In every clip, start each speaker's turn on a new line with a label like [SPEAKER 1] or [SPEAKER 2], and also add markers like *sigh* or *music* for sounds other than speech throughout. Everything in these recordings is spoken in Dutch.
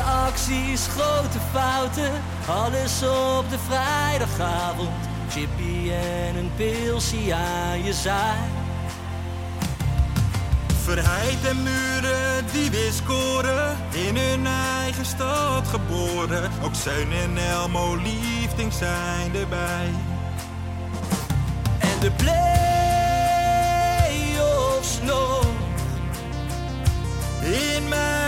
[SPEAKER 1] acties, grote fouten, alles op de vrijdagavond. Chippy en een pilsie aan je zaai.
[SPEAKER 2] Verheid en muren die weer scoren, in hun eigen stad geboren. Ook Zijn en Elmo liefding zijn erbij.
[SPEAKER 1] En de play-offs nog.
[SPEAKER 2] In mij.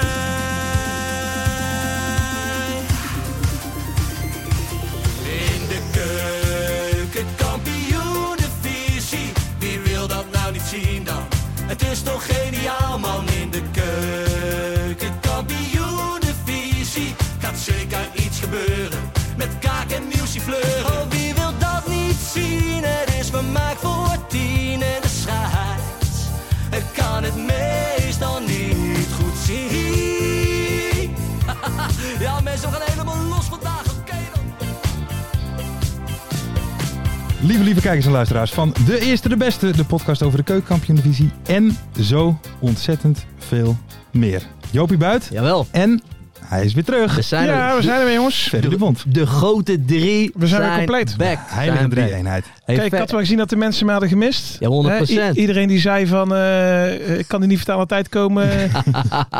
[SPEAKER 1] In de keuken, kampioenenvisie. Wie wil dat nou niet zien dan? Het is toch geniaal man in de keuken, kampioenenvisie. Gaat zeker iets gebeuren met kaak en muziek fleuren. Oh, wie wil dat niet zien? Het is vermaakt voor tien en de scheids. Ik kan het meestal niet goed zien. *laughs* ja mensen, we gaan helemaal los vandaag, oké dan.
[SPEAKER 3] Lieve, lieve kijkers en luisteraars van De Eerste de Beste, de podcast over de keukenkampioenvisie en zo ontzettend veel meer. Jopie Buit
[SPEAKER 4] Jawel.
[SPEAKER 3] en hij is weer terug.
[SPEAKER 4] We zijn
[SPEAKER 5] Ja,
[SPEAKER 4] er.
[SPEAKER 5] we zijn er weer, jongens.
[SPEAKER 3] Verder de Bond.
[SPEAKER 4] De grote drie
[SPEAKER 5] We zijn weer compleet.
[SPEAKER 4] back.
[SPEAKER 3] Heilige
[SPEAKER 4] Zijn back.
[SPEAKER 3] drie-eenheid.
[SPEAKER 4] Hey,
[SPEAKER 5] Kijk, ik
[SPEAKER 4] Fer-
[SPEAKER 5] had wel gezien dat de mensen me hadden gemist.
[SPEAKER 4] Ja, 100%.
[SPEAKER 5] Hè, i- iedereen die zei van, eh, ik kan er niet vertalen aan tijd
[SPEAKER 4] *laughs*
[SPEAKER 5] komen.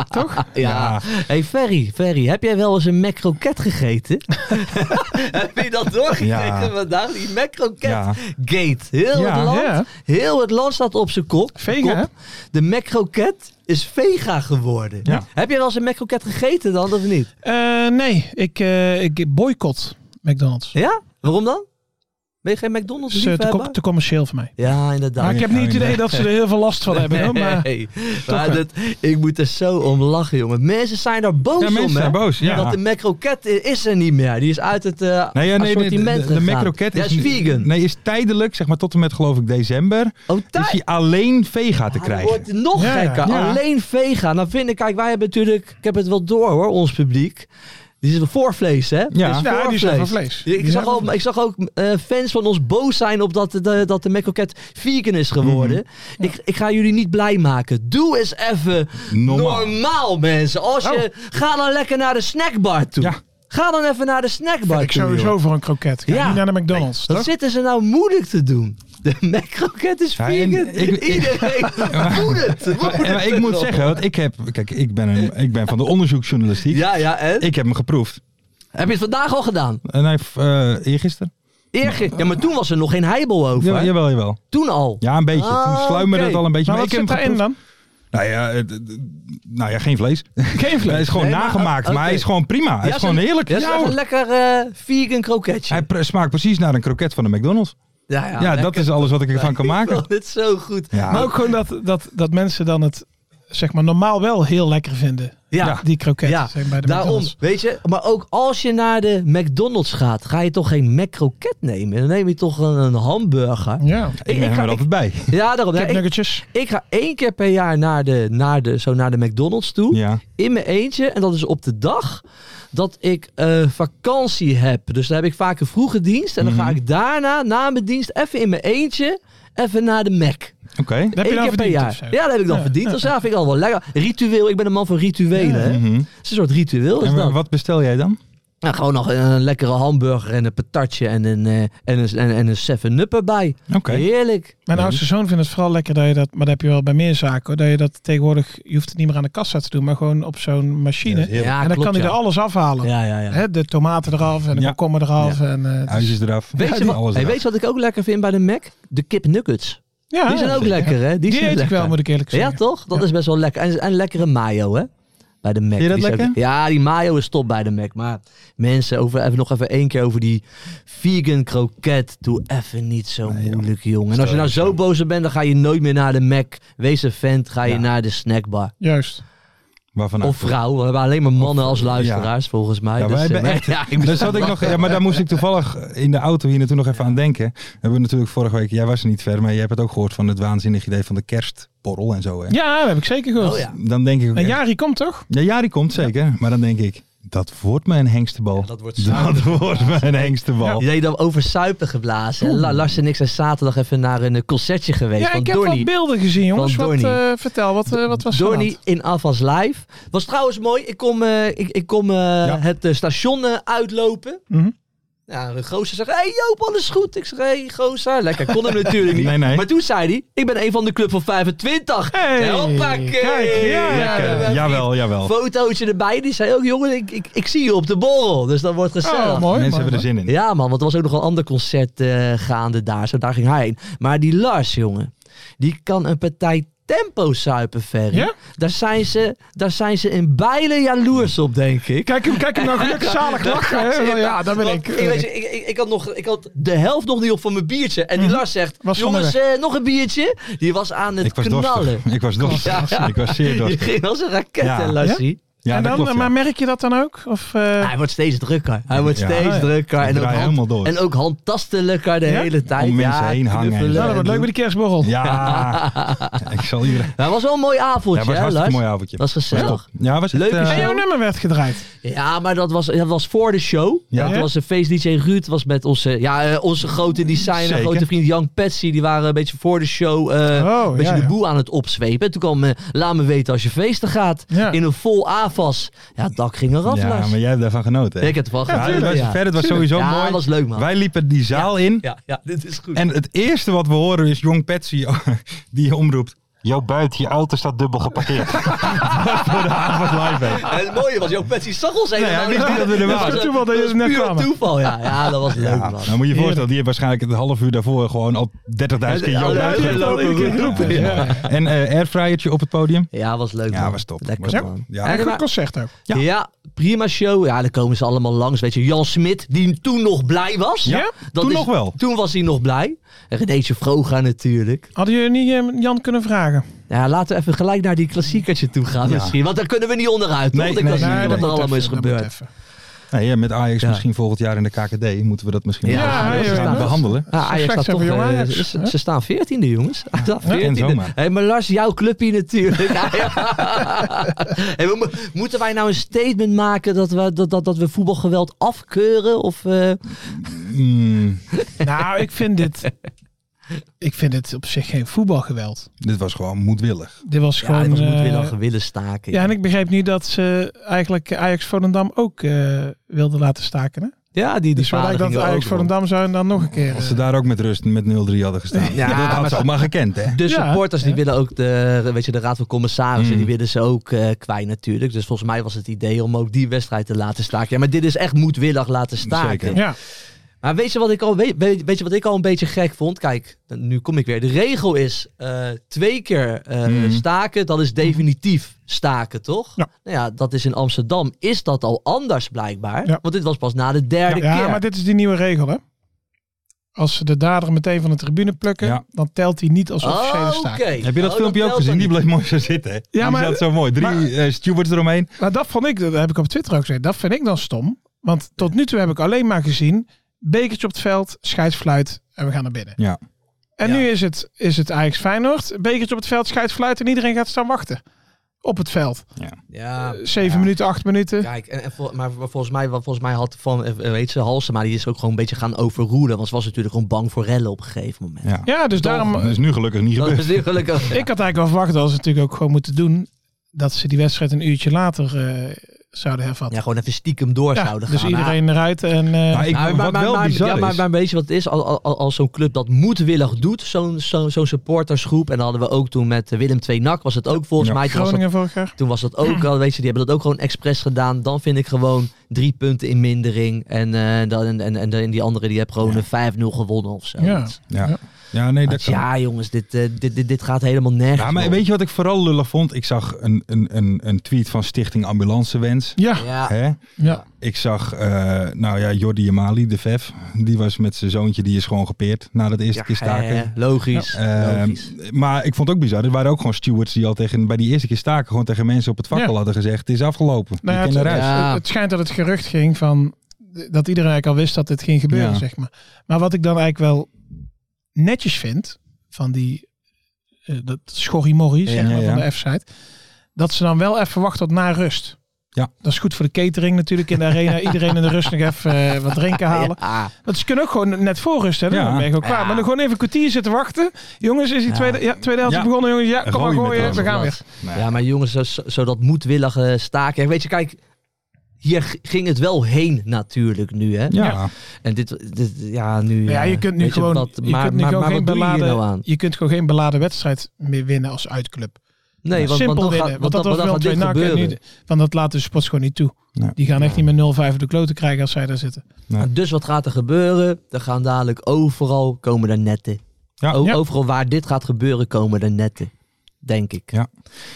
[SPEAKER 5] Toch?
[SPEAKER 4] Ja. Hey Ferry, Ferry, heb jij wel eens een macroket gegeten? *laughs* heb je dat doorgekeken
[SPEAKER 3] Ja.
[SPEAKER 4] vandaag? Die macroket
[SPEAKER 3] Ja.
[SPEAKER 4] gate. Heel
[SPEAKER 5] Ja,
[SPEAKER 4] het land,
[SPEAKER 5] ja.
[SPEAKER 4] heel het land staat op zijn kop.
[SPEAKER 5] Vega,
[SPEAKER 4] kop.
[SPEAKER 5] hè?
[SPEAKER 4] De macroket is vega geworden.
[SPEAKER 3] Ja.
[SPEAKER 4] Heb jij wel eens een macroket gegeten dan of niet?
[SPEAKER 5] Eh, nee, ik, eh ik boycott McDonald's.
[SPEAKER 4] Ja? Waarom dan? Ben je geen McDonald's
[SPEAKER 5] Dus, eh, te,
[SPEAKER 4] liefhebber?
[SPEAKER 5] co- te commercieel voor mij.
[SPEAKER 4] Ja, inderdaad.
[SPEAKER 3] Nou,
[SPEAKER 5] Maar ik heb niet het idee dat ze er heel veel last van hebben.
[SPEAKER 4] *laughs*
[SPEAKER 5] Hoor, maar
[SPEAKER 4] Nee, maar dat, ik moet er zo om lachen, jongen. Mensen zijn daar boos
[SPEAKER 3] Ja,
[SPEAKER 4] om,
[SPEAKER 3] mensen
[SPEAKER 4] hè?
[SPEAKER 3] zijn boos, ja.
[SPEAKER 4] Dat de macroket i- is er niet meer. Die is uit het eh
[SPEAKER 3] Nee, ja, nee, nee, de,
[SPEAKER 4] assortiment
[SPEAKER 3] de, de
[SPEAKER 4] gegaan.
[SPEAKER 3] Macroket
[SPEAKER 4] Ja,
[SPEAKER 3] is,
[SPEAKER 4] is vegan.
[SPEAKER 3] Nee, is tijdelijk, zeg maar tot en met geloof ik december,
[SPEAKER 4] Oh, tij-
[SPEAKER 3] is hij alleen vega te
[SPEAKER 4] Ja, dat wordt
[SPEAKER 3] krijgen.
[SPEAKER 4] nog
[SPEAKER 5] Ja,
[SPEAKER 4] gekker.
[SPEAKER 5] ja.
[SPEAKER 4] Alleen vega. Nou vind ik, kijk, wij hebben natuurlijk... Ik heb het wel door, hoor, ons publiek. Die is voor vlees, hè?
[SPEAKER 3] Ja.
[SPEAKER 4] Dit is
[SPEAKER 5] Ja, die zijn
[SPEAKER 4] voor
[SPEAKER 5] van vlees.
[SPEAKER 4] Ik,
[SPEAKER 5] Die
[SPEAKER 4] zag
[SPEAKER 5] zijn van
[SPEAKER 4] al, ik zag ook eh, fans van ons boos zijn op dat de, dat de Macroket vegan is geworden.
[SPEAKER 3] Mhm.
[SPEAKER 4] Ik, ik ga jullie niet blij maken. Doe eens even normaal.
[SPEAKER 3] Normaal.
[SPEAKER 4] mensen. Als je,
[SPEAKER 5] Oh.
[SPEAKER 4] ga dan lekker naar de snackbar toe.
[SPEAKER 3] Ja.
[SPEAKER 4] Ga dan even naar de snackbar
[SPEAKER 5] ik
[SPEAKER 4] toe.
[SPEAKER 5] sowieso
[SPEAKER 4] joh.
[SPEAKER 5] voor een kroket. Kijk
[SPEAKER 4] Ja.
[SPEAKER 5] niet naar de McDonald's.
[SPEAKER 4] Wat
[SPEAKER 5] toch?
[SPEAKER 4] zitten ze nou moeilijk te doen? De Macroket is
[SPEAKER 3] Ja,
[SPEAKER 4] vegan.
[SPEAKER 3] en
[SPEAKER 4] *laughs*
[SPEAKER 3] ik-
[SPEAKER 4] Iedereen moet het. Moet
[SPEAKER 3] Ja, maar
[SPEAKER 4] het
[SPEAKER 3] ik moet
[SPEAKER 4] erop.
[SPEAKER 3] zeggen, want ik heb, kijk, ik ben, een, ik ben van de onderzoeksjournalistiek.
[SPEAKER 4] Ja, ja, en?
[SPEAKER 3] Ik heb hem geproefd.
[SPEAKER 4] Heb je het vandaag al gedaan?
[SPEAKER 3] En hij, eh eergisteren?
[SPEAKER 4] Eergisteren. Ja, maar toen was er nog geen heibel over.
[SPEAKER 3] Ja, jawel, jawel.
[SPEAKER 4] Toen al.
[SPEAKER 3] Ja, een beetje.
[SPEAKER 4] Ah,
[SPEAKER 3] Toen sluimerde
[SPEAKER 4] oké.
[SPEAKER 3] het al een beetje.
[SPEAKER 5] Maar wat
[SPEAKER 3] ik heb
[SPEAKER 5] zit
[SPEAKER 3] hem
[SPEAKER 5] daarin
[SPEAKER 3] geproefd.
[SPEAKER 5] dan?
[SPEAKER 3] Nou ja, het- het- nou ja, geen vlees.
[SPEAKER 5] Geen
[SPEAKER 3] Hij
[SPEAKER 5] vlees.
[SPEAKER 3] is gewoon
[SPEAKER 4] Nee, maar- oh,
[SPEAKER 3] nagemaakt, maar,
[SPEAKER 4] oké.
[SPEAKER 3] hij is gewoon prima. Hij
[SPEAKER 4] Ja,
[SPEAKER 3] is gewoon
[SPEAKER 4] ze-
[SPEAKER 3] heerlijk.
[SPEAKER 4] Ja, ze
[SPEAKER 3] Ja,
[SPEAKER 4] is
[SPEAKER 3] hoor.
[SPEAKER 4] een lekker eh, vegan kroketje.
[SPEAKER 3] hij pre- smaakt precies naar een kroket van de McDonald's.
[SPEAKER 4] *laughs*
[SPEAKER 3] Ja, dat is alles wat ik ervan kan maken.
[SPEAKER 4] Dit is zo goed.
[SPEAKER 3] Ja.
[SPEAKER 5] Maar Nou, ook gewoon dat, dat, dat mensen dan het zeg maar, normaal wel heel lekker vinden.
[SPEAKER 4] Ja.
[SPEAKER 5] Die kroketten
[SPEAKER 4] Ja,
[SPEAKER 5] zijn bij de
[SPEAKER 4] daarom.
[SPEAKER 5] McDonald's.
[SPEAKER 4] Weet je, maar ook als je naar de McDonald's gaat, ga je toch geen McCroket nemen? Dan neem je toch een, een
[SPEAKER 5] *laughs*
[SPEAKER 4] hamburger.
[SPEAKER 5] Ja.
[SPEAKER 3] Ik ben
[SPEAKER 4] ga,
[SPEAKER 3] er altijd bij.
[SPEAKER 4] ja, daarom. Ja, ik,
[SPEAKER 5] Nuggetjes.
[SPEAKER 4] ik ga één keer per jaar naar de, naar de, zo naar de McDonald's toe.
[SPEAKER 3] Ja.
[SPEAKER 4] in mijn eentje. En dat is op de dag dat ik eh, vakantie heb. Dus dan heb ik vaak een vroege dienst. En dan
[SPEAKER 5] Mhm.
[SPEAKER 4] ga ik daarna, na mijn dienst, even in mijn eentje. Even naar de Mac.
[SPEAKER 3] Oké.
[SPEAKER 5] Dat heb je
[SPEAKER 4] Eén
[SPEAKER 5] dan
[SPEAKER 4] keer per
[SPEAKER 5] verdiend
[SPEAKER 4] jaar.
[SPEAKER 5] of zo.
[SPEAKER 4] Ja, dat heb ik dan
[SPEAKER 5] Ja. *laughs*
[SPEAKER 4] verdiend. Dus ja, vind ik al wel lekker. Ritueel. Ik ben een man van rituelen. hè.
[SPEAKER 3] Mhm.
[SPEAKER 4] Het is een soort ritueel. Is
[SPEAKER 3] En
[SPEAKER 4] dat.
[SPEAKER 3] wat bestel jij dan?
[SPEAKER 4] Nou, gewoon nog een, een lekkere hamburger en een patatje en een, eh, en een, en, en een 7-up erbij.
[SPEAKER 5] Oké.
[SPEAKER 4] Heerlijk.
[SPEAKER 5] Mijn oudste zoon vindt het vooral lekker dat je dat, maar dat heb je wel bij meer zaken, hoor, dat je dat tegenwoordig, je hoeft het niet meer aan de kassa te doen, maar gewoon op zo'n machine.
[SPEAKER 3] Ja,
[SPEAKER 4] Ja,
[SPEAKER 5] en dan
[SPEAKER 4] klopt,
[SPEAKER 5] kan hij
[SPEAKER 4] ja.
[SPEAKER 5] er alles afhalen.
[SPEAKER 4] Ja, ja, ja.
[SPEAKER 5] Hè, de tomaten eraf en de
[SPEAKER 3] Ja.
[SPEAKER 5] komkommer eraf. En, eh, het is-
[SPEAKER 3] Huisjes eraf.
[SPEAKER 4] Weet,
[SPEAKER 3] Ja,
[SPEAKER 4] je
[SPEAKER 3] die-
[SPEAKER 4] wat,
[SPEAKER 3] alles
[SPEAKER 4] hey,
[SPEAKER 3] eraf.
[SPEAKER 4] weet je wat ik ook lekker vind bij de Mac? De kipnuggets.
[SPEAKER 5] ja,
[SPEAKER 4] die zijn ook
[SPEAKER 5] Ah, zeker.
[SPEAKER 4] lekker, hè? Die,
[SPEAKER 5] Die,
[SPEAKER 4] zijn
[SPEAKER 5] eet ik
[SPEAKER 4] lekker.
[SPEAKER 5] wel, moet ik eerlijk
[SPEAKER 4] Ja,
[SPEAKER 5] zeggen.
[SPEAKER 4] toch? Dat is best wel lekker. En, en lekkere mayo, hè? Bij de Mac.
[SPEAKER 3] Vind je dat
[SPEAKER 4] Die is ook-
[SPEAKER 3] lekker?
[SPEAKER 4] ja, die mayo is top bij de Mac. Maar mensen, over, even, nog even één keer over die vegan kroket. Doe even niet zo moeilijk, jongen. En als je nou zo boos bent, dan ga je nooit meer naar de Mac. Wees een vent, ga je
[SPEAKER 3] Ja.
[SPEAKER 4] naar de snackbar.
[SPEAKER 5] Juist.
[SPEAKER 3] Waarvan
[SPEAKER 4] Of vrouw. We hebben alleen maar mannen als luisteraars, volgens mij.
[SPEAKER 3] Ja, wij
[SPEAKER 4] Dus, eh,
[SPEAKER 3] hebben
[SPEAKER 4] maar-
[SPEAKER 3] echt-
[SPEAKER 4] *laughs* ja, ik ben-
[SPEAKER 3] Daar zat ik nog, ja, maar daar moest ik toevallig in de auto hier naartoe nog even aan denken. We hebben natuurlijk vorige week, jij was er niet ver, maar je hebt het ook gehoord van het waanzinnig idee van de kerstborrel en zo. Hè? Dus
[SPEAKER 5] Ja, dat heb ik zeker gehoord.
[SPEAKER 4] Oh, ja.
[SPEAKER 3] Dan denk ik ook
[SPEAKER 5] En
[SPEAKER 3] echt-
[SPEAKER 5] Jari komt toch?
[SPEAKER 3] Ja, ja, die komt zeker. Maar dan denk ik, dat wordt mijn hengstebal.
[SPEAKER 4] dat wordt
[SPEAKER 3] dat *laughs* wordt mijn hengstebal.
[SPEAKER 4] Die deed dan over suipen geblazen. En La- Lars en ik zijn zaterdag even naar een eh, concertje geweest
[SPEAKER 5] Ja,
[SPEAKER 4] van
[SPEAKER 5] ik heb
[SPEAKER 4] Donny.
[SPEAKER 5] wat beelden gezien, jongens.
[SPEAKER 4] Van
[SPEAKER 5] Wat,
[SPEAKER 4] Donnie.
[SPEAKER 5] eh, vertel, wat, eh, wat was er aan de
[SPEAKER 4] Donnie
[SPEAKER 5] hand?
[SPEAKER 4] in Afas Live. Was trouwens mooi. Ik kom, eh, ik, ik kom eh, het eh, station eh, uitlopen.
[SPEAKER 5] Mhm.
[SPEAKER 4] Ja, de gozer zegt, hey Joop, alles goed? Ik zeg, hey gozer. Lekker, kon hem natuurlijk niet.
[SPEAKER 3] *laughs* Nee, nee.
[SPEAKER 4] Maar toen zei hij, ik ben een van de club van 25.
[SPEAKER 5] Hey,
[SPEAKER 4] Hoppakee.
[SPEAKER 5] kijk, ja.
[SPEAKER 4] we hebben
[SPEAKER 3] Jawel,
[SPEAKER 4] een
[SPEAKER 3] jawel.
[SPEAKER 4] Fotootje erbij. Die zei ook, jongen, ik, ik, ik zie je op de borrel. Dus dat wordt gezellig.
[SPEAKER 5] Oh, mooi.
[SPEAKER 3] Mensen
[SPEAKER 5] mooi,
[SPEAKER 3] hebben er
[SPEAKER 5] mooi.
[SPEAKER 3] zin in.
[SPEAKER 4] Ja, man, want er was ook nog wel een ander concert eh, gaande daar. Zo, daar ging hij heen. Maar die Lars, jongen, die kan een partij tempo suipen, Ferry.
[SPEAKER 5] Ja?
[SPEAKER 4] Daar, zijn ze, daar zijn ze in bijlen jaloers op, denk ik.
[SPEAKER 3] *laughs*
[SPEAKER 5] Kijk hem, kijk hem nou gelukkig zalig lachen. hè? Wel, Ja, daar ben
[SPEAKER 4] Want,
[SPEAKER 5] ik.
[SPEAKER 4] weet je, ik, ik, ik had nog, ik had de helft nog niet op van mijn biertje. En
[SPEAKER 3] Mhm.
[SPEAKER 4] die Lars zegt,
[SPEAKER 5] Was van
[SPEAKER 4] jongens, eh, nog een biertje? Die was aan het
[SPEAKER 3] Ik was
[SPEAKER 4] knallen.
[SPEAKER 3] dorstig. *laughs* Ik was dorstig.
[SPEAKER 4] Ja.
[SPEAKER 3] Ik was zeer
[SPEAKER 4] Die
[SPEAKER 3] dorstig.
[SPEAKER 4] ging als een raket,
[SPEAKER 3] Ja.
[SPEAKER 4] hè, Larsie.
[SPEAKER 3] Ja,
[SPEAKER 5] en
[SPEAKER 3] dat
[SPEAKER 5] dan,
[SPEAKER 3] klopt, ja.
[SPEAKER 5] maar merk je dat dan ook? Of, eh,
[SPEAKER 4] Hij wordt steeds drukker. Hij wordt
[SPEAKER 3] Ja.
[SPEAKER 4] steeds
[SPEAKER 5] Ja.
[SPEAKER 4] drukker.
[SPEAKER 3] Hij
[SPEAKER 4] En ook,
[SPEAKER 3] draait
[SPEAKER 4] hand-
[SPEAKER 3] helemaal door.
[SPEAKER 4] en ook handtastelijker de
[SPEAKER 5] Ja?
[SPEAKER 4] hele tijd.
[SPEAKER 3] mensen heen hangen en
[SPEAKER 4] knuffelen
[SPEAKER 3] zo.
[SPEAKER 5] nou, dat wordt
[SPEAKER 4] en
[SPEAKER 5] leuk bij de kerstborrel.
[SPEAKER 3] Ja, *laughs* ik zal jullie... Ja,
[SPEAKER 4] Dat was wel een mooi
[SPEAKER 3] het
[SPEAKER 4] avondje,
[SPEAKER 3] was
[SPEAKER 4] hè,
[SPEAKER 3] hartstikke
[SPEAKER 4] Lars?
[SPEAKER 3] een mooi avondje.
[SPEAKER 4] Dat was gezellig.
[SPEAKER 3] top. Ja, was het,
[SPEAKER 4] Leuke
[SPEAKER 3] eh,
[SPEAKER 5] En jouw
[SPEAKER 4] show.
[SPEAKER 5] nummer werd gedraaid.
[SPEAKER 4] Ja, maar dat was, dat was voor de show.
[SPEAKER 3] Ja.
[SPEAKER 4] Dat was een feest DJ Ruud. was met onze, ja, eh, onze grote designer,
[SPEAKER 3] Zeker.
[SPEAKER 4] grote vriend Jan Patsy. Die waren een beetje voor de show eh,
[SPEAKER 5] Oh,
[SPEAKER 4] een beetje
[SPEAKER 5] ja,
[SPEAKER 4] de
[SPEAKER 5] ja.
[SPEAKER 4] boel aan het opzwepen. En toen kwam eh, Laat me weten als je feesten gaat.
[SPEAKER 5] Ja.
[SPEAKER 4] In een vol AFAS. Ja, het dak ging eraf,
[SPEAKER 3] ja,
[SPEAKER 4] Lars.
[SPEAKER 3] maar jij hebt daarvan genoten. hè?
[SPEAKER 4] Ik heb het wel
[SPEAKER 3] Ja,
[SPEAKER 4] gedaan.
[SPEAKER 3] het was,
[SPEAKER 4] ja.
[SPEAKER 3] Verder, het was sowieso
[SPEAKER 4] Ja,
[SPEAKER 3] mooi.
[SPEAKER 4] dat was leuk, man.
[SPEAKER 3] Wij liepen die zaal in.
[SPEAKER 4] Ja, ja, dit is goed.
[SPEAKER 3] En het eerste wat we horen is Jong Patsy *laughs* die omroept. Jouw buit, je auto staat dubbel *laughs* geparkeerd. Wat voor de avond live. hè.
[SPEAKER 4] En het mooie was, ook Patsy zag ons helemaal
[SPEAKER 3] hij wist niet dat we er
[SPEAKER 4] Dat
[SPEAKER 3] waren.
[SPEAKER 4] was
[SPEAKER 5] Toeval dat
[SPEAKER 4] dat
[SPEAKER 5] jullie
[SPEAKER 4] was
[SPEAKER 5] net
[SPEAKER 4] puur
[SPEAKER 5] kwamen.
[SPEAKER 4] toeval, ja. Ja, dat was leuk,
[SPEAKER 3] Ja,
[SPEAKER 4] man.
[SPEAKER 3] nou moet je je voorstellen, die heeft waarschijnlijk het half uur daarvoor gewoon al 30.000 keer
[SPEAKER 4] Ja,
[SPEAKER 3] jouw
[SPEAKER 4] ja, ja,
[SPEAKER 3] buit geroepen.
[SPEAKER 4] lopen roepen, ja.
[SPEAKER 3] En eh, airfryertje op het podium.
[SPEAKER 4] Ja, was leuk.
[SPEAKER 3] Ja,
[SPEAKER 4] man.
[SPEAKER 3] was top.
[SPEAKER 4] Lekker,
[SPEAKER 3] Was top.
[SPEAKER 4] man.
[SPEAKER 5] En
[SPEAKER 3] Ja.
[SPEAKER 5] een
[SPEAKER 4] Ja,
[SPEAKER 5] goed
[SPEAKER 4] maar-
[SPEAKER 5] concert ook.
[SPEAKER 4] Ja. prima show. Ja, dan komen ze allemaal langs. Weet je, Jan Smit, die toen nog blij was.
[SPEAKER 5] Ja,
[SPEAKER 4] Dat
[SPEAKER 3] toen nog wel.
[SPEAKER 4] Toen was hij nog blij. En Renéetje Vroga natuurlijk.
[SPEAKER 5] Hadden jullie niet eh, Jan kunnen vragen?
[SPEAKER 4] Ja, laten we even gelijk naar die klassiekertje toe gaan misschien. Want daar kunnen we niet onderuit,
[SPEAKER 3] Nee,
[SPEAKER 4] toch? De
[SPEAKER 3] nee,
[SPEAKER 4] klassieker, wat
[SPEAKER 3] nee, nee,
[SPEAKER 4] er
[SPEAKER 5] moet
[SPEAKER 4] allemaal is
[SPEAKER 5] even, dat moet
[SPEAKER 4] gebeurd.
[SPEAKER 5] even.
[SPEAKER 3] Nou, ja, met Ajax
[SPEAKER 4] Ja.
[SPEAKER 3] misschien volgend jaar in de KKD moeten we dat misschien
[SPEAKER 4] Ja,
[SPEAKER 3] wel
[SPEAKER 5] ja,
[SPEAKER 3] even
[SPEAKER 5] ja,
[SPEAKER 3] gaan
[SPEAKER 5] ja.
[SPEAKER 3] behandelen.
[SPEAKER 4] Ja, Ajax
[SPEAKER 5] slecht
[SPEAKER 4] staat
[SPEAKER 5] zijn
[SPEAKER 4] toch,
[SPEAKER 5] voor jong
[SPEAKER 4] eh,
[SPEAKER 5] Ajax,
[SPEAKER 4] ze- ze,
[SPEAKER 5] hè?
[SPEAKER 4] ze staan veertiende, jongens. *laughs* Ze staan
[SPEAKER 3] en
[SPEAKER 4] veertiende.
[SPEAKER 3] zomaar.
[SPEAKER 4] Hé, maar Lars, jouw clubje natuurlijk. *laughs* Ja, ja. Hé, we mo- moeten wij nou een statement maken dat we, dat, dat, dat we voetbalgeweld afkeuren? Of, eh,
[SPEAKER 3] Mm,
[SPEAKER 5] Nou, ik vind
[SPEAKER 4] *laughs*
[SPEAKER 5] dit... Ik vind dit op zich geen voetbalgeweld.
[SPEAKER 3] dit was gewoon moedwillig.
[SPEAKER 5] Dit was
[SPEAKER 4] ja,
[SPEAKER 5] gewoon...
[SPEAKER 4] dat moet
[SPEAKER 5] eh,
[SPEAKER 4] weer dan willen staken.
[SPEAKER 5] ja, en ik begreep nu dat ze eigenlijk Ajax Volendam ook eh, wilden laten staken. Hè?
[SPEAKER 4] Ja, die, die
[SPEAKER 5] Dus waar
[SPEAKER 4] vader
[SPEAKER 5] ik dat
[SPEAKER 4] ging er
[SPEAKER 5] Ajax
[SPEAKER 4] ook Oh,
[SPEAKER 5] Volendam zou en dan nog een keer. eh.
[SPEAKER 3] Als ze daar ook met rust met 0-3 hadden gestaan.
[SPEAKER 4] Ja,
[SPEAKER 3] dat
[SPEAKER 4] maar dus-
[SPEAKER 3] had ze
[SPEAKER 4] ze-
[SPEAKER 3] ook maar gekend, hè?
[SPEAKER 4] rond. De
[SPEAKER 5] Ja,
[SPEAKER 4] supporters die
[SPEAKER 5] ja.
[SPEAKER 4] willen ook de, weet je, de raad van commissarissen,
[SPEAKER 3] Mm.
[SPEAKER 4] die willen ze ook eh, kwijt natuurlijk. Dus volgens mij was het idee om ook die wedstrijd te laten staken. Ja, maar dit is echt moedwillig laten staken.
[SPEAKER 3] Zeker.
[SPEAKER 5] Ja,
[SPEAKER 4] Maar weet je, wat ik al, weet, weet, weet je wat ik al een beetje gek vond? Kijk, nu kom ik weer. De regel is eh, twee keer eh,
[SPEAKER 3] Mhm.
[SPEAKER 4] staken, dat is definitief staken, toch?
[SPEAKER 5] Ja.
[SPEAKER 4] Nou ja, dat is in Amsterdam, is dat al anders blijkbaar?
[SPEAKER 5] Ja.
[SPEAKER 4] Want dit was pas na de derde
[SPEAKER 5] ja,
[SPEAKER 4] keer.
[SPEAKER 5] maar dit is die nieuwe regel, hè? Als ze de dader meteen van de tribune plukken,
[SPEAKER 3] Ja.
[SPEAKER 5] dan telt hij niet als officiële
[SPEAKER 4] Oh,
[SPEAKER 5] staking.
[SPEAKER 4] oké.
[SPEAKER 3] Heb je dat
[SPEAKER 4] Oh,
[SPEAKER 3] filmpje ook
[SPEAKER 4] telt dan
[SPEAKER 3] gezien? Die bleef mooi zo zitten. hè? die
[SPEAKER 5] maar-
[SPEAKER 3] zat zo mooi. Drie
[SPEAKER 5] maar-
[SPEAKER 3] eh, stewards eromheen.
[SPEAKER 5] Maar Nou, dat vond ik, dat heb ik op Twitter ook gezegd, dat vind ik dan stom. Want tot nu toe heb ik alleen maar gezien, bekertje op het veld, scheidsfluit en we gaan naar binnen.
[SPEAKER 3] Ja.
[SPEAKER 5] En nu is het, is het Ajax Feyenoord, bekertje op het veld, scheidsfluit en iedereen gaat staan wachten. Op het veld.
[SPEAKER 4] Ja,
[SPEAKER 5] Zeven minuten, acht minuten.
[SPEAKER 4] Kijk, en, en vol- maar maar volgens mij, wat- volgens mij had van, eh, weet ze, Halsema, die is ook gewoon een beetje gaan overroelen. Want ze was natuurlijk gewoon bang voor rellen op een gegeven moment.
[SPEAKER 3] Ja.
[SPEAKER 5] Ja, dus daarom,
[SPEAKER 3] Dat is nu gelukkig niet
[SPEAKER 4] Dat
[SPEAKER 3] gebeurd.
[SPEAKER 4] is natuurlijk ook...
[SPEAKER 5] ik had eigenlijk wel verwacht dat ze natuurlijk ook gewoon moeten doen, dat ze die wedstrijd een uurtje later eh, zouden hervatten.
[SPEAKER 4] Ja, gewoon even stiekem door
[SPEAKER 5] Ja,
[SPEAKER 4] zouden
[SPEAKER 5] dus
[SPEAKER 4] gaan.
[SPEAKER 5] iedereen eruit en... eh,
[SPEAKER 3] Maar ik,
[SPEAKER 4] Nou, maar,
[SPEAKER 3] wat
[SPEAKER 4] maar-
[SPEAKER 3] wel
[SPEAKER 4] maar-
[SPEAKER 3] bizar
[SPEAKER 4] ja, maar,
[SPEAKER 3] is...
[SPEAKER 4] maar weet je wat het is? Al- al- al- Als zo'n club dat moedwillig doet, zo'n zo'n zo'n supportersgroep. En dat hadden we ook toen met eh, Willem II NAC was het ook volgens
[SPEAKER 3] Ja.
[SPEAKER 4] mij. Toen was, dat,
[SPEAKER 5] Groningen vorig jaar.
[SPEAKER 4] toen was dat ook al, weet je, die hebben dat ook gewoon expres gedaan. Dan vind ik gewoon drie punten in mindering. En, eh, dan, en, en, en, en die andere die hebben gewoon een 5-0 gewonnen of zo.
[SPEAKER 5] Ja.
[SPEAKER 3] ja. ja, nee, dat
[SPEAKER 4] Want
[SPEAKER 3] kan.
[SPEAKER 4] ja, jongens, dit, eh, dit, dit, dit gaat helemaal nergens.
[SPEAKER 3] Ja, maar
[SPEAKER 4] om.
[SPEAKER 3] weet je wat ik vooral lullig vond? Ik zag een, een, een, een tweet van Stichting Ambulancewens.
[SPEAKER 5] Ja,
[SPEAKER 4] Ja.
[SPEAKER 3] Hè?
[SPEAKER 5] ja.
[SPEAKER 3] Ik zag, eh, nou ja, Jordi Jamali, de VEF. Die was met zijn zoontje, die is gewoon gepeerd na dat eerste keer staken.
[SPEAKER 4] Eh, logisch.
[SPEAKER 3] Ehm,
[SPEAKER 4] logisch.
[SPEAKER 3] maar ik vond het ook bizar. Er waren ook gewoon stewards die al tegen, bij die eerste keer staken gewoon tegen mensen op het vak
[SPEAKER 5] Ja.
[SPEAKER 3] al hadden gezegd: het is afgelopen.
[SPEAKER 5] Nou ja,
[SPEAKER 3] je
[SPEAKER 5] het,
[SPEAKER 3] kan eruit.
[SPEAKER 4] Ja.
[SPEAKER 5] het- het schijnt dat het gerucht ging van dat iedereen eigenlijk al wist dat dit ging gebeuren,
[SPEAKER 3] Ja.
[SPEAKER 5] zeg maar. Maar wat ik dan eigenlijk wel netjes vind van die eh, dat schorrimorrie, zeg
[SPEAKER 3] Ja,
[SPEAKER 5] maar,
[SPEAKER 3] ja.
[SPEAKER 5] van de F-site, dat ze dan wel even wachten tot na rust.
[SPEAKER 3] Ja.
[SPEAKER 5] Dat is goed voor de catering natuurlijk in de
[SPEAKER 3] *laughs*
[SPEAKER 5] arena. Iedereen in de rust nog even eh, wat drinken halen.
[SPEAKER 4] Ja.
[SPEAKER 5] Dat ze kunnen ook gewoon net voor rust hebben.
[SPEAKER 3] Ja.
[SPEAKER 5] Dan ben ik ook klaar.
[SPEAKER 4] Ja.
[SPEAKER 5] Maar dan gewoon even een kwartier zitten wachten. Jongens, is die
[SPEAKER 4] Ja.
[SPEAKER 5] tweede, ja, tweede helft
[SPEAKER 3] Ja.
[SPEAKER 5] begonnen? Jongens, ja, kom maar
[SPEAKER 3] Gooi met
[SPEAKER 5] gooien.
[SPEAKER 3] alles
[SPEAKER 5] We
[SPEAKER 3] op
[SPEAKER 5] gaan
[SPEAKER 4] Dat-
[SPEAKER 5] weer.
[SPEAKER 3] Nou,
[SPEAKER 4] Ja, maar jongens, zo, zo- zo dat moedwillige staken. Ja, Weet je, kijk, hier g- ging het wel heen natuurlijk nu, hè?
[SPEAKER 3] Ja.
[SPEAKER 4] En dit, dit- ja, nu...
[SPEAKER 5] Ja,
[SPEAKER 4] eh,
[SPEAKER 5] je kunt nu
[SPEAKER 4] weet
[SPEAKER 5] gewoon,
[SPEAKER 4] wat-
[SPEAKER 5] je kunt nu gewoon
[SPEAKER 4] maar
[SPEAKER 5] geen
[SPEAKER 4] wat doe je hier
[SPEAKER 5] beladen,
[SPEAKER 4] nou aan?
[SPEAKER 5] je kunt gewoon geen beladen wedstrijd meer winnen als uitclub.
[SPEAKER 4] Nee, want,
[SPEAKER 5] Simpel
[SPEAKER 4] want dan
[SPEAKER 5] winnen,
[SPEAKER 4] gaat,
[SPEAKER 5] want dat was
[SPEAKER 4] dan
[SPEAKER 5] wel
[SPEAKER 4] gaat
[SPEAKER 5] twee
[SPEAKER 4] dit
[SPEAKER 5] nakken.
[SPEAKER 4] gebeuren.
[SPEAKER 5] Nu, want dat laten de sports gewoon niet toe.
[SPEAKER 3] Nee.
[SPEAKER 5] Die gaan echt niet met 0-5 de kloten krijgen als zij daar zitten.
[SPEAKER 3] Ja.
[SPEAKER 4] Dus wat gaat er gebeuren? Er gaan dadelijk overal komen er netten.
[SPEAKER 3] Ja.
[SPEAKER 4] O-
[SPEAKER 5] Ah, Ja.
[SPEAKER 4] Overal waar dit gaat gebeuren komen er netten. Denk ik.
[SPEAKER 3] Ja.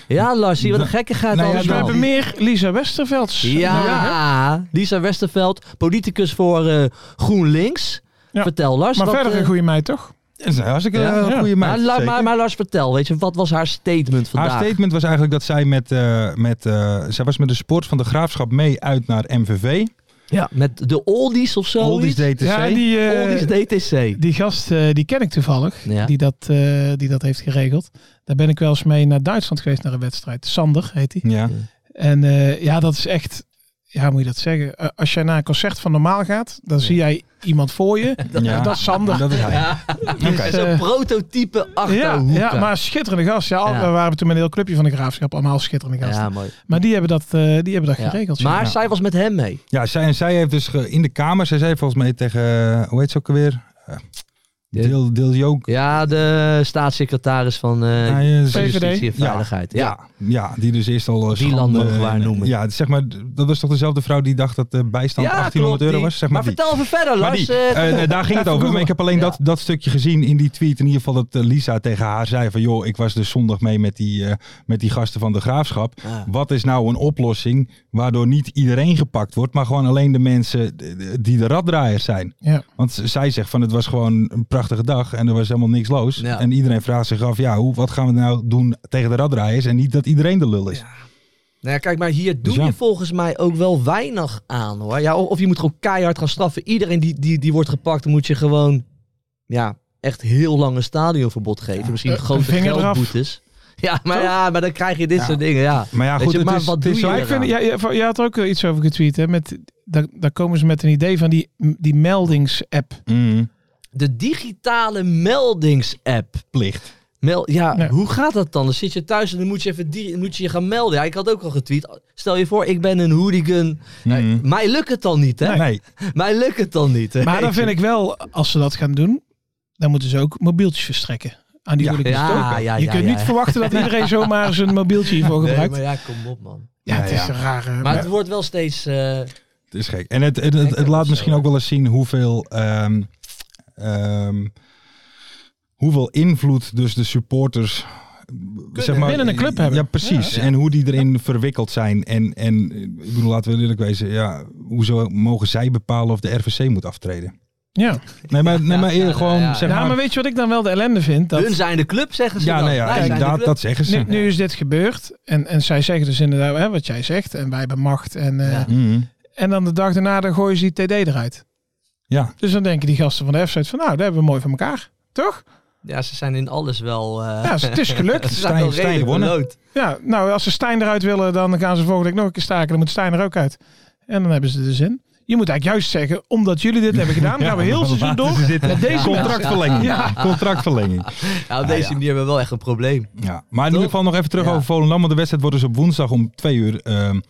[SPEAKER 4] ja Lars, zie je wat een gekkigheid
[SPEAKER 3] Nou ja,
[SPEAKER 5] Dus
[SPEAKER 4] allemaal.
[SPEAKER 5] we hebben meer Lisa Westervelds. nodig, Nou, hè?
[SPEAKER 4] Ja, Lisa Westerveld, politicus voor eh, GroenLinks.
[SPEAKER 5] Ja.
[SPEAKER 4] Vertel Lars.
[SPEAKER 5] Maar
[SPEAKER 4] wat,
[SPEAKER 5] verder
[SPEAKER 4] eh,
[SPEAKER 5] een goede meid toch?
[SPEAKER 3] Dat is een hartstikke
[SPEAKER 4] Ja.
[SPEAKER 3] eh,
[SPEAKER 5] Ja.
[SPEAKER 3] goede
[SPEAKER 4] maar,
[SPEAKER 3] meid.
[SPEAKER 4] La-
[SPEAKER 3] zeker.
[SPEAKER 4] maar, maar Lars, vertel, weet je, wat was haar statement vandaag?
[SPEAKER 3] Haar statement was eigenlijk dat zij met, eh, met, eh, zij was met de sport van de graafschap mee uit naar MVV.
[SPEAKER 4] ja. Met de Oldies of zo?
[SPEAKER 3] Oldies DTC.
[SPEAKER 5] Ja, die, eh,
[SPEAKER 4] Oldies DTC.
[SPEAKER 5] die gast eh, die ken ik toevallig.
[SPEAKER 4] Ja.
[SPEAKER 5] Die, dat, eh, die dat heeft geregeld. Daar ben ik wel eens mee naar Duitsland geweest naar een wedstrijd. Sander heet hij.
[SPEAKER 3] Ja.
[SPEAKER 5] En eh, ja, dat is echt. Ja, hoe moet je dat zeggen? Eh, als jij naar een concert van normaal gaat, dan zie jij iemand voor je.
[SPEAKER 3] Ja.
[SPEAKER 5] Dat is Sander.
[SPEAKER 3] Dat is hij. Oké.
[SPEAKER 5] Dus,
[SPEAKER 4] Zo'n
[SPEAKER 5] eh,
[SPEAKER 4] prototype
[SPEAKER 5] ja,
[SPEAKER 4] achterhoek.
[SPEAKER 5] ja, maar schitterende gast. Ja, al-
[SPEAKER 4] Ja.
[SPEAKER 5] we waren toen met een heel clubje van de graafschap. Allemaal schitterende gasten.
[SPEAKER 4] mooi.
[SPEAKER 5] Maar die hebben dat, eh, die hebben dat
[SPEAKER 4] Ja.
[SPEAKER 5] geregeld. ja.
[SPEAKER 4] Maar zij was met hem mee.
[SPEAKER 3] Ja, zij, en zij heeft dus ge- in de kamer, zij zei volgens mij tegen, eh, hoe heet ze ook alweer? Eh, Deel, deel Jook.
[SPEAKER 4] Ja, de staatssecretaris van eh,
[SPEAKER 3] Ja, ja, ze-
[SPEAKER 5] VVD.
[SPEAKER 4] Justitie en
[SPEAKER 3] Ja.
[SPEAKER 4] Veiligheid. Ja.
[SPEAKER 3] Ja, ja, die dus eerst al... eh,
[SPEAKER 4] Die
[SPEAKER 3] schande-
[SPEAKER 4] landen waar noemen.
[SPEAKER 3] Ja, zeg maar, dat was toch dezelfde vrouw die dacht dat de bijstand
[SPEAKER 4] Ja,
[SPEAKER 3] 1800
[SPEAKER 4] klopt,
[SPEAKER 3] euro
[SPEAKER 4] die.
[SPEAKER 3] was? Zeg maar
[SPEAKER 4] Maar
[SPEAKER 3] die.
[SPEAKER 4] vertel even verder,
[SPEAKER 3] Maar
[SPEAKER 4] Lars.
[SPEAKER 3] die,
[SPEAKER 4] eh,
[SPEAKER 3] eh, daar ging het over. Maar ik heb alleen
[SPEAKER 4] Ja.
[SPEAKER 3] dat, dat stukje gezien in die tweet. In ieder geval dat eh, Lisa tegen haar zei van... joh, ik was dus zondag mee met die, eh, met die gasten van de Graafschap.
[SPEAKER 4] Ja.
[SPEAKER 3] Wat is nou een oplossing waardoor niet iedereen gepakt wordt... maar gewoon alleen de mensen eh, die de raddraaiers zijn?
[SPEAKER 5] Ja.
[SPEAKER 3] Want z- zij zegt van het was gewoon een prachtige dag en er was helemaal niks los.
[SPEAKER 4] Ja.
[SPEAKER 3] En iedereen vraagt zich af, ja, hoe, wat gaan we nou doen tegen de raddraaiers? En niet dat iedereen de lul is.
[SPEAKER 4] Nou ja, kijk, maar hier doe
[SPEAKER 3] Dus ja.
[SPEAKER 4] je volgens mij ook wel weinig aan hoor. Ja, of of je moet gewoon keihard gaan straffen. Iedereen die, die, die wordt gepakt, moet je gewoon ja, echt heel lang een stadionverbod geven. Misschien
[SPEAKER 5] Eh,
[SPEAKER 4] grote
[SPEAKER 5] een vinger eraf.
[SPEAKER 4] geldboetes. Ja, maar ja, maar dan krijg je dit soort dingen. Ja.
[SPEAKER 3] Maar ja,
[SPEAKER 4] Weet
[SPEAKER 3] goed,
[SPEAKER 4] je,
[SPEAKER 3] het
[SPEAKER 4] maar
[SPEAKER 3] is,
[SPEAKER 4] wat
[SPEAKER 3] het
[SPEAKER 4] doe
[SPEAKER 3] is
[SPEAKER 4] je
[SPEAKER 3] zo-
[SPEAKER 5] Maar ik vind,
[SPEAKER 4] eraan.
[SPEAKER 5] ja, ja, je had er ook eh, iets over getweet. Hè, met, daar, daar komen ze met een idee van die, die
[SPEAKER 4] *laughs*
[SPEAKER 5] meldings-app.
[SPEAKER 3] Mm,
[SPEAKER 4] De digitale meldingsapp.
[SPEAKER 3] plicht.
[SPEAKER 4] Mel ja,
[SPEAKER 5] Nee.
[SPEAKER 4] hoe gaat dat dan? Dan zit je thuis en dan moet je, even die- moet je je gaan melden. Ja, ik had ook al getweet. Stel je voor, ik ben een hooligan. Nou,
[SPEAKER 3] Mm.
[SPEAKER 4] Mij lukt het dan niet, hè?
[SPEAKER 3] Nee,
[SPEAKER 4] Mij lukt het dan niet. hè?
[SPEAKER 5] Maar dan vind ik wel, als ze dat gaan doen, dan moeten ze ook mobieltjes verstrekken. Aan die
[SPEAKER 3] Ja.
[SPEAKER 5] hooligans
[SPEAKER 4] Ja,
[SPEAKER 5] ook, hè.
[SPEAKER 4] ja,
[SPEAKER 5] Je
[SPEAKER 4] ja,
[SPEAKER 5] kunt
[SPEAKER 4] ja,
[SPEAKER 5] niet
[SPEAKER 4] ja.
[SPEAKER 5] verwachten
[SPEAKER 4] *laughs*
[SPEAKER 5] dat iedereen zomaar zijn mobieltje hiervoor
[SPEAKER 4] Nee,
[SPEAKER 5] gebruikt.
[SPEAKER 4] maar ja, kom op man.
[SPEAKER 5] ja, het
[SPEAKER 3] Ja,
[SPEAKER 5] is
[SPEAKER 3] ja.
[SPEAKER 5] een rare...
[SPEAKER 4] Maar het wordt wel steeds. eh,
[SPEAKER 3] het is gek. En het, het, het,
[SPEAKER 4] Ik heb
[SPEAKER 3] het laat
[SPEAKER 4] het
[SPEAKER 3] misschien
[SPEAKER 4] zo,
[SPEAKER 3] ook wel eens zien hoeveel... ehm, ehm, hoeveel invloed dus de supporters... Zeg maar,
[SPEAKER 5] binnen een club hebben.
[SPEAKER 3] Ja, precies. En hoe die erin verwikkeld zijn. En, en eh, ik bedoel, laten we eerlijk wezen. Ja, hoezo mogen zij bepalen of de RVC moet aftreden?
[SPEAKER 5] ja.
[SPEAKER 3] Nee, maar, nee, maar eerder gewoon...
[SPEAKER 4] ja.
[SPEAKER 3] Zeg
[SPEAKER 5] ja,
[SPEAKER 3] maar,
[SPEAKER 5] maar weet je wat ik dan wel de ellende vind? Dat
[SPEAKER 4] hun zijn de club, zeggen ze.
[SPEAKER 3] Ja,
[SPEAKER 4] dan.
[SPEAKER 3] nou ja,
[SPEAKER 4] Wij zijn de
[SPEAKER 3] inderdaad,
[SPEAKER 4] club.
[SPEAKER 3] dat zeggen ze.
[SPEAKER 5] nu, nu is dit gebeurd. En, en zij zeggen dus inderdaad hè, wat jij zegt. En wij hebben macht. En, eh,
[SPEAKER 4] Ja.
[SPEAKER 3] Mhm.
[SPEAKER 5] en dan de dag daarna dan gooien ze die TD eruit.
[SPEAKER 3] Ja.
[SPEAKER 5] Dus dan denken die gasten van de f van nou, daar hebben we mooi van elkaar. Toch?
[SPEAKER 4] Ja, ze zijn in alles wel. eh,
[SPEAKER 5] Ja, het is
[SPEAKER 4] *laughs* ze
[SPEAKER 5] gelukt.
[SPEAKER 4] zijn wel
[SPEAKER 3] Stijn- Stijn
[SPEAKER 4] redelijk
[SPEAKER 3] gewonnen.
[SPEAKER 4] beloond.
[SPEAKER 5] Ja, nou, als ze Stijn eruit willen, dan gaan ze volgende week nog een keer staken. Dan moet Stijn er ook uit. En dan hebben ze de zin. Je moet eigenlijk juist zeggen, omdat jullie dit hebben
[SPEAKER 3] *laughs*
[SPEAKER 5] gedaan, gaan we heel seizoen door.
[SPEAKER 3] Met
[SPEAKER 5] deze
[SPEAKER 3] contractverlenging.
[SPEAKER 5] Ja.
[SPEAKER 3] Contractverlenging.
[SPEAKER 4] Ja, op deze
[SPEAKER 3] Ah, ja.
[SPEAKER 4] manier hebben we wel echt een probleem.
[SPEAKER 3] Ja, maar in ieder geval nog even terug
[SPEAKER 4] Ja.
[SPEAKER 3] over Volendam. Want de wedstrijd wordt dus op woensdag om twee uur ehm,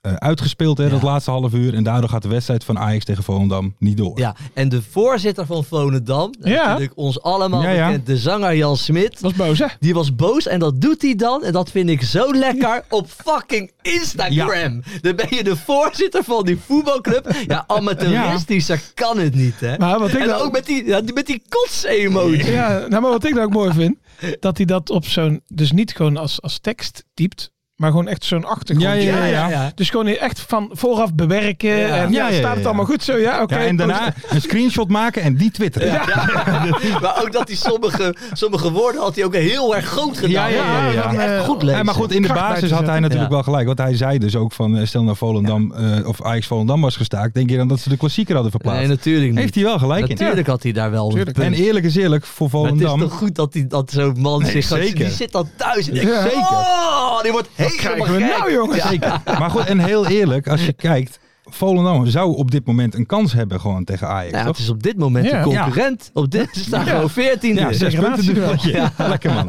[SPEAKER 3] eh, uitgespeeld, hè,
[SPEAKER 4] Ja.
[SPEAKER 3] dat laatste half uur. En daardoor gaat de wedstrijd van Ajax tegen Volendam niet door.
[SPEAKER 4] Ja, en de voorzitter van Volendam, dat is
[SPEAKER 5] Ja.
[SPEAKER 4] natuurlijk ons allemaal
[SPEAKER 3] Ja, ja.
[SPEAKER 4] bekend, de zanger Jan Smit,
[SPEAKER 5] was boos, hè?
[SPEAKER 4] die was boos en dat doet hij dan, en dat vind ik zo lekker, op fucking Instagram. Dan ben je de voorzitter van die voetbalclub. Ja, amateuristischer kan het niet, hè?
[SPEAKER 5] Maar wat ik
[SPEAKER 4] en
[SPEAKER 5] nou-
[SPEAKER 4] ook met die, ja, die- met die kots-emoji.
[SPEAKER 5] Ja, nou, maar wat ik dan ook mooi vind, dat hij dat op zo'n, dus niet gewoon als, als tekst typt, maar gewoon echt zo'n achtergrond.
[SPEAKER 3] Ja, ja, ja.
[SPEAKER 5] Dus gewoon echt van vooraf bewerken
[SPEAKER 4] Ja.
[SPEAKER 5] en ja,
[SPEAKER 3] Ja, ja,
[SPEAKER 5] staat
[SPEAKER 3] ja,
[SPEAKER 5] het
[SPEAKER 3] ja.
[SPEAKER 5] allemaal goed zo? Ja, oké.
[SPEAKER 3] Ja, en daarna een screenshot maken en die twitteren.
[SPEAKER 4] Ja. Ja. *laughs* maar ook dat hij sommige, sommige woorden had hij ook heel erg groot gedaan.
[SPEAKER 3] Ja, ja, ja, ja.
[SPEAKER 4] Dat hij echt goed lezen.
[SPEAKER 3] Ja, maar goed, in de
[SPEAKER 5] Kracht bij
[SPEAKER 3] basis
[SPEAKER 5] te
[SPEAKER 3] had hij
[SPEAKER 5] zetten.
[SPEAKER 3] natuurlijk
[SPEAKER 4] Ja.
[SPEAKER 3] wel gelijk. Want hij zei dus ook van, eh, stel nou Volendam eh, of Ajax Volendam was gestaakt. Denk je dan dat ze de klassieker hadden verplaatst?
[SPEAKER 4] nee, natuurlijk niet.
[SPEAKER 3] Heeft hij wel gelijk in.
[SPEAKER 4] natuurlijk had hij daar wel een
[SPEAKER 5] Tuurlijk.
[SPEAKER 4] punt.
[SPEAKER 3] En eerlijk is eerlijk, voor
[SPEAKER 4] Maar het is
[SPEAKER 3] Volendam...
[SPEAKER 4] toch goed dat, die- dat zo'n man zich... gaat-
[SPEAKER 3] zeker.
[SPEAKER 4] Die zit dan thuis en denkt,
[SPEAKER 3] Ja. Zeker.
[SPEAKER 4] oh, die wordt helemaal
[SPEAKER 5] krijgen we
[SPEAKER 4] gek.
[SPEAKER 5] nou, jongens?
[SPEAKER 4] Ja.
[SPEAKER 3] Maar goed, en heel eerlijk, als je kijkt... Volendam zou op dit moment een kans hebben gewoon tegen Ajax,
[SPEAKER 4] Nou,
[SPEAKER 3] toch?
[SPEAKER 4] het is op dit moment
[SPEAKER 5] Ja.
[SPEAKER 4] een concurrent. Op dit ze staan gewoon 14
[SPEAKER 3] Ja, zes punten
[SPEAKER 5] Degradatie
[SPEAKER 3] ervoor.
[SPEAKER 4] dus
[SPEAKER 3] Ja, lekker
[SPEAKER 4] *laughs*
[SPEAKER 3] man.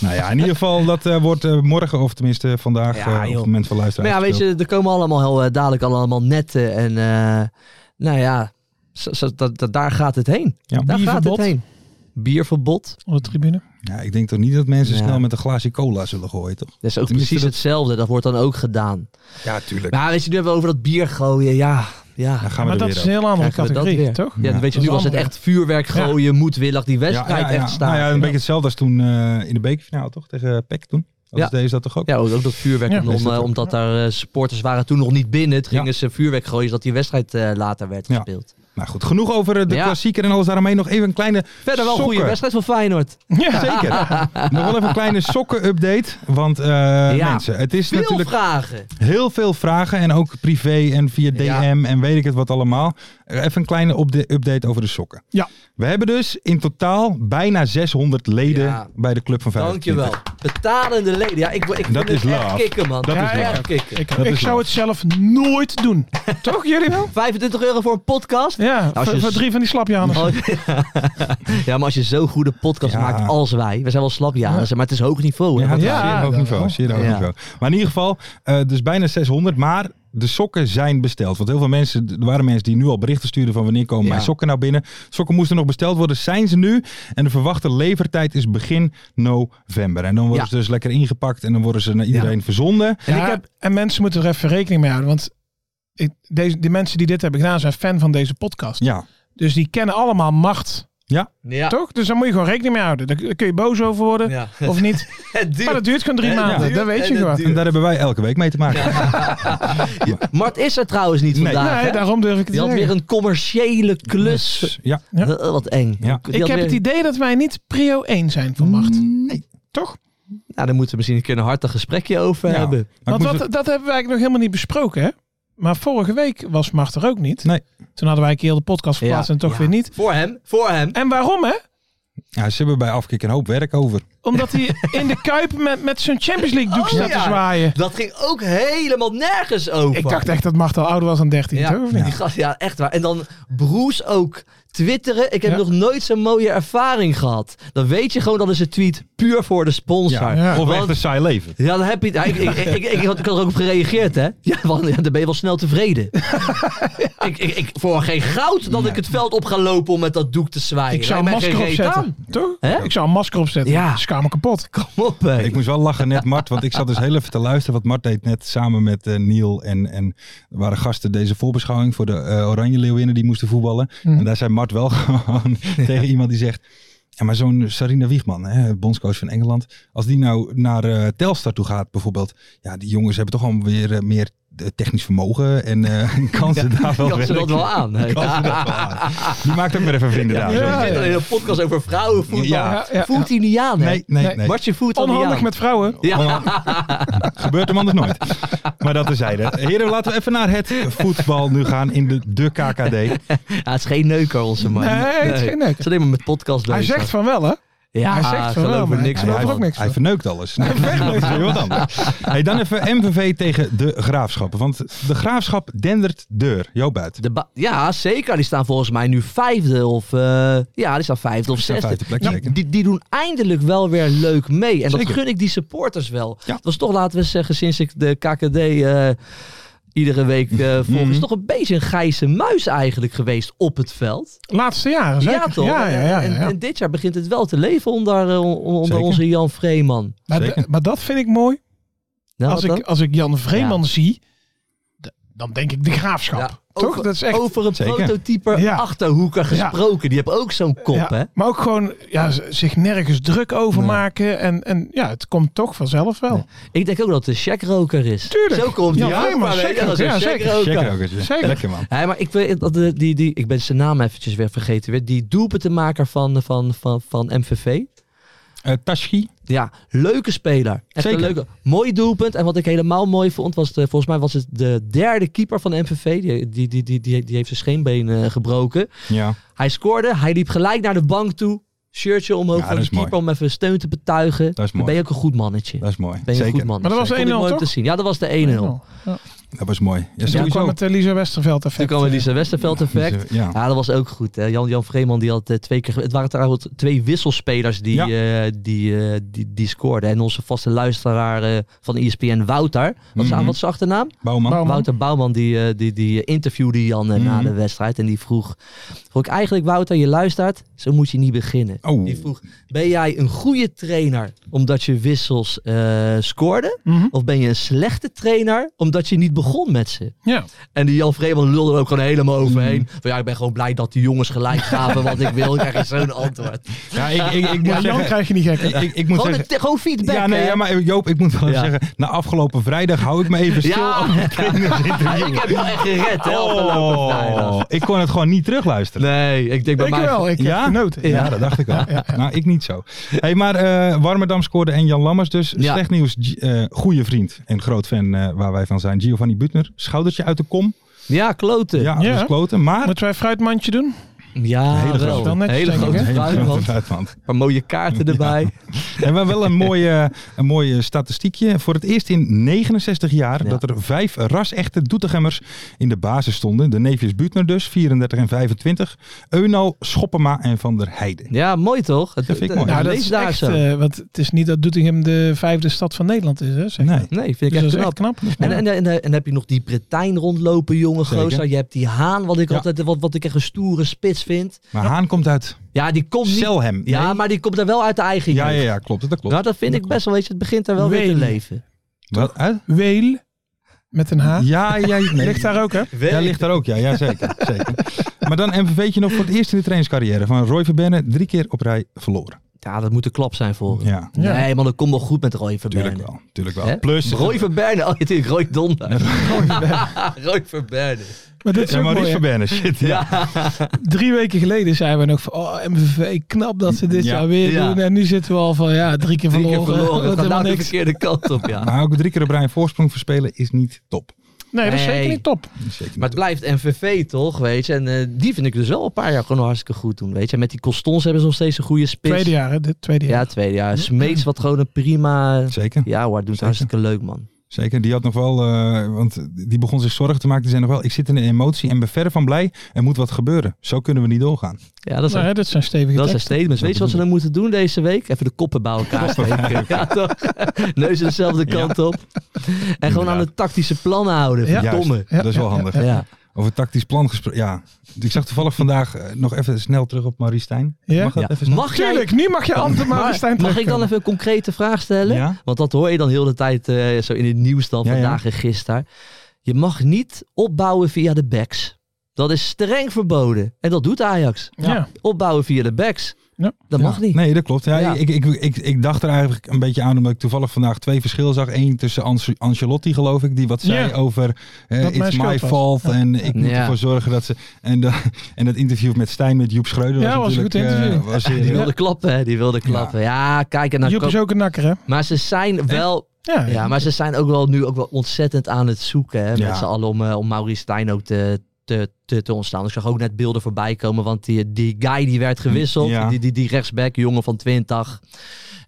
[SPEAKER 3] nou ja, in ieder geval, dat eh, wordt eh, morgen, of tenminste vandaag,
[SPEAKER 4] Ja,
[SPEAKER 3] eh, op
[SPEAKER 4] joh.
[SPEAKER 3] het moment van
[SPEAKER 4] Maar
[SPEAKER 3] luisteren.
[SPEAKER 4] ja, weet
[SPEAKER 3] uitgespeeld.
[SPEAKER 4] je, er komen allemaal heel eh, dadelijk allemaal netten. En eh, nou ja, zo- zo- dat- dat- daar gaat het heen.
[SPEAKER 3] Ja.
[SPEAKER 4] daar gaat het
[SPEAKER 5] Bierverbod.
[SPEAKER 4] heen. Bierverbod.
[SPEAKER 5] Op de tribune.
[SPEAKER 3] Ja, ik denk toch niet dat mensen
[SPEAKER 4] Ja.
[SPEAKER 3] snel met een glaasje cola zullen gooien, toch?
[SPEAKER 4] Dat is ook
[SPEAKER 3] Tenminste,
[SPEAKER 4] precies
[SPEAKER 3] dat-
[SPEAKER 4] hetzelfde. Dat wordt dan ook gedaan.
[SPEAKER 3] Ja, tuurlijk.
[SPEAKER 4] Maar weet je, nu hebben we over dat bier gooien. Ja, ja.
[SPEAKER 3] Dan gaan we
[SPEAKER 5] Maar dat
[SPEAKER 3] er weer
[SPEAKER 5] is
[SPEAKER 3] over.
[SPEAKER 5] een heel andere
[SPEAKER 4] Krijgen we dat
[SPEAKER 5] categorie,
[SPEAKER 4] weer.
[SPEAKER 5] toch?
[SPEAKER 4] Ja,
[SPEAKER 3] Ja,
[SPEAKER 4] weet je,
[SPEAKER 5] dat
[SPEAKER 4] nu
[SPEAKER 5] is
[SPEAKER 4] was het
[SPEAKER 5] anders.
[SPEAKER 4] echt vuurwerk gooien, moedwillig die wedstrijd echt staan.
[SPEAKER 3] Nou ja, een beetje hetzelfde als toen eh, in de bekerfinale, toch? Tegen eh, PEC toen. Dat
[SPEAKER 4] Ja.
[SPEAKER 3] is deze dat toch ook?
[SPEAKER 4] Ja, ook, ook dat vuurwerk.
[SPEAKER 5] Ja,
[SPEAKER 4] om-
[SPEAKER 3] is dat
[SPEAKER 4] eh,
[SPEAKER 3] ook.
[SPEAKER 4] omdat daar eh, supporters waren toen nog niet binnen. Het gingen
[SPEAKER 3] Ja.
[SPEAKER 4] ze vuurwerk gooien, zodat die wedstrijd eh, later werd
[SPEAKER 3] Ja.
[SPEAKER 4] gespeeld.
[SPEAKER 3] Maar goed, genoeg over eh, de
[SPEAKER 4] Ja.
[SPEAKER 3] klassieker en alles daaromheen. Nog even een kleine...
[SPEAKER 4] Verder wel een goede
[SPEAKER 3] Sokken.
[SPEAKER 4] wedstrijd van Feyenoord.
[SPEAKER 5] Ja.
[SPEAKER 3] Zeker.
[SPEAKER 4] *laughs*
[SPEAKER 3] Nog wel even een kleine sokken-update. Want eh, mensen, het is
[SPEAKER 4] Veel
[SPEAKER 3] natuurlijk
[SPEAKER 4] vragen.
[SPEAKER 3] heel veel vragen. En ook privé en via DM
[SPEAKER 4] Ja.
[SPEAKER 3] en weet ik het wat allemaal. Eh, Even een kleine opde- update over de sokken.
[SPEAKER 5] Ja.
[SPEAKER 3] We hebben dus in totaal bijna 600 leden
[SPEAKER 4] Ja.
[SPEAKER 3] bij de Club van 25.
[SPEAKER 4] Dankjewel. Betalende leden. Ja, ik, ik vind
[SPEAKER 3] Dat
[SPEAKER 4] het
[SPEAKER 3] is
[SPEAKER 4] echt
[SPEAKER 3] love.
[SPEAKER 4] kicken, man.
[SPEAKER 3] Dat
[SPEAKER 5] Ja,
[SPEAKER 3] is
[SPEAKER 5] ja.
[SPEAKER 3] waar.
[SPEAKER 4] Echt kicken.
[SPEAKER 5] Ik,
[SPEAKER 3] Dat
[SPEAKER 5] ik
[SPEAKER 3] is
[SPEAKER 5] zou
[SPEAKER 3] wel.
[SPEAKER 5] het zelf nooit doen. toch? Jullie wel?
[SPEAKER 4] 25 euro voor een podcast?
[SPEAKER 5] Ja,
[SPEAKER 4] Als
[SPEAKER 5] voor,
[SPEAKER 4] je-
[SPEAKER 5] voor drie van die slapjaners.
[SPEAKER 4] Oh, ja. *laughs* ja, maar als je zo'n goede podcast
[SPEAKER 3] Ja.
[SPEAKER 4] maakt als wij. We zijn wel slap, ja, maar het is hoog niveau. Hè?
[SPEAKER 3] Ja,
[SPEAKER 4] Want-
[SPEAKER 3] ja,
[SPEAKER 5] Ja,
[SPEAKER 3] zeer hoog
[SPEAKER 5] dat
[SPEAKER 3] niveau.
[SPEAKER 5] wel.
[SPEAKER 3] Zeer hoog
[SPEAKER 4] Ja.
[SPEAKER 3] niveau. Maar in ieder geval, eh, dus bijna 600. Maar de sokken zijn besteld. Want heel veel mensen, er waren mensen die nu al berichten stuurden van wanneer komen
[SPEAKER 4] Ja.
[SPEAKER 3] mijn sokken nou binnen. Sokken moesten nog besteld worden, zijn ze nu. En de verwachte levertijd is begin november. En dan worden
[SPEAKER 4] Ja.
[SPEAKER 3] ze dus lekker ingepakt en dan worden ze naar iedereen verzonden.
[SPEAKER 5] En, ik heb, en mensen moeten er even rekening mee houden. Want ik, deze, die mensen die dit hebben gedaan zijn fan van deze podcast.
[SPEAKER 3] Ja,
[SPEAKER 5] Dus die kennen allemaal macht,
[SPEAKER 4] ja.
[SPEAKER 5] toch? Dus daar moet je gewoon rekening mee houden. Daar daar kun je boos over worden
[SPEAKER 4] *laughs* Ja.
[SPEAKER 5] of niet.
[SPEAKER 4] Het duurt.
[SPEAKER 5] Maar dat duurt gewoon drie
[SPEAKER 4] En het
[SPEAKER 5] maanden.
[SPEAKER 4] duurt,
[SPEAKER 5] Dat weet
[SPEAKER 4] en
[SPEAKER 5] je
[SPEAKER 4] het
[SPEAKER 5] gewoon.
[SPEAKER 4] duurt.
[SPEAKER 3] en daar hebben wij elke week mee te *laughs* maken.
[SPEAKER 4] Mart is er trouwens niet
[SPEAKER 3] Nee.
[SPEAKER 4] vandaag.
[SPEAKER 5] Nee,
[SPEAKER 4] hè?
[SPEAKER 5] daarom durf ik het
[SPEAKER 4] Die
[SPEAKER 5] te
[SPEAKER 4] had
[SPEAKER 5] zeggen.
[SPEAKER 4] weer een commerciële klus.
[SPEAKER 3] Dus, ja.
[SPEAKER 5] Ja.
[SPEAKER 4] Eh, wat eng.
[SPEAKER 3] Ja.
[SPEAKER 4] Die
[SPEAKER 5] Ik
[SPEAKER 4] had Mm.
[SPEAKER 5] heb
[SPEAKER 4] weer-
[SPEAKER 5] het idee dat wij niet prio 1 zijn van macht.
[SPEAKER 3] Nee.
[SPEAKER 5] Toch?
[SPEAKER 4] Nou, daar moeten we misschien een keer een hartig gesprekje over
[SPEAKER 3] Ja.
[SPEAKER 4] hebben.
[SPEAKER 3] Maar ik
[SPEAKER 5] Want
[SPEAKER 3] moest
[SPEAKER 5] wat,
[SPEAKER 3] het-
[SPEAKER 5] dat hebben we eigenlijk nog helemaal niet besproken, hè? Maar vorige week was macht er ook niet.
[SPEAKER 3] Nee.
[SPEAKER 5] Toen hadden wij een keer heel de podcast verplaatst
[SPEAKER 4] Ja.
[SPEAKER 5] en toch
[SPEAKER 4] Ja.
[SPEAKER 5] weer niet.
[SPEAKER 4] Voor hem, voor hem.
[SPEAKER 5] En waarom, hè?
[SPEAKER 3] ja, ze hebben bij Afkik een hoop werk over.
[SPEAKER 5] Omdat
[SPEAKER 4] *laughs*
[SPEAKER 5] hij in de Kuip met, met zijn Champions League doek
[SPEAKER 4] Oh,
[SPEAKER 5] staat te
[SPEAKER 4] ja.
[SPEAKER 5] zwaaien.
[SPEAKER 4] Dat ging ook helemaal nergens over.
[SPEAKER 5] Ik dacht echt dat Macht al ouder was dan 13,
[SPEAKER 4] Ja.
[SPEAKER 5] toch? Of niet?
[SPEAKER 4] Die gast, ja, echt waar. En dan Broes ook twitteren. Ik heb
[SPEAKER 5] Ja.
[SPEAKER 4] nog nooit zo'n mooie ervaring gehad. Dan weet je gewoon dat is een tweet puur voor de sponsor.
[SPEAKER 3] Ja.
[SPEAKER 4] Ja.
[SPEAKER 5] Ja.
[SPEAKER 3] Of echt
[SPEAKER 4] Want-
[SPEAKER 3] een saai leven.
[SPEAKER 4] dan heb je het. Ja, Ik, ik, ik, ik, ik had, ik had er ook op gereageerd, hè? Ja, want ja, dan ben je wel snel
[SPEAKER 5] *laughs*
[SPEAKER 4] tevreden. ik, ik, ik, voor geen goud dat ik het veld op ga lopen om met dat doek te zwaaien.
[SPEAKER 5] Ik zou een
[SPEAKER 4] Lijkt mij
[SPEAKER 5] masker
[SPEAKER 4] geen reet
[SPEAKER 5] opzetten.
[SPEAKER 4] aan.
[SPEAKER 5] Toch?
[SPEAKER 4] Hè?
[SPEAKER 5] Ik zou een masker opzetten.
[SPEAKER 4] Ja.
[SPEAKER 5] Ja. Schaam me kapot.
[SPEAKER 4] Kom op, hè.
[SPEAKER 3] Ik moest wel lachen net, Mart, want ik zat dus heel even te luisteren. Wat Mart deed net samen met eh, Niel en, en er waren gasten deze voorbeschouwing voor de eh, Oranje Leeuwinnen die moesten voetballen.
[SPEAKER 4] Mhm.
[SPEAKER 3] En daar zei Mart wel *laughs* gewoon tegen iemand die zegt... Ja, maar zo'n Sarina Wiegman, hè, bondscoach van Engeland. Als die nou naar eh, Telstar toe gaat bijvoorbeeld. Ja, die jongens hebben toch alweer weer eh, meer eh, technisch vermogen.
[SPEAKER 4] *laughs*
[SPEAKER 3] En eh *laughs* kan ze daar wel
[SPEAKER 4] Kan ze dat
[SPEAKER 3] werken. *laughs*
[SPEAKER 4] wel aan? hè?
[SPEAKER 3] Kan ze dat wel
[SPEAKER 4] *laughs*
[SPEAKER 3] aan. Die maakt ook weer even vrienden daar.
[SPEAKER 4] Ja,
[SPEAKER 3] zo.
[SPEAKER 4] er zit een hele podcast over vrouwenvoetbal.
[SPEAKER 3] Ja.
[SPEAKER 5] Ja, ja,
[SPEAKER 4] Voelt hij niet aan, hè?
[SPEAKER 3] Nee, nee, nee.
[SPEAKER 4] Bartje voelt al niet
[SPEAKER 5] Onhandig
[SPEAKER 4] aan.
[SPEAKER 5] met vrouwen.
[SPEAKER 4] Ja. *laughs*
[SPEAKER 3] Gebeurt hem anders nooit. Maar dat tezijde. Heren, laten we even naar het voetbal nu gaan in de, de KKD.
[SPEAKER 5] Oh,
[SPEAKER 4] Ja, het is geen neuker, onze man.
[SPEAKER 5] Nee, het is geen neuker.
[SPEAKER 4] Het is alleen maar met podcast
[SPEAKER 5] Hij
[SPEAKER 4] bezig.
[SPEAKER 5] zegt van wel, hè?
[SPEAKER 4] ja,
[SPEAKER 5] hij zegt van wel,
[SPEAKER 4] geloof er
[SPEAKER 5] maar
[SPEAKER 4] niks
[SPEAKER 5] hij-
[SPEAKER 4] van.
[SPEAKER 5] hij-
[SPEAKER 4] man.
[SPEAKER 5] ook niks
[SPEAKER 3] hij
[SPEAKER 5] van.
[SPEAKER 3] verneukt alles. Nee, dat is weer wat anders. Hey, dan even MVV tegen de Graafschap. Want de Graafschap dendert deur. Jo buiten.
[SPEAKER 4] De ba- ja, zeker. Die staan volgens mij nu vijfde of... eh, ja, die staan vijfde of
[SPEAKER 3] staan
[SPEAKER 4] zesde.
[SPEAKER 3] vijfde plek,
[SPEAKER 4] die,
[SPEAKER 3] zeker.
[SPEAKER 4] die, die doen eindelijk wel weer leuk mee. En dat
[SPEAKER 3] Zeker.
[SPEAKER 4] gun ik die supporters wel.
[SPEAKER 3] Ja.
[SPEAKER 4] Dat was toch, laten we zeggen, sinds ik de KKD... eh, iedere week eh volgens.
[SPEAKER 5] Mhm.
[SPEAKER 4] is toch een beetje een grijze muis eigenlijk geweest op het veld.
[SPEAKER 5] Laatste jaren, zeker.
[SPEAKER 4] Ja, toch?
[SPEAKER 5] Ja, ja, ja,
[SPEAKER 4] En,
[SPEAKER 5] ja.
[SPEAKER 4] en dit jaar begint het wel te leven onder, eh, on- onder
[SPEAKER 3] Zeker.
[SPEAKER 4] onze Jan Vreeman.
[SPEAKER 5] Maar,
[SPEAKER 3] Zeker.
[SPEAKER 5] d- maar dat vind ik mooi.
[SPEAKER 4] Nou,
[SPEAKER 5] als,
[SPEAKER 4] wat dan?
[SPEAKER 5] ik, als ik Jan Vreeman
[SPEAKER 4] Ja.
[SPEAKER 5] zie, d- dan denk ik de graafschap.
[SPEAKER 4] Ja,
[SPEAKER 5] toch?
[SPEAKER 4] over-
[SPEAKER 5] dat is echt.
[SPEAKER 4] Over een
[SPEAKER 3] Zeker.
[SPEAKER 4] prototype
[SPEAKER 5] Ja.
[SPEAKER 4] achterhoeker gesproken. Die hebben ook zo'n kop,
[SPEAKER 5] ja,
[SPEAKER 4] hè?
[SPEAKER 5] Maar ook gewoon ja, z- zich nergens druk over
[SPEAKER 4] Nee.
[SPEAKER 5] maken. En, en ja, het komt toch vanzelf wel.
[SPEAKER 4] Oh. Ik denk ook dat het een checkroker is.
[SPEAKER 5] Tuurlijk.
[SPEAKER 4] Zo komt
[SPEAKER 5] Ja,
[SPEAKER 4] hij ook.
[SPEAKER 5] alleen maar
[SPEAKER 4] maar weet je,
[SPEAKER 5] checkroker.
[SPEAKER 4] dat is een
[SPEAKER 5] Ja, zeker.
[SPEAKER 4] checkroker.
[SPEAKER 3] Check ook eens.
[SPEAKER 5] Zeker.
[SPEAKER 3] Lekker man.
[SPEAKER 4] Hé, maar ik, weet, dat de- die, die, ik ben zijn naam eventjes weer vergeten. Weer. Die doelpuntenmaker van, van, van, van MVV.
[SPEAKER 3] Eh Tashi.
[SPEAKER 4] Ja, leuke speler. Echt een
[SPEAKER 3] Zeker.
[SPEAKER 4] leuke, mooi doelpunt. En wat ik helemaal mooi vond, was de, volgens mij was het de derde keeper van de MVV. Die, die, die, die, die, die heeft zijn scheenbeen eh, gebroken.
[SPEAKER 3] Ja.
[SPEAKER 4] Hij scoorde, hij liep gelijk naar de bank toe. Shirtje omhoog
[SPEAKER 3] Ja,
[SPEAKER 4] voor
[SPEAKER 3] dat
[SPEAKER 4] de
[SPEAKER 3] is mooi.
[SPEAKER 4] keeper om even steun te betuigen.
[SPEAKER 3] Dat is
[SPEAKER 4] Dan
[SPEAKER 3] mooi.
[SPEAKER 4] ben je ook een goed mannetje.
[SPEAKER 3] Dat is mooi.
[SPEAKER 4] Ben je een goed
[SPEAKER 3] Zeker.
[SPEAKER 4] man.
[SPEAKER 5] Maar dat was de
[SPEAKER 4] Vond ik
[SPEAKER 5] 1-0
[SPEAKER 4] mooi om te
[SPEAKER 5] toch?
[SPEAKER 4] zien. Ja, dat was de 1-0.
[SPEAKER 3] Dat was mooi. Ja,
[SPEAKER 5] Toen
[SPEAKER 3] sowieso.
[SPEAKER 5] kwam het Elisa Westerveld
[SPEAKER 4] Toen
[SPEAKER 5] effect.
[SPEAKER 4] kwam die Westerveld effect.
[SPEAKER 3] Ja.
[SPEAKER 4] Ja, dat was ook goed. Hè. Jan, Jan Vreeman die had eh, twee keer... ge- Het waren trouwens twee wisselspelers die, eh, die, eh, die, die scoorden. En onze vaste luisteraar eh, van ESPN, Wouter. Wat is,
[SPEAKER 3] Mhm.
[SPEAKER 4] wat is zijn achternaam?
[SPEAKER 3] Bouwman.
[SPEAKER 5] Bouwman.
[SPEAKER 4] Wouter Bouwman, die, eh, die, die interviewde Jan eh, na
[SPEAKER 3] Mhm.
[SPEAKER 4] de wedstrijd. En die vroeg... vroeg ik, eigenlijk, Wouter, je luistert. Zo moet je niet beginnen.
[SPEAKER 3] Oh.
[SPEAKER 4] Die vroeg, ben jij een goede trainer omdat je wissels eh, scoorde?
[SPEAKER 5] Mhm.
[SPEAKER 4] Of ben je een slechte trainer omdat je niet begon met ze?
[SPEAKER 5] Ja.
[SPEAKER 4] En die Jan Vreeman lulde er ook gewoon helemaal
[SPEAKER 3] Mhm.
[SPEAKER 4] overheen. Van ja, ik ben gewoon blij dat die jongens gelijk gaven wat ik wil. *laughs* Dan krijg je zo'n antwoord.
[SPEAKER 3] Ja, ik, ik, ik moet
[SPEAKER 5] Ja, Jan
[SPEAKER 3] zeggen...
[SPEAKER 5] krijg je niet gek.
[SPEAKER 3] Ik, ik moet
[SPEAKER 4] Gewoon,
[SPEAKER 3] zeggen...
[SPEAKER 4] het- gewoon feedback.
[SPEAKER 3] Ja, nee,
[SPEAKER 4] hè?
[SPEAKER 3] ja, maar Joop, ik moet wel
[SPEAKER 4] Ja.
[SPEAKER 3] even zeggen, na afgelopen vrijdag hou ik me even stil
[SPEAKER 4] *laughs* Ja.
[SPEAKER 3] over het trainersinterview.
[SPEAKER 4] Ik heb jou echt gered, hè, afgelopen
[SPEAKER 3] Oh,
[SPEAKER 4] vrijdag.
[SPEAKER 3] ik kon het gewoon niet terugluisteren.
[SPEAKER 4] Nee, ik denk bij
[SPEAKER 5] Ik
[SPEAKER 4] mij...
[SPEAKER 5] wel. Ik heb
[SPEAKER 3] Ja?
[SPEAKER 5] genoten.
[SPEAKER 3] Ja, dat dacht ik al. Nou, ik niet zo. Hey, maar eh Warmerdam scoorde en Jan Lammers. Dus
[SPEAKER 4] Ja.
[SPEAKER 3] slecht nieuws. G- eh goede vriend en groot fan eh, waar wij van zijn. Giovanni Butner. Schoudertje uit de kom.
[SPEAKER 4] Ja, kloten.
[SPEAKER 3] Ja,
[SPEAKER 5] Ja.
[SPEAKER 3] dat is kloten. Maar...
[SPEAKER 5] eh, Moeten wij een fruitmandje doen?
[SPEAKER 4] Ja, wel.
[SPEAKER 3] Hele
[SPEAKER 5] grote. Wel netjes,
[SPEAKER 4] Oh, Hele
[SPEAKER 5] denk ik,
[SPEAKER 4] grote
[SPEAKER 5] hè?
[SPEAKER 3] Hele grote
[SPEAKER 4] fruitmand.
[SPEAKER 3] fruitmand.
[SPEAKER 4] Een paar mooie
[SPEAKER 3] *laughs*
[SPEAKER 4] kaarten erbij.
[SPEAKER 3] En we hebben wel een mooie, een mooie statistiekje. Voor het eerst in 69 jaar
[SPEAKER 4] Ja.
[SPEAKER 3] dat er vijf ras-echte Doetinchemmers in de basis stonden. De neefjes Butner dus, 34 en 25. Eunal, Schoppema en Van der Heijden.
[SPEAKER 4] Ja, mooi toch? Het,
[SPEAKER 3] Dat vind ik
[SPEAKER 4] het- het
[SPEAKER 3] mooi. Ja,
[SPEAKER 5] Nou, dat
[SPEAKER 4] leest
[SPEAKER 5] is
[SPEAKER 4] daar
[SPEAKER 5] echt,
[SPEAKER 4] zo.
[SPEAKER 5] eh, want het is niet dat Doetinchem de vijfde stad van Nederland is. Hè, zeg.
[SPEAKER 3] Nee.
[SPEAKER 4] nee, vind
[SPEAKER 5] Dus
[SPEAKER 4] ik
[SPEAKER 5] dat
[SPEAKER 4] echt
[SPEAKER 5] is
[SPEAKER 4] knap.
[SPEAKER 5] echt knap.
[SPEAKER 4] En, en, en, en heb je nog die Bretijn rondlopen, jonge
[SPEAKER 3] Zeker.
[SPEAKER 4] gozer. Je hebt die Haan, wat ik
[SPEAKER 3] Ja.
[SPEAKER 4] altijd wat, wat ik echt een stoere spits vind.
[SPEAKER 3] Maar Haan komt uit
[SPEAKER 4] Ja, die komt niet...
[SPEAKER 3] Selhem.
[SPEAKER 4] Ja, maar die komt er wel uit de eigen
[SPEAKER 3] ja, ja,
[SPEAKER 4] jeugd.
[SPEAKER 3] ja, klopt. Dat klopt.
[SPEAKER 4] Nou, dat vind ik best wel, weet je, het begint er wel weer te
[SPEAKER 5] Wenen.
[SPEAKER 4] leven.
[SPEAKER 3] Wel uit?
[SPEAKER 5] Weel met een H.
[SPEAKER 3] Ja, ja, nee.
[SPEAKER 5] Ligt daar ook, hè?
[SPEAKER 3] Ja, ligt daar ook. Ja, ja zeker, *laughs* zeker. Maar dan MVV'tje nog voor het eerst in de trainingscarrière van Roy Verbenne. Drie keer op rij verloren.
[SPEAKER 4] Ja, dat moet een klap zijn voor hem.
[SPEAKER 3] Ja,
[SPEAKER 5] Ja.
[SPEAKER 4] Nee, man, dat komt wel goed met Roy
[SPEAKER 3] tuurlijk
[SPEAKER 4] Verberne.
[SPEAKER 3] wel. Tuurlijk wel.
[SPEAKER 4] Hè?
[SPEAKER 3] Plus...
[SPEAKER 4] Roy Verberne, oh, het is Roy
[SPEAKER 3] *laughs*
[SPEAKER 4] Donder. *laughs* Roy Verberne.
[SPEAKER 5] Maar dit is
[SPEAKER 3] Ja,
[SPEAKER 5] ook
[SPEAKER 3] maar Roy
[SPEAKER 5] mooi, hè?
[SPEAKER 3] Verbenne, shit. Ja.
[SPEAKER 4] Ja,
[SPEAKER 5] Drie weken geleden zeiden we nog van, oh, MVV, knap dat ze dit
[SPEAKER 3] Ja.
[SPEAKER 5] jaar weer
[SPEAKER 4] Ja.
[SPEAKER 5] doen. En nu zitten we al van, ja, drie keer
[SPEAKER 4] drie
[SPEAKER 5] verloren.
[SPEAKER 4] keer verloren.
[SPEAKER 5] Dat
[SPEAKER 4] Het gaat
[SPEAKER 5] helemaal
[SPEAKER 4] nou de
[SPEAKER 5] niks.
[SPEAKER 4] verkeerde kant op,
[SPEAKER 3] *laughs*
[SPEAKER 4] ja.
[SPEAKER 3] Maar ook drie keer op rij een voorsprong verspelen is niet top.
[SPEAKER 5] Nee, dat is
[SPEAKER 4] Nee.
[SPEAKER 5] zeker niet top.
[SPEAKER 3] Dat is Zeker
[SPEAKER 4] Maar
[SPEAKER 3] niet
[SPEAKER 4] het
[SPEAKER 3] top.
[SPEAKER 4] blijft MVV toch, weet je. En eh, die vind ik dus wel een paar jaar gewoon hartstikke goed doen, weet je. En met die Costons hebben ze nog steeds een goede spits.
[SPEAKER 5] Tweede jaar, hè? Dit tweede jaar.
[SPEAKER 4] Ja, tweede jaar. Smeets wat gewoon een prima...
[SPEAKER 3] Zeker,
[SPEAKER 4] Ja hoor, doet het hartstikke leuk, man.
[SPEAKER 3] zeker. Die had nog wel, eh, want die begon zich zorgen te maken. Die zei nog wel, ik zit in een emotie en ben verre van blij. Er moet wat gebeuren. Zo kunnen we niet doorgaan.
[SPEAKER 4] Ja, dat is
[SPEAKER 5] Nou, hè, dat zijn stevige
[SPEAKER 4] Dat zijn
[SPEAKER 5] teksten.
[SPEAKER 4] statements. Weet je wat ze dan moeten doen deze week? Even de koppen bij elkaar steken. Ja, toch? *laughs* Neuzen dezelfde kant op. En gewoon aan de tactische plannen houden.
[SPEAKER 5] Ja.
[SPEAKER 4] Verdomme.
[SPEAKER 5] Ja,
[SPEAKER 3] dat is wel
[SPEAKER 5] ja,
[SPEAKER 3] handig.
[SPEAKER 5] ja,
[SPEAKER 4] Ja.
[SPEAKER 3] Over tactisch plan gesproken. Ja, ik zag toevallig vandaag eh, nog even snel terug op Marie Stijn.
[SPEAKER 5] Ja?
[SPEAKER 3] Mag dat
[SPEAKER 4] Ja.
[SPEAKER 3] even snel?
[SPEAKER 4] Mag, jij,
[SPEAKER 5] Tuurlijk, nu mag je *laughs* Ante Marenstein
[SPEAKER 4] mag ik dan even een concrete vraag stellen?
[SPEAKER 3] Ja?
[SPEAKER 4] Want dat hoor je dan heel de tijd eh, zo in het nieuws dan
[SPEAKER 3] Ja, ja.
[SPEAKER 4] vandaag en gisteren. Je mag niet opbouwen via de backs. Dat is streng verboden. En dat doet Ajax.
[SPEAKER 5] Ja.
[SPEAKER 4] Opbouwen via de backs.
[SPEAKER 5] Ja.
[SPEAKER 4] Dat mag niet.
[SPEAKER 3] Nee, dat klopt. Ja,
[SPEAKER 4] Ja.
[SPEAKER 3] Ik, ik, ik, ik dacht er eigenlijk een beetje aan, omdat ik toevallig vandaag twee verschillen zag. Eén tussen Ancelotti, Ancelotti geloof ik, die wat zei
[SPEAKER 5] Ja.
[SPEAKER 3] over eh,
[SPEAKER 5] Dat mijn
[SPEAKER 3] it's my
[SPEAKER 5] schuld was.
[SPEAKER 3] fault
[SPEAKER 5] Ja.
[SPEAKER 3] en ik moet
[SPEAKER 4] Ja.
[SPEAKER 3] ervoor zorgen dat ze... En, dat *laughs* en dat interview met Stijn met Joep Schreuder
[SPEAKER 5] Ja, was
[SPEAKER 3] was
[SPEAKER 5] een
[SPEAKER 3] natuurlijk...
[SPEAKER 5] goed interview.
[SPEAKER 3] eh, was
[SPEAKER 4] Die
[SPEAKER 3] zeer-
[SPEAKER 4] wilde klappen, hè? Die wilde klappen. Ja, kijk. En dan
[SPEAKER 5] Joep
[SPEAKER 4] ko-
[SPEAKER 5] is ook een nakker, hè?
[SPEAKER 4] Maar ze zijn wel...
[SPEAKER 5] Ja.
[SPEAKER 4] Ja, maar ze zijn ook wel nu ook wel ontzettend aan het zoeken. Hè,
[SPEAKER 3] Ja.
[SPEAKER 4] Met z'n allen om, eh, om Maurice Stijn ook te, te, te, te ontstaan. Ik zag ook net beelden voorbij komen. Want die, die guy die werd gewisseld.
[SPEAKER 3] Ja.
[SPEAKER 4] Die, die, die rechtsback, jongen van 20.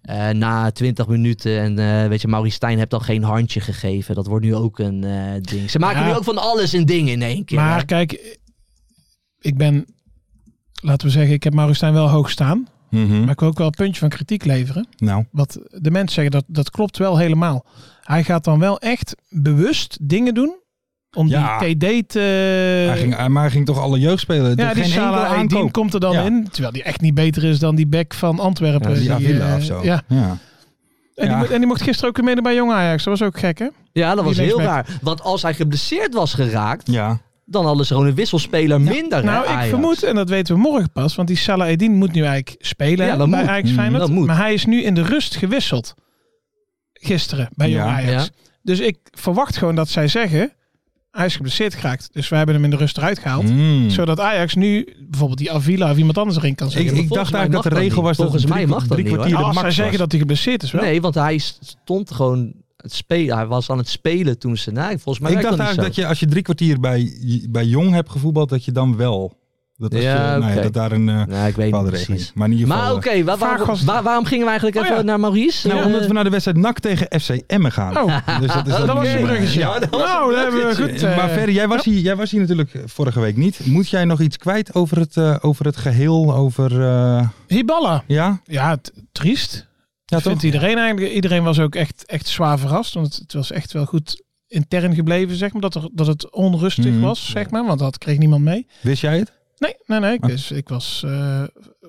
[SPEAKER 4] eh, na 20 minuten. En eh, weet je, Maurice Stijn hebt al geen handje gegeven. Dat wordt nu ook een eh, ding. Ze maken
[SPEAKER 5] Ja.
[SPEAKER 4] nu ook van alles een ding in één keer.
[SPEAKER 5] Maar
[SPEAKER 4] hè.
[SPEAKER 5] kijk, ik ben, laten we zeggen, ik heb Marenstein wel hoog staan.
[SPEAKER 4] Hm.
[SPEAKER 3] Mhm.
[SPEAKER 5] Maar ik wil ook wel een puntje van kritiek leveren.
[SPEAKER 3] Nou,
[SPEAKER 5] wat de mensen zeggen, dat, dat klopt wel helemaal. Hij gaat dan wel echt bewust dingen doen Om
[SPEAKER 3] Ja.
[SPEAKER 5] die TD te...
[SPEAKER 3] hij ging, hij- maar hij ging toch alle jeugd spelen?
[SPEAKER 5] Eh, ja, die
[SPEAKER 3] geen enkele
[SPEAKER 5] Salah Eddin
[SPEAKER 3] aankoop.
[SPEAKER 5] komt er dan
[SPEAKER 3] Ja.
[SPEAKER 5] in. Terwijl die echt niet beter is dan die back van Antwerpen.
[SPEAKER 3] Ja, die Avila
[SPEAKER 5] eh,
[SPEAKER 3] of zo.
[SPEAKER 5] Ja.
[SPEAKER 3] Ja.
[SPEAKER 5] En,
[SPEAKER 3] Ja.
[SPEAKER 5] Die, mo- en die mocht gisteren ook mede bij Jong Ajax. Dat was ook gek, hè?
[SPEAKER 4] Ja, dat
[SPEAKER 5] Die
[SPEAKER 4] was heel
[SPEAKER 5] linksback.
[SPEAKER 4] raar. Want als hij geblesseerd was geraakt,
[SPEAKER 3] Ja.
[SPEAKER 4] dan hadden ze gewoon een wisselspeler minder. hè,
[SPEAKER 5] Nou, ik
[SPEAKER 4] Ajax.
[SPEAKER 5] vermoed, en dat weten we morgen pas, want die Salah Eddin moet nu eigenlijk spelen
[SPEAKER 4] Ja,
[SPEAKER 5] hè,
[SPEAKER 4] dat
[SPEAKER 5] bij
[SPEAKER 4] moet.
[SPEAKER 5] Ajax
[SPEAKER 3] Mm,
[SPEAKER 5] Feyenoord.
[SPEAKER 4] dat moet.
[SPEAKER 5] Maar hij is nu in de rust gewisseld. Gisteren bij Jong
[SPEAKER 3] Ja.
[SPEAKER 5] Ajax. Dus ik verwacht gewoon dat zij zeggen, hij is geblesseerd geraakt. Dus wij hebben hem in de rust eruit gehaald.
[SPEAKER 3] Mm.
[SPEAKER 5] Zodat Ajax nu bijvoorbeeld die Avila of iemand anders erin kan
[SPEAKER 3] Ik,
[SPEAKER 5] zetten.
[SPEAKER 3] ik
[SPEAKER 4] volgens
[SPEAKER 3] dacht
[SPEAKER 4] mij
[SPEAKER 3] eigenlijk
[SPEAKER 4] mag
[SPEAKER 3] dat de
[SPEAKER 4] dat
[SPEAKER 3] regel
[SPEAKER 4] niet.
[SPEAKER 3] was
[SPEAKER 4] Volgens
[SPEAKER 3] dat
[SPEAKER 4] mij
[SPEAKER 3] drie,
[SPEAKER 4] mag dat
[SPEAKER 3] drie
[SPEAKER 4] niet, hoor.
[SPEAKER 3] kwartier de
[SPEAKER 5] als zij
[SPEAKER 3] max was.
[SPEAKER 5] zeggen dat hij geblesseerd is wel.
[SPEAKER 4] Nee, want hij stond gewoon het spelen. Hij was aan het spelen toen ze. Nee, volgens mij
[SPEAKER 3] ik
[SPEAKER 4] werkt
[SPEAKER 3] dacht
[SPEAKER 4] dat niet
[SPEAKER 3] eigenlijk dat
[SPEAKER 4] zo.
[SPEAKER 3] je als je drie kwartier bij, bij Jong hebt gevoetbald, dat je dan wel. Dat, als
[SPEAKER 4] Ja,
[SPEAKER 3] je, nou
[SPEAKER 4] oké.
[SPEAKER 3] ja, dat daar een eh,
[SPEAKER 4] Nee, ik weet niet
[SPEAKER 3] bepaalde regeling is.
[SPEAKER 4] precies.
[SPEAKER 3] Maar in ieder geval.
[SPEAKER 4] Maar oké,
[SPEAKER 3] eh,
[SPEAKER 4] waar-
[SPEAKER 5] Vaag
[SPEAKER 4] waarom,
[SPEAKER 5] was het.
[SPEAKER 4] waar- waarom gingen we eigenlijk even
[SPEAKER 5] Oh ja.
[SPEAKER 4] naar Maurice?
[SPEAKER 3] nou,
[SPEAKER 4] Eh,
[SPEAKER 3] omdat we naar de wedstrijd NAC tegen FC Emmen gaan.
[SPEAKER 5] Oh.
[SPEAKER 3] Dus dat is
[SPEAKER 4] Oh,
[SPEAKER 5] *laughs*
[SPEAKER 3] dan
[SPEAKER 5] Dat was
[SPEAKER 3] weer,
[SPEAKER 5] een
[SPEAKER 3] eh,
[SPEAKER 5] bruggetje.
[SPEAKER 3] ja.
[SPEAKER 5] nou, daar hebben we goed. eh,
[SPEAKER 3] maar Ferry, jij was, hier, jij was hier natuurlijk eh, vorige week niet. Moet jij nog iets kwijt over het, eh, over het geheel? Over, eh,
[SPEAKER 5] Hiballa.
[SPEAKER 3] ja?
[SPEAKER 5] Ja, t- triest.
[SPEAKER 3] Ja,
[SPEAKER 5] Dat vindt iedereen eigenlijk. Iedereen was ook echt, echt zwaar verrast. Want het was echt wel goed intern gebleven, zeg maar. Dat, er, dat het onrustig
[SPEAKER 3] Mhm.
[SPEAKER 5] was, zeg maar. Want dat kreeg niemand mee.
[SPEAKER 3] Wist jij het?
[SPEAKER 5] Nee, nee, nee. Ik,
[SPEAKER 3] Ah.
[SPEAKER 5] wist- ik was eh,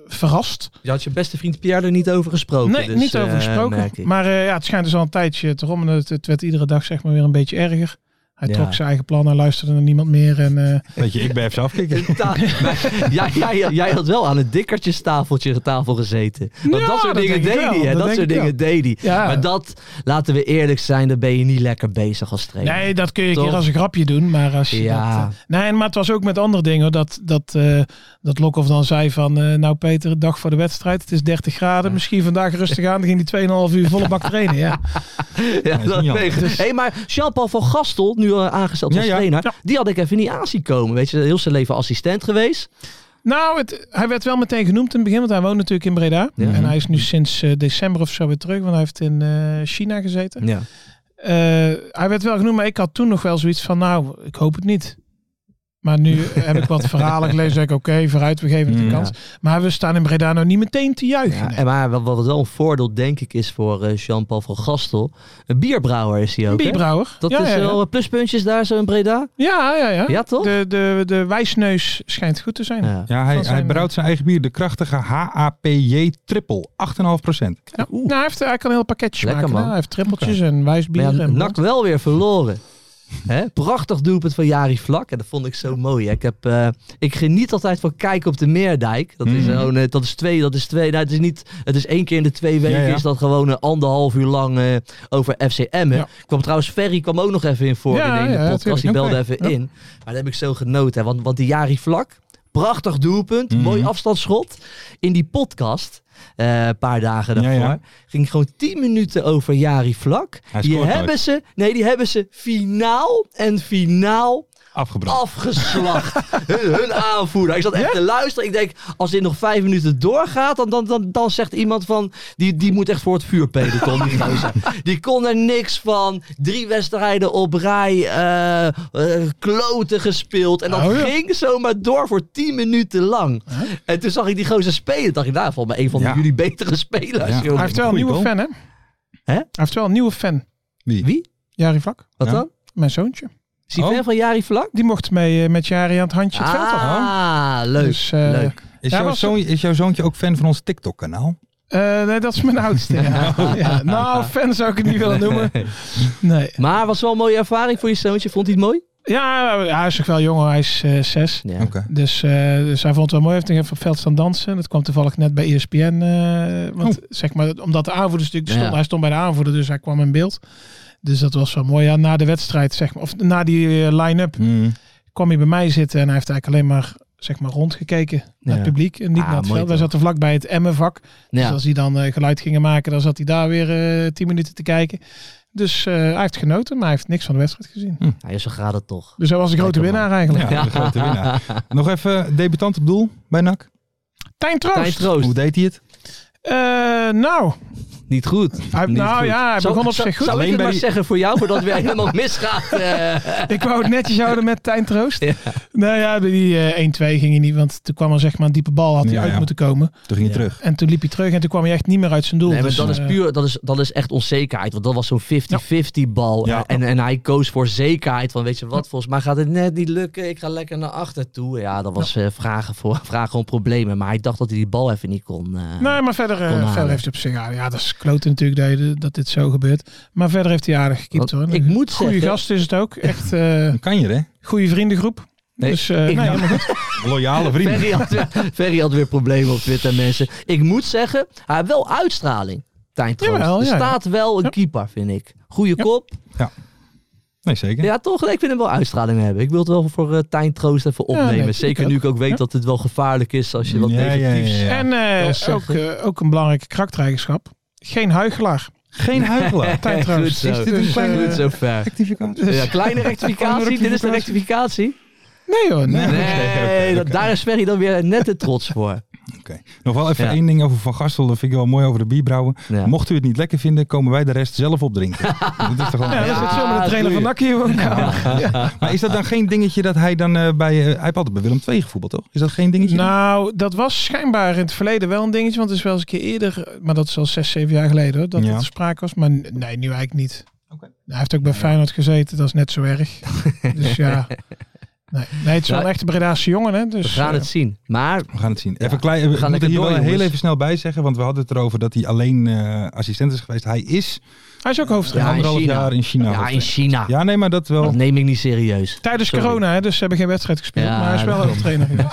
[SPEAKER 5] verrast.
[SPEAKER 4] Je had je beste vriend Pierre er niet over gesproken.
[SPEAKER 5] nee,
[SPEAKER 4] dus,
[SPEAKER 5] niet over
[SPEAKER 4] eh,
[SPEAKER 5] gesproken.
[SPEAKER 4] merk ik.
[SPEAKER 5] maar eh, ja, het schijnt dus al een tijdje te rommelen. Het, het werd iedere dag zeg maar weer een beetje erger. Hij
[SPEAKER 4] Ja.
[SPEAKER 5] trok zijn eigen plan. Hij luisterde naar niemand meer. En, eh,
[SPEAKER 3] Weet je, ik ben even afkikken.
[SPEAKER 5] *laughs*
[SPEAKER 4] Ta- Maar jij, jij, jij had wel aan het dikkertjestafeltje tafel gezeten. Want
[SPEAKER 5] Ja,
[SPEAKER 4] dat soort
[SPEAKER 5] dat
[SPEAKER 4] dingen
[SPEAKER 5] denk ik
[SPEAKER 4] deed
[SPEAKER 5] wel.
[SPEAKER 4] hij. hè.
[SPEAKER 5] Dat
[SPEAKER 4] Dat,
[SPEAKER 5] denk
[SPEAKER 4] soort
[SPEAKER 5] ik wel.
[SPEAKER 4] dingen deed hij.
[SPEAKER 5] Ja.
[SPEAKER 4] Maar dat, laten we eerlijk zijn, daar ben je niet lekker bezig als trainer.
[SPEAKER 5] Nee, dat kun je een
[SPEAKER 4] Toch?
[SPEAKER 5] keer als een grapje doen, maar als je
[SPEAKER 4] Ja.
[SPEAKER 5] dat... eh, nee, maar het was ook met andere dingen. hoor. Dat, dat, eh dat Lokhoff dan zei van, eh, nou Peter, een dag voor de wedstrijd. Het is 30 graden, misschien vandaag rustig aan. Dan ging die 2,5 uur volle bak trainen,
[SPEAKER 4] *laughs*
[SPEAKER 5] ja.
[SPEAKER 4] Ja,
[SPEAKER 3] is niet
[SPEAKER 4] dat
[SPEAKER 3] handig.
[SPEAKER 4] weet ik. Hey, maar Jean-Paul van Gastel, nu eh, aangesteld als
[SPEAKER 3] Ja, ja.
[SPEAKER 4] trainer,
[SPEAKER 5] Ja.
[SPEAKER 4] die had ik even niet aan zien komen. Weet je, heel zijn leven assistent geweest.
[SPEAKER 5] Nou, het, hij werd wel meteen genoemd in het begin, want hij woont natuurlijk in Breda.
[SPEAKER 4] Ja.
[SPEAKER 5] En hij is nu sinds eh, december of zo weer terug, want hij heeft in eh, China gezeten.
[SPEAKER 4] Ja.
[SPEAKER 5] Eh, hij werd wel genoemd, maar ik had toen nog wel zoiets van, nou, ik hoop het niet. Maar
[SPEAKER 4] *laughs*
[SPEAKER 5] nu heb ik wat verhalen gelezen. Zeg ik, oké, vooruit, we geven het
[SPEAKER 4] Mm,
[SPEAKER 5] een
[SPEAKER 3] Ja.
[SPEAKER 5] kans. Maar we staan in Breda nou niet meteen te juichen.
[SPEAKER 4] En maar wat, wat wel een voordeel, denk ik, is voor eh, Jean-Paul van Gastel. Een bierbrouwer is hij ook. hè?
[SPEAKER 5] Bierbrouwer.
[SPEAKER 4] Dat
[SPEAKER 5] ja,
[SPEAKER 4] is
[SPEAKER 5] ja, ja.
[SPEAKER 4] wel eh, pluspuntjes daar zo in Breda.
[SPEAKER 5] Ja, ja, ja.
[SPEAKER 4] Ja, toch?
[SPEAKER 5] De, de, de wijsneus schijnt goed te zijn.
[SPEAKER 4] Ja.
[SPEAKER 3] Ja, hij,
[SPEAKER 5] Van zijn-
[SPEAKER 3] hij brouwt zijn eigen bier. De krachtige HAPJ triple. 8,5
[SPEAKER 5] Ja. Nou, hij, heeft, hij kan een heel pakketje
[SPEAKER 4] Lekker,
[SPEAKER 5] maken.
[SPEAKER 4] man.
[SPEAKER 5] hè. Hij heeft trippeltjes en wijsbier.
[SPEAKER 4] Maar ja,
[SPEAKER 5] en
[SPEAKER 4] NAC wel weer verloren. Hè? Prachtig doelpunt van Jari Vlak. En dat vond ik zo mooi. hè. Ik, heb, eh, ik geniet altijd van kijken op de Meerdijk. Dat is,
[SPEAKER 3] Mhm.
[SPEAKER 4] gewoon, eh, dat is twee, dat is twee. Nou, het, is niet, het is één keer in de twee weken.
[SPEAKER 3] Ja, ja.
[SPEAKER 4] Is dat gewoon een anderhalf uur lang eh, over FCM.
[SPEAKER 5] Ja.
[SPEAKER 4] Kwam trouwens, Ferry kwam ook nog even in voor
[SPEAKER 5] Ja,
[SPEAKER 4] in de
[SPEAKER 5] ja,
[SPEAKER 4] podcast. Die
[SPEAKER 5] tuurlijk.
[SPEAKER 4] belde
[SPEAKER 5] Oké.
[SPEAKER 4] even
[SPEAKER 5] Ja.
[SPEAKER 4] in. Maar dat heb ik zo genoten. Hè? Want, want die Jari Vlak, prachtig doelpunt.
[SPEAKER 3] Mhm.
[SPEAKER 4] Mooi afstandsschot. In die podcast, eh, een paar dagen
[SPEAKER 3] Ja,
[SPEAKER 4] daarvoor,
[SPEAKER 3] ja.
[SPEAKER 4] ging gewoon 10 minuten over Jari Vlak.
[SPEAKER 3] Hij
[SPEAKER 4] Die
[SPEAKER 3] scoort nooit.
[SPEAKER 4] hebben ze, nee, die hebben ze finaal en finaal
[SPEAKER 3] Afgebrand. *laughs*
[SPEAKER 4] afgeslacht. hun, hun aanvoerder. Ik zat echt te luisteren. Ik denk, als dit nog vijf minuten doorgaat, dan, dan, dan, dan zegt iemand van, die, die moet echt voor het vuur peloton, die
[SPEAKER 3] *laughs*
[SPEAKER 4] gozer. Die kon er niks van. Drie wedstrijden op rij, eh, eh, kloten gespeeld. En dat
[SPEAKER 5] Oh ja.
[SPEAKER 4] ging zomaar door voor tien minuten lang. En toen zag ik die gozer spelen. dacht ik, nou, volgens mij een van
[SPEAKER 3] Ja.
[SPEAKER 4] jullie betere spelers.
[SPEAKER 3] Ja.
[SPEAKER 4] joh.
[SPEAKER 5] Hij heeft wel een
[SPEAKER 3] Goeie
[SPEAKER 5] nieuwe
[SPEAKER 3] goal.
[SPEAKER 5] fan, hè?
[SPEAKER 4] Hè?
[SPEAKER 5] Hij heeft wel een nieuwe fan.
[SPEAKER 4] Wie?
[SPEAKER 5] Jari Vlak,
[SPEAKER 4] Wat
[SPEAKER 3] Ja.
[SPEAKER 4] dan?
[SPEAKER 5] mijn zoontje.
[SPEAKER 4] Is hij
[SPEAKER 3] Oh.
[SPEAKER 4] fan van Jari Vlak?
[SPEAKER 5] Die mocht mee eh, met Jari aan het handje het veld op.
[SPEAKER 4] Ah, leuk.
[SPEAKER 5] Dus, eh,
[SPEAKER 4] leuk.
[SPEAKER 3] Is,
[SPEAKER 5] Ja,
[SPEAKER 3] jouw
[SPEAKER 5] was-
[SPEAKER 3] zoon, is jouw zoontje ook fan van ons TikTok-kanaal?
[SPEAKER 5] Eh, nee, dat is mijn oudste.
[SPEAKER 4] *laughs*
[SPEAKER 5] ja. Ja. Nou, fan zou ik het niet willen noemen. Nee.
[SPEAKER 4] Maar was wel een mooie ervaring voor je zoontje. Vond hij het mooi?
[SPEAKER 5] Ja, hij is toch wel jonger. Hij is eh, zes.
[SPEAKER 4] Ja.
[SPEAKER 3] Oké.
[SPEAKER 5] Dus, eh, dus hij vond het wel mooi. Hij heeft nog even op het veld staan dansen. Dat kwam toevallig net bij E ESPN. eh, want, zeg maar, omdat de aanvoerders natuurlijk
[SPEAKER 4] Oh. Ja.
[SPEAKER 5] stonden. Hij stond bij de aanvoerder, dus hij kwam in beeld. Dus dat was wel mooi. Ja, na de wedstrijd, zeg maar, of na die eh, line-up,
[SPEAKER 4] Hm.
[SPEAKER 3] Hmm.
[SPEAKER 5] kwam hij bij mij zitten. En hij heeft eigenlijk alleen maar, zeg maar rondgekeken naar het publiek. En niet
[SPEAKER 4] Ah,
[SPEAKER 5] naar het
[SPEAKER 4] mooi
[SPEAKER 5] veld. Hij
[SPEAKER 4] toch.
[SPEAKER 5] zat er vlak bij het Emmenvak. Dus
[SPEAKER 4] Ja.
[SPEAKER 5] als hij dan eh, geluid gingen maken, dan zat hij daar weer eh, tien minuten te kijken. Dus eh, hij heeft genoten, maar hij heeft niks van de wedstrijd gezien.
[SPEAKER 4] ja, zo gaat het toch.
[SPEAKER 5] Dus hij was een grote
[SPEAKER 4] Lekker, man.
[SPEAKER 5] winnaar eigenlijk.
[SPEAKER 3] Ja, de grote winnaar.
[SPEAKER 4] *laughs*
[SPEAKER 3] Nog even debutant op doel bij NAC.
[SPEAKER 5] Tijn Troost.
[SPEAKER 4] Tijn Troost.
[SPEAKER 3] Hoe deed hij het?
[SPEAKER 5] Eh, nou,
[SPEAKER 4] Niet goed.
[SPEAKER 5] Hij,
[SPEAKER 4] Niet
[SPEAKER 5] nou
[SPEAKER 4] goed.
[SPEAKER 5] ja, hij
[SPEAKER 4] Zal-
[SPEAKER 5] begon op
[SPEAKER 4] zal-
[SPEAKER 5] zich goed.
[SPEAKER 4] Zal ik
[SPEAKER 3] Alleen
[SPEAKER 4] het
[SPEAKER 3] bij
[SPEAKER 4] maar
[SPEAKER 3] die-
[SPEAKER 4] zeggen voor jou, voordat weer helemaal misgaat? eh?
[SPEAKER 5] Ik wou het netjes houden met Tijn Troost.
[SPEAKER 4] *laughs* Ja.
[SPEAKER 5] Nou ja, die eh, 1-2 ging hij niet, want toen kwam er zeg maar een diepe bal, had hij
[SPEAKER 3] Ja,
[SPEAKER 5] uit
[SPEAKER 3] ja.
[SPEAKER 5] moeten komen.
[SPEAKER 3] Toen ging je
[SPEAKER 4] Ja.
[SPEAKER 3] terug.
[SPEAKER 5] En toen liep hij terug en toen kwam hij echt niet meer uit zijn doel.
[SPEAKER 4] Nee, maar
[SPEAKER 5] Dus,
[SPEAKER 4] dat is
[SPEAKER 5] eh,
[SPEAKER 4] puur, dat is, dat is echt onzekerheid. Want dat was zo'n 50-50 bal.
[SPEAKER 3] Ja.
[SPEAKER 4] En, en hij koos voor zekerheid. Van weet je wat, volgens mij gaat het net niet lukken. Ik ga lekker naar achter toe. Ja, dat was eh, vragen, voor, vragen om problemen. Maar hij dacht dat hij die bal even niet kon. eh,
[SPEAKER 5] Nee, maar verder, eh,
[SPEAKER 4] Kon halen.
[SPEAKER 5] verder heeft hij op zich... Ja, ja, dat is kloten natuurlijk dat, je- dat dit zo gebeurt. Maar verder heeft hij aardig gekiept
[SPEAKER 4] Want
[SPEAKER 5] hoor.
[SPEAKER 4] ik moet
[SPEAKER 5] Goeie
[SPEAKER 4] zeggen-
[SPEAKER 5] gast is het ook. Echt eh
[SPEAKER 3] Dan kan je, hè?
[SPEAKER 5] goede vriendengroep.
[SPEAKER 4] Nee,
[SPEAKER 5] dus eh,
[SPEAKER 4] ik
[SPEAKER 5] nee,
[SPEAKER 4] dacht-
[SPEAKER 5] helemaal goed.
[SPEAKER 3] Loyale vrienden.
[SPEAKER 4] Ferry had, weer, Ferry had weer problemen op Twitter, mensen. Ik moet zeggen, hij heeft wel uitstraling. Tijn Troost.
[SPEAKER 5] Jawel,
[SPEAKER 4] er
[SPEAKER 5] ja, ja.
[SPEAKER 4] staat wel een
[SPEAKER 5] Ja.
[SPEAKER 4] keeper, vind ik. Goeie
[SPEAKER 5] Ja.
[SPEAKER 4] kop.
[SPEAKER 3] Nee, zeker.
[SPEAKER 4] Ja, toch? Nee, ik vind hem wel uitstraling hebben. Ik wil het wel voor eh Tijn Troost even
[SPEAKER 5] Ja,
[SPEAKER 4] opnemen.
[SPEAKER 5] nee,
[SPEAKER 4] Zeker
[SPEAKER 5] ik
[SPEAKER 4] nu ik ook weet
[SPEAKER 5] Ja.
[SPEAKER 4] dat het wel gevaarlijk is als je wat
[SPEAKER 3] Ja, ja, ja,
[SPEAKER 4] negatiefs...
[SPEAKER 3] ja.
[SPEAKER 5] En eh,
[SPEAKER 4] Dat is
[SPEAKER 5] ook,
[SPEAKER 4] echt-
[SPEAKER 5] eh, ook een belangrijke karaktereigenschap. Geen huichelaar.
[SPEAKER 3] Geen huichelaar.
[SPEAKER 5] Tijn
[SPEAKER 4] Goed
[SPEAKER 5] Troost.
[SPEAKER 4] zo.
[SPEAKER 5] Is dit een kleine-
[SPEAKER 4] Goed zo
[SPEAKER 3] *laughs*
[SPEAKER 4] ver.
[SPEAKER 3] Rectificatie.
[SPEAKER 4] Ja, kleine rectificatie. Dit is de
[SPEAKER 5] rectificatie.
[SPEAKER 4] rectificatie.
[SPEAKER 5] Nee hoor, nee.
[SPEAKER 3] Nee.
[SPEAKER 4] Nee,
[SPEAKER 3] oké,
[SPEAKER 4] dat-
[SPEAKER 3] oké.
[SPEAKER 4] daar is Ferry dan weer net te trots voor.
[SPEAKER 3] Nog wel even
[SPEAKER 4] Ja.
[SPEAKER 3] één ding over Van Gastel. Dat vind ik wel mooi over de bierbrouwen.
[SPEAKER 4] Ja.
[SPEAKER 3] Mocht u het niet lekker vinden, komen wij de rest
[SPEAKER 4] *laughs*
[SPEAKER 3] zelf opdrinken. dat is toch wel...
[SPEAKER 5] Ja, dat is het zo met de trainer van
[SPEAKER 4] goeie.
[SPEAKER 5] Nakkie. Ja.
[SPEAKER 3] Maar is dat dan geen dingetje dat hij dan eh, bij... eh, hij heeft altijd bij Willem II gevoetbald, toch? Is dat geen dingetje?
[SPEAKER 5] Nou, dat was schijnbaar in het verleden wel een dingetje. Want het is wel eens een keer eerder, maar dat is al zes, zeven jaar geleden hoor, dat
[SPEAKER 3] Ja.
[SPEAKER 5] het er sprake was. Maar n- nee, nu eigenlijk niet.
[SPEAKER 3] Oké.
[SPEAKER 5] Hij heeft ook bij Feyenoord gezeten, dat is net zo
[SPEAKER 3] *laughs*
[SPEAKER 5] erg. dus ja. Nee, nee, het is wel
[SPEAKER 4] Nou,
[SPEAKER 5] een echte Bredaanse jongen hè. Dus,
[SPEAKER 4] We gaan
[SPEAKER 5] eh,
[SPEAKER 4] het zien. Maar
[SPEAKER 3] We gaan het zien. Even klein, we,
[SPEAKER 4] gaan
[SPEAKER 3] moeten
[SPEAKER 4] lekker
[SPEAKER 3] hier
[SPEAKER 4] door,
[SPEAKER 3] wel heel
[SPEAKER 4] jongens.
[SPEAKER 3] even snel bij zeggen, want we hadden het erover dat hij alleen eh, assistent is geweest. Hij is
[SPEAKER 5] hij is ook hoofdtrainer.
[SPEAKER 4] Ja, in
[SPEAKER 3] anderhalf
[SPEAKER 4] China.
[SPEAKER 3] jaar in China.
[SPEAKER 4] ja, in
[SPEAKER 3] geweest.
[SPEAKER 4] China.
[SPEAKER 3] ja, nee, maar dat wel.
[SPEAKER 4] *laughs* Dat neem ik niet serieus.
[SPEAKER 5] Tijdens
[SPEAKER 4] Sorry.
[SPEAKER 5] corona, hè, dus ze hebben geen wedstrijd gespeeld.
[SPEAKER 4] Ja,
[SPEAKER 5] maar hij is wel
[SPEAKER 4] dat
[SPEAKER 5] hoofdtrainer geweest.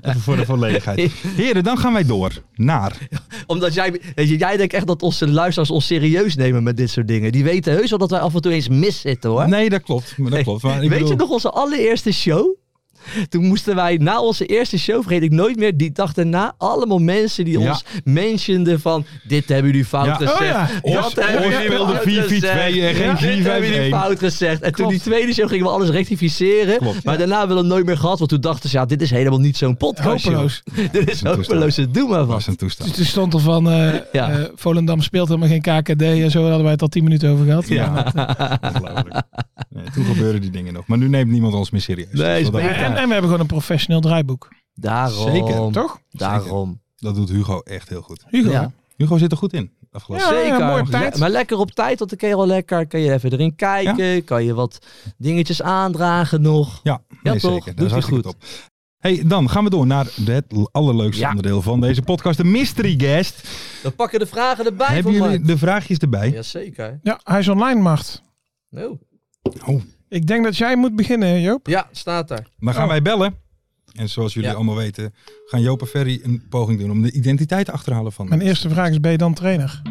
[SPEAKER 3] Even voor de
[SPEAKER 4] *laughs*
[SPEAKER 3] volledigheid. Heren, dan gaan wij door naar.
[SPEAKER 4] Omdat jij, weet je, jij denkt echt dat onze luisteraars ons serieus nemen met dit soort dingen. Die weten heus wel dat wij af en toe eens miszitten hoor.
[SPEAKER 3] Nee, dat klopt. Maar dat klopt. Maar ik
[SPEAKER 4] Weet
[SPEAKER 3] bedoel,
[SPEAKER 4] je nog onze allereerste show? Toen moesten wij na onze eerste show, vergeet ik nooit meer, die dag daarna, allemaal mensen die
[SPEAKER 3] Ja.
[SPEAKER 4] ons mentionden van dit hebben jullie fout
[SPEAKER 3] Ja.
[SPEAKER 4] gezegd.
[SPEAKER 5] Oh ja.
[SPEAKER 4] Dat
[SPEAKER 3] Os-
[SPEAKER 4] hebben
[SPEAKER 3] Os
[SPEAKER 4] jullie
[SPEAKER 3] wilde
[SPEAKER 4] fout
[SPEAKER 3] 4-4-2 en
[SPEAKER 4] gezegd.
[SPEAKER 3] geen
[SPEAKER 4] Dit hebben jullie
[SPEAKER 3] 4-5-1.
[SPEAKER 4] fout gezegd. En toen die tweede show gingen we alles rectificeren.
[SPEAKER 3] Klopt,
[SPEAKER 4] maar daarna hebben we het nooit meer gehad, want toen dachten ze, ja, dit is helemaal niet zo'n podcast.
[SPEAKER 5] Hopeloos.
[SPEAKER 4] joh. *laughs* dit is
[SPEAKER 3] toestand.
[SPEAKER 4] hopeloos, doe maar
[SPEAKER 3] was
[SPEAKER 4] wat.
[SPEAKER 3] een
[SPEAKER 4] *laughs*
[SPEAKER 3] toestand.
[SPEAKER 5] Dus er stond er van eh,
[SPEAKER 4] Ja.
[SPEAKER 5] eh, Volendam speelt helemaal geen KKD en zo hadden wij het al tien minuten over gehad.
[SPEAKER 3] Ja, ongelooflijk. Nee, toen gebeuren die dingen nog. Maar nu neemt niemand ons meer serieus.
[SPEAKER 4] Nee,
[SPEAKER 3] Dus
[SPEAKER 4] is
[SPEAKER 3] dat,
[SPEAKER 5] En, en we hebben gewoon een professioneel draaiboek,
[SPEAKER 4] Daarom.
[SPEAKER 3] Zeker,
[SPEAKER 5] toch?
[SPEAKER 4] Daarom.
[SPEAKER 3] dat doet Hugo echt heel goed.
[SPEAKER 5] Hugo.
[SPEAKER 4] Ja.
[SPEAKER 3] Hugo zit er goed in. Afgelopen.
[SPEAKER 5] Ja, ja,
[SPEAKER 4] Zeker.
[SPEAKER 5] mooi op
[SPEAKER 4] Le-
[SPEAKER 5] tijd.
[SPEAKER 4] maar lekker op tijd, want dan kun je wel lekker. Kan je even erin kijken. Kan je wat dingetjes aandragen nog.
[SPEAKER 3] Ja,
[SPEAKER 4] Ja,
[SPEAKER 3] nee,
[SPEAKER 4] toch?
[SPEAKER 3] zeker.
[SPEAKER 4] Doet
[SPEAKER 3] Dat is
[SPEAKER 4] hij
[SPEAKER 3] hartstikke
[SPEAKER 4] goed.
[SPEAKER 3] top. Hey, dan gaan we door naar het allerleukste
[SPEAKER 4] Ja.
[SPEAKER 3] onderdeel van deze podcast, de mystery guest.
[SPEAKER 4] Dan pakken de vragen erbij
[SPEAKER 3] Hebben
[SPEAKER 4] voor
[SPEAKER 3] jullie de vraagjes erbij?
[SPEAKER 4] Jazeker.
[SPEAKER 5] Ja, hij is online, Mart.
[SPEAKER 4] No.
[SPEAKER 5] Ik denk dat jij moet beginnen, Joop.
[SPEAKER 4] Ja, staat er.
[SPEAKER 3] Dan gaan
[SPEAKER 5] Oh.
[SPEAKER 3] wij bellen. En zoals jullie
[SPEAKER 4] Ja.
[SPEAKER 3] allemaal weten, gaan Joop en Ferry een poging doen om de identiteit te achterhalen van
[SPEAKER 5] Mijn eerste vraag is, ben je dan trainer?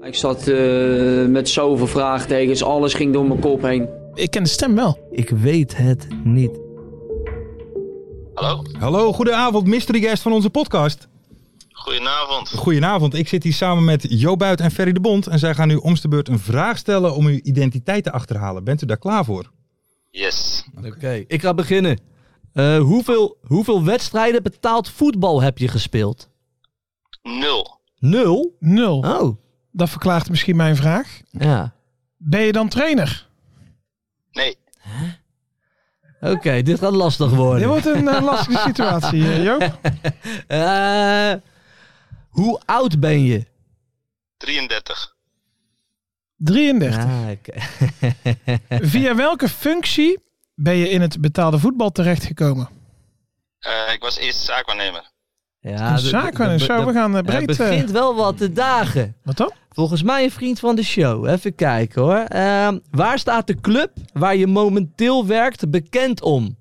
[SPEAKER 6] Ik zat eh, met zoveel vraagtekens, alles ging door mijn kop heen.
[SPEAKER 5] Ik ken de stem wel.
[SPEAKER 4] Ik weet het niet.
[SPEAKER 1] Hallo,
[SPEAKER 3] Hallo, goedenavond, mystery guest van onze podcast.
[SPEAKER 1] goedenavond.
[SPEAKER 3] Goedenavond, ik zit hier samen met Jo Buit en Ferry de Bond. En zij gaan u om de beurt een vraag stellen om uw identiteit te achterhalen. Bent u daar klaar voor?
[SPEAKER 1] Yes.
[SPEAKER 4] Oké, ik ga beginnen. Eh, hoeveel, hoeveel wedstrijden betaald voetbal heb je gespeeld?
[SPEAKER 1] Nul.
[SPEAKER 4] Nul?
[SPEAKER 5] Nul.
[SPEAKER 4] Oh,
[SPEAKER 5] Dat verklaart misschien mijn vraag.
[SPEAKER 4] ja.
[SPEAKER 5] Ben je dan
[SPEAKER 4] Oh,
[SPEAKER 5] trainer?
[SPEAKER 1] Nee.
[SPEAKER 4] Oké, dit gaat lastig
[SPEAKER 5] Dit
[SPEAKER 4] worden.
[SPEAKER 5] wordt een
[SPEAKER 4] *laughs*
[SPEAKER 5] eh, lastige situatie, eh, Joop.
[SPEAKER 4] Eh, hoe oud ben je?
[SPEAKER 1] 33.
[SPEAKER 5] 33.
[SPEAKER 4] Ah, oké.
[SPEAKER 5] Via welke functie ben je in het betaalde voetbal terechtgekomen?
[SPEAKER 1] Eh, ik was eerst zaakwaarnemer.
[SPEAKER 4] Ja,
[SPEAKER 5] een
[SPEAKER 4] de- de-
[SPEAKER 5] zaak en
[SPEAKER 4] de-
[SPEAKER 5] zo.
[SPEAKER 4] de-
[SPEAKER 5] We gaan eh,
[SPEAKER 4] Het
[SPEAKER 5] breed. eh,
[SPEAKER 4] begint wel wat te dagen.
[SPEAKER 5] wat dan?
[SPEAKER 4] Volgens mij een vriend van de show. Even kijken hoor. Ehm, waar staat de club waar je momenteel werkt bekend om?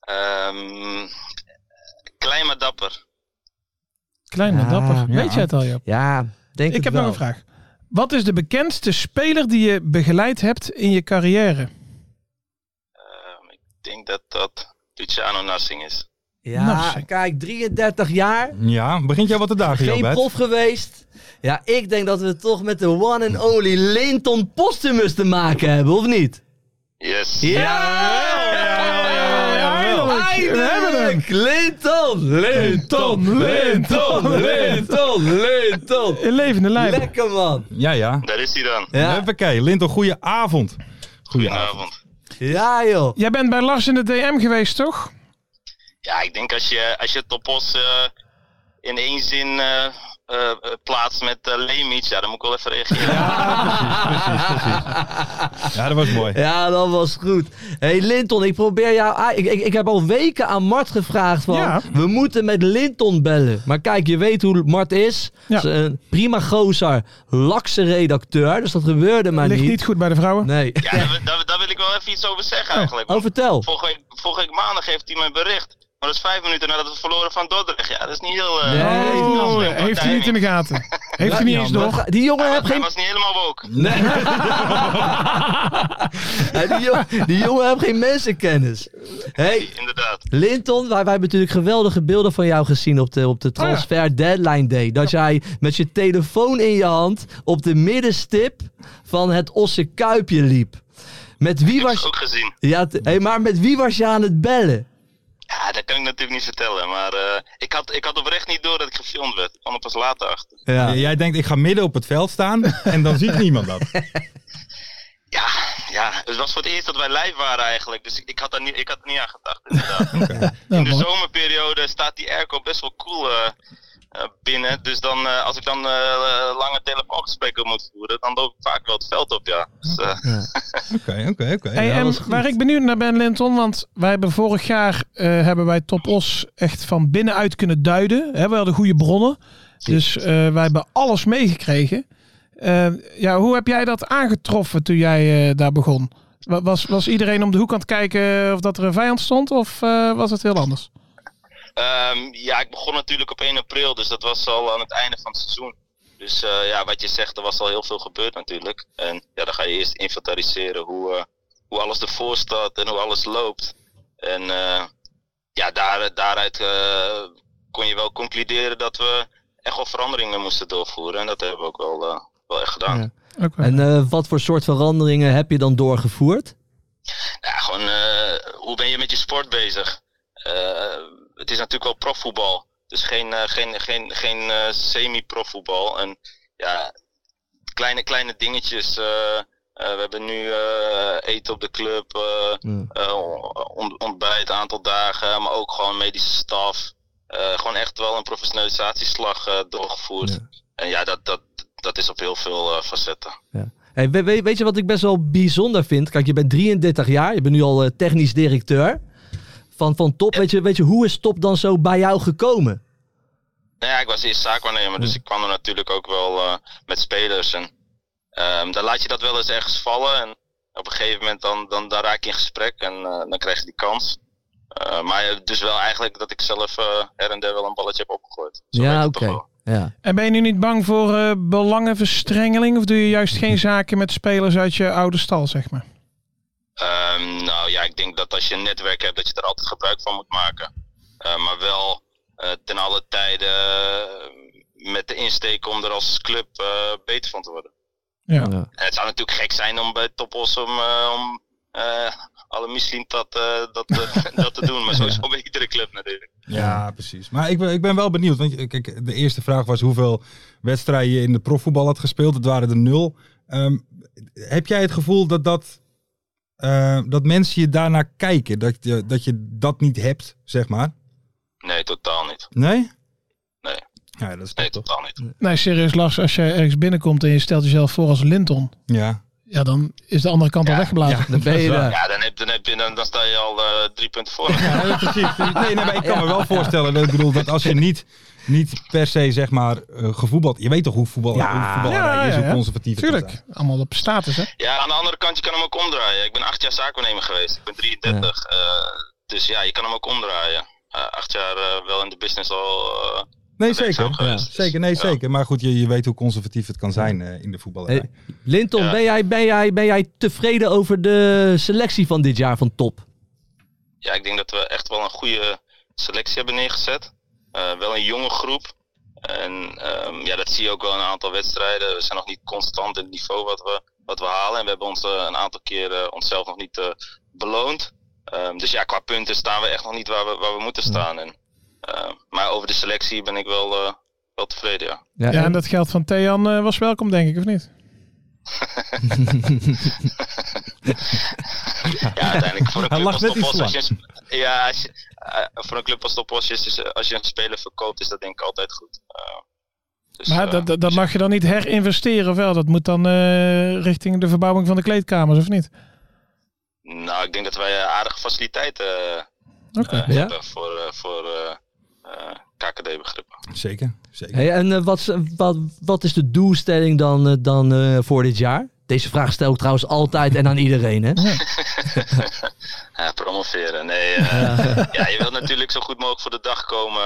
[SPEAKER 1] Ehm, klein maar dapper.
[SPEAKER 5] Klein maar
[SPEAKER 4] Ah,
[SPEAKER 5] dapper.
[SPEAKER 4] ja.
[SPEAKER 5] Weet jij het al, Joop?
[SPEAKER 4] Ja, denk
[SPEAKER 5] Ik heb nog een vraag. Wat is de bekendste speler die je begeleid hebt in je carrière?
[SPEAKER 1] Ehm, ik denk dat dat Luciano Nassing is.
[SPEAKER 4] Ja,
[SPEAKER 5] Nou, zeg.
[SPEAKER 4] kijk, 33 jaar.
[SPEAKER 3] Ja, begint jou wat te dagen, Jo
[SPEAKER 4] Geen
[SPEAKER 3] Buit?
[SPEAKER 4] prof geweest. Ja, ik denk dat we toch met de one and only Linton Postumus te maken hebben, of niet?
[SPEAKER 1] Yes.
[SPEAKER 4] Ja!
[SPEAKER 3] jawel, jawel.
[SPEAKER 5] We hebben hem.
[SPEAKER 4] Linton, Linton, Linton, Linton, Linton.
[SPEAKER 5] In levende lijf.
[SPEAKER 4] Lekker man.
[SPEAKER 3] Ja, ja.
[SPEAKER 1] Daar is hij dan.
[SPEAKER 4] Ja.
[SPEAKER 3] Hoppakee, Linton, goeie avond. Goeie avond.
[SPEAKER 1] Goedenavond.
[SPEAKER 4] Ja joh.
[SPEAKER 5] Jij bent bij Lars in de DM geweest, toch?
[SPEAKER 1] Ja, ik denk als je, als je Topos eh, in één zin eh, eh, eh, plaatst met uh, Lemits, ja, dan moet ik wel even
[SPEAKER 3] *laughs*
[SPEAKER 1] reageren.
[SPEAKER 3] Ja, dat was mooi.
[SPEAKER 4] Ja, dat was goed. hey Linton, ik probeer jou... ah, Ik, ik, ik heb al weken aan Mart gevraagd van...
[SPEAKER 5] Ja.
[SPEAKER 4] We moeten met Linton bellen. Maar kijk, je weet hoe Mart is.
[SPEAKER 5] Ja.
[SPEAKER 4] Ze een prima gozer, lakse redacteur. Dus dat gebeurde maar
[SPEAKER 5] Ligt
[SPEAKER 4] niet.
[SPEAKER 5] niet goed bij de vrouwen.
[SPEAKER 4] Nee.
[SPEAKER 1] Ja, daar, daar- daar wil ik wel even iets over zeggen eigenlijk.
[SPEAKER 4] Oh, vertel.
[SPEAKER 1] Vorige week, vorige week maandag heeft hij mijn bericht. Maar dat is vijf minuten nadat we verloren van Dordrecht. Ja, dat is niet heel... eh,
[SPEAKER 4] Nee,
[SPEAKER 1] heel
[SPEAKER 5] Oh,
[SPEAKER 1] slecht
[SPEAKER 5] heeft hij niet in de gaten. Heeft hij niet eens
[SPEAKER 4] Wat
[SPEAKER 5] door.
[SPEAKER 4] ga- Die jongen heeft
[SPEAKER 1] timing. Hij was
[SPEAKER 4] geen...
[SPEAKER 1] niet helemaal woke.
[SPEAKER 4] Nee. Ja, *laughs* die, jongen, die jongen heeft geen mensenkennis. hey,
[SPEAKER 1] Inderdaad.
[SPEAKER 4] Linton, wij, wij hebben natuurlijk geweldige beelden van jou gezien op de, op
[SPEAKER 1] Oh
[SPEAKER 4] de transfer deadline day. Dat jij met je telefoon in je hand op de middenstip van het Osse Kuipje liep. Met wie
[SPEAKER 1] Ik heb het
[SPEAKER 4] was,
[SPEAKER 1] ook gezien.
[SPEAKER 4] ja, t- hé, maar met wie was je aan het bellen?
[SPEAKER 1] Ja, dat kan ik natuurlijk niet vertellen. Maar eh, ik, had, ik had oprecht niet door dat ik gefilmd werd. Ik kwam er pas later achter.
[SPEAKER 4] Ja.
[SPEAKER 3] Jij denkt, ik ga midden op het veld staan en dan ziet
[SPEAKER 4] *laughs*
[SPEAKER 3] niemand dat.
[SPEAKER 1] Ja, ja, het was voor het eerst dat wij live waren eigenlijk. Dus ik, ik had daar niet, ik had er niet aan gedacht. Inderdaad. In de zomerperiode staat die airco best wel cool eh, eh, binnen. Dus dan, eh, als ik dan eh, lange telefoongesprekken moet voeren, dan loop ik vaak wel het veld op, ja. Dus, eh,
[SPEAKER 3] Oké, oké, oké.
[SPEAKER 5] Hey,
[SPEAKER 4] ehm,
[SPEAKER 3] Ja,
[SPEAKER 5] en
[SPEAKER 3] dat is goed.
[SPEAKER 5] waar ik benieuwd naar ben, Linton, want wij hebben vorig jaar eh, hebben wij Top Os echt van binnenuit kunnen duiden. Hè, we hadden goede bronnen, dus eh, wij hebben alles meegekregen. Eh, ja, hoe heb jij dat aangetroffen toen jij eh, daar begon? Wa- Was, was iedereen om de hoek aan het kijken of dat er een vijand stond, of eh, was het heel anders?
[SPEAKER 1] Ehm, ja, ik begon natuurlijk op 1 april, dus dat was al aan het einde van het seizoen. Dus eh, ja, wat je zegt, er was al heel veel gebeurd natuurlijk. En ja, dan ga je eerst inventariseren hoe, eh, hoe alles ervoor staat en hoe alles loopt. En eh, ja, daar, daaruit eh, kon je wel concluderen dat we echt wel veranderingen moesten doorvoeren. En dat hebben we ook wel, eh, wel echt gedaan.
[SPEAKER 4] Ja.
[SPEAKER 5] Oké.
[SPEAKER 4] En eh, wat voor soort veranderingen heb je dan doorgevoerd?
[SPEAKER 1] Ja, gewoon eh, hoe ben je met je sport bezig? Eh, het is natuurlijk wel profvoetbal. Dus geen, eh, geen, geen, geen eh, semi-profvoetbal. En ja, kleine, kleine dingetjes. eh, eh, we hebben nu eh, eten op de club, eh,
[SPEAKER 4] Ja.
[SPEAKER 1] eh, on- ontbijt een aantal dagen, maar ook gewoon medische staf. Eh, gewoon echt wel een professionalisatieslag eh, doorgevoerd. En ja, dat, dat, dat is op heel veel eh, facetten.
[SPEAKER 4] Hey, we- we- weet je wat ik best wel bijzonder vind? Kijk, je bent 33 jaar, je bent nu al eh, technisch directeur van, van Top. Weet je, weet je, hoe is Top dan zo bij jou gekomen?
[SPEAKER 1] Nou ja, ik was eerst zaakwaarnemer, dus ik kwam er natuurlijk ook wel eh, met spelers. En ehm, dan laat je dat wel eens ergens vallen. En op een gegeven moment dan, dan, dan raak je in gesprek en eh, dan krijg je die kans. Eh, maar dus wel eigenlijk dat ik zelf eh, her en der wel een balletje heb opgegooid. Zo
[SPEAKER 4] ja,
[SPEAKER 1] werkt het
[SPEAKER 4] oké.
[SPEAKER 1] toch wel.
[SPEAKER 4] Ja.
[SPEAKER 5] En ben je nu niet bang voor eh, belangenverstrengeling, of doe je juist geen zaken met spelers uit je oude stal, zeg maar?
[SPEAKER 1] Ehm, nou ja, ik denk dat als je een netwerk hebt, dat je er altijd gebruik van moet maken. Eh, maar wel eh, ten alle tijde eh, met de insteek om er als club eh, beter van te worden.
[SPEAKER 5] Ja.
[SPEAKER 4] Ja.
[SPEAKER 1] En het zou natuurlijk gek zijn om bij Topos om, eh, om eh, alle misschien dat, eh, dat, eh, *laughs* dat te doen. Maar sowieso bij iedere club natuurlijk.
[SPEAKER 3] Ja, precies. Maar ik ben, ik ben wel benieuwd. Want je- kijk, de eerste vraag was hoeveel wedstrijden je in de profvoetbal had gespeeld. Het waren er nul. Ehm, heb jij het gevoel dat, dat, eh, dat mensen je daarnaar kijken? Dat je, dat je dat niet hebt, zeg maar?
[SPEAKER 1] Nee, totaal niet.
[SPEAKER 3] Nee?
[SPEAKER 1] Nee.
[SPEAKER 3] Ja, dat is
[SPEAKER 1] Nee,
[SPEAKER 3] toch?
[SPEAKER 1] totaal niet.
[SPEAKER 5] Nee, serieus Lars, als jij ergens binnenkomt en je stelt jezelf voor als Linton,
[SPEAKER 3] Ja.
[SPEAKER 5] ja, dan is de andere kant al
[SPEAKER 1] Ja.
[SPEAKER 5] weggeblazen.
[SPEAKER 4] Dan ben je daar.
[SPEAKER 1] Ja, dan, heb, dan, heb je, dan, dan sta je al eh, drie punten voor.
[SPEAKER 3] *laughs* Ja, precies. Nee, nee, maar ik kan me wel voorstellen. Dat, ik bedoel, dat als je niet, niet per se, zeg maar, eh, gevoetbald... Je weet toch hoe voetbal,
[SPEAKER 4] Ja.
[SPEAKER 3] hoe voetballerij
[SPEAKER 5] Ja,
[SPEAKER 3] is,
[SPEAKER 5] ja,
[SPEAKER 3] hoe
[SPEAKER 5] ja.
[SPEAKER 3] conservatief het kan
[SPEAKER 5] Tuurlijk, allemaal op status, hè?
[SPEAKER 1] Ja, aan de andere kant, je kan hem ook omdraaien. Ik ben acht jaar zaakwaarnemer geweest. Ik ben 33. eh, dus ja, je kan hem ook omdraaien. Eh, acht jaar eh, wel in de business al. eh,
[SPEAKER 3] Nee,
[SPEAKER 1] werkzaam
[SPEAKER 3] zeker.
[SPEAKER 1] geweest.
[SPEAKER 3] Zeker, nee,
[SPEAKER 1] Ja.
[SPEAKER 3] zeker. Maar goed, je, je weet hoe conservatief het kan zijn eh, in de voetballerij.
[SPEAKER 4] Hey, Linton,
[SPEAKER 1] Ja.
[SPEAKER 4] ben, jij, ben, jij, ben jij tevreden over de selectie van dit jaar van top?
[SPEAKER 1] ja, ik denk dat we echt wel een goede selectie hebben neergezet. Eh, wel een jonge groep. En ehm, ja, dat zie je ook wel in een aantal wedstrijden. We zijn nog niet constant in het niveau wat we, wat we halen. En we hebben ons eh, een aantal keer eh, onszelf nog niet eh, beloond. Ehm, dus ja, qua punten staan we echt nog niet waar we, waar we moeten staan. En, ehm, maar over de selectie ben ik wel, eh, wel tevreden, ja.
[SPEAKER 5] Ja, en dat geld van Thean eh, was welkom, denk ik, of niet?
[SPEAKER 1] Ja, uiteindelijk voor een
[SPEAKER 5] *laughs* Hij
[SPEAKER 1] club
[SPEAKER 5] lag
[SPEAKER 1] als
[SPEAKER 5] net
[SPEAKER 1] Topos,
[SPEAKER 5] iets
[SPEAKER 1] als je een sp- ja, als je- eh, voor een club als Topos, is- is, eh, als je een speler verkoopt, is dat denk ik altijd goed. Eh,
[SPEAKER 5] maar dat, dat, dat mag je dan niet herinvesteren, of wel? Dat moet dan eh, richting de verbouwing van de kleedkamers, of niet?
[SPEAKER 1] nou, ik denk dat wij eh, aardige faciliteiten eh,
[SPEAKER 5] Oké.
[SPEAKER 1] eh,
[SPEAKER 4] Ja.
[SPEAKER 1] hebben voor, eh, voor eh, eh, KKD-begrippen.
[SPEAKER 3] Zeker, zeker.
[SPEAKER 4] Hey, en eh, wat, is- wat, wat is de doelstelling dan, eh, dan eh, voor dit jaar? Deze vraag stel ik trouwens altijd en aan iedereen, hè?
[SPEAKER 1] Ja, Eh, promoveren. Nee, eh, *laughs* ja, je wilt natuurlijk zo goed mogelijk voor de dag komen.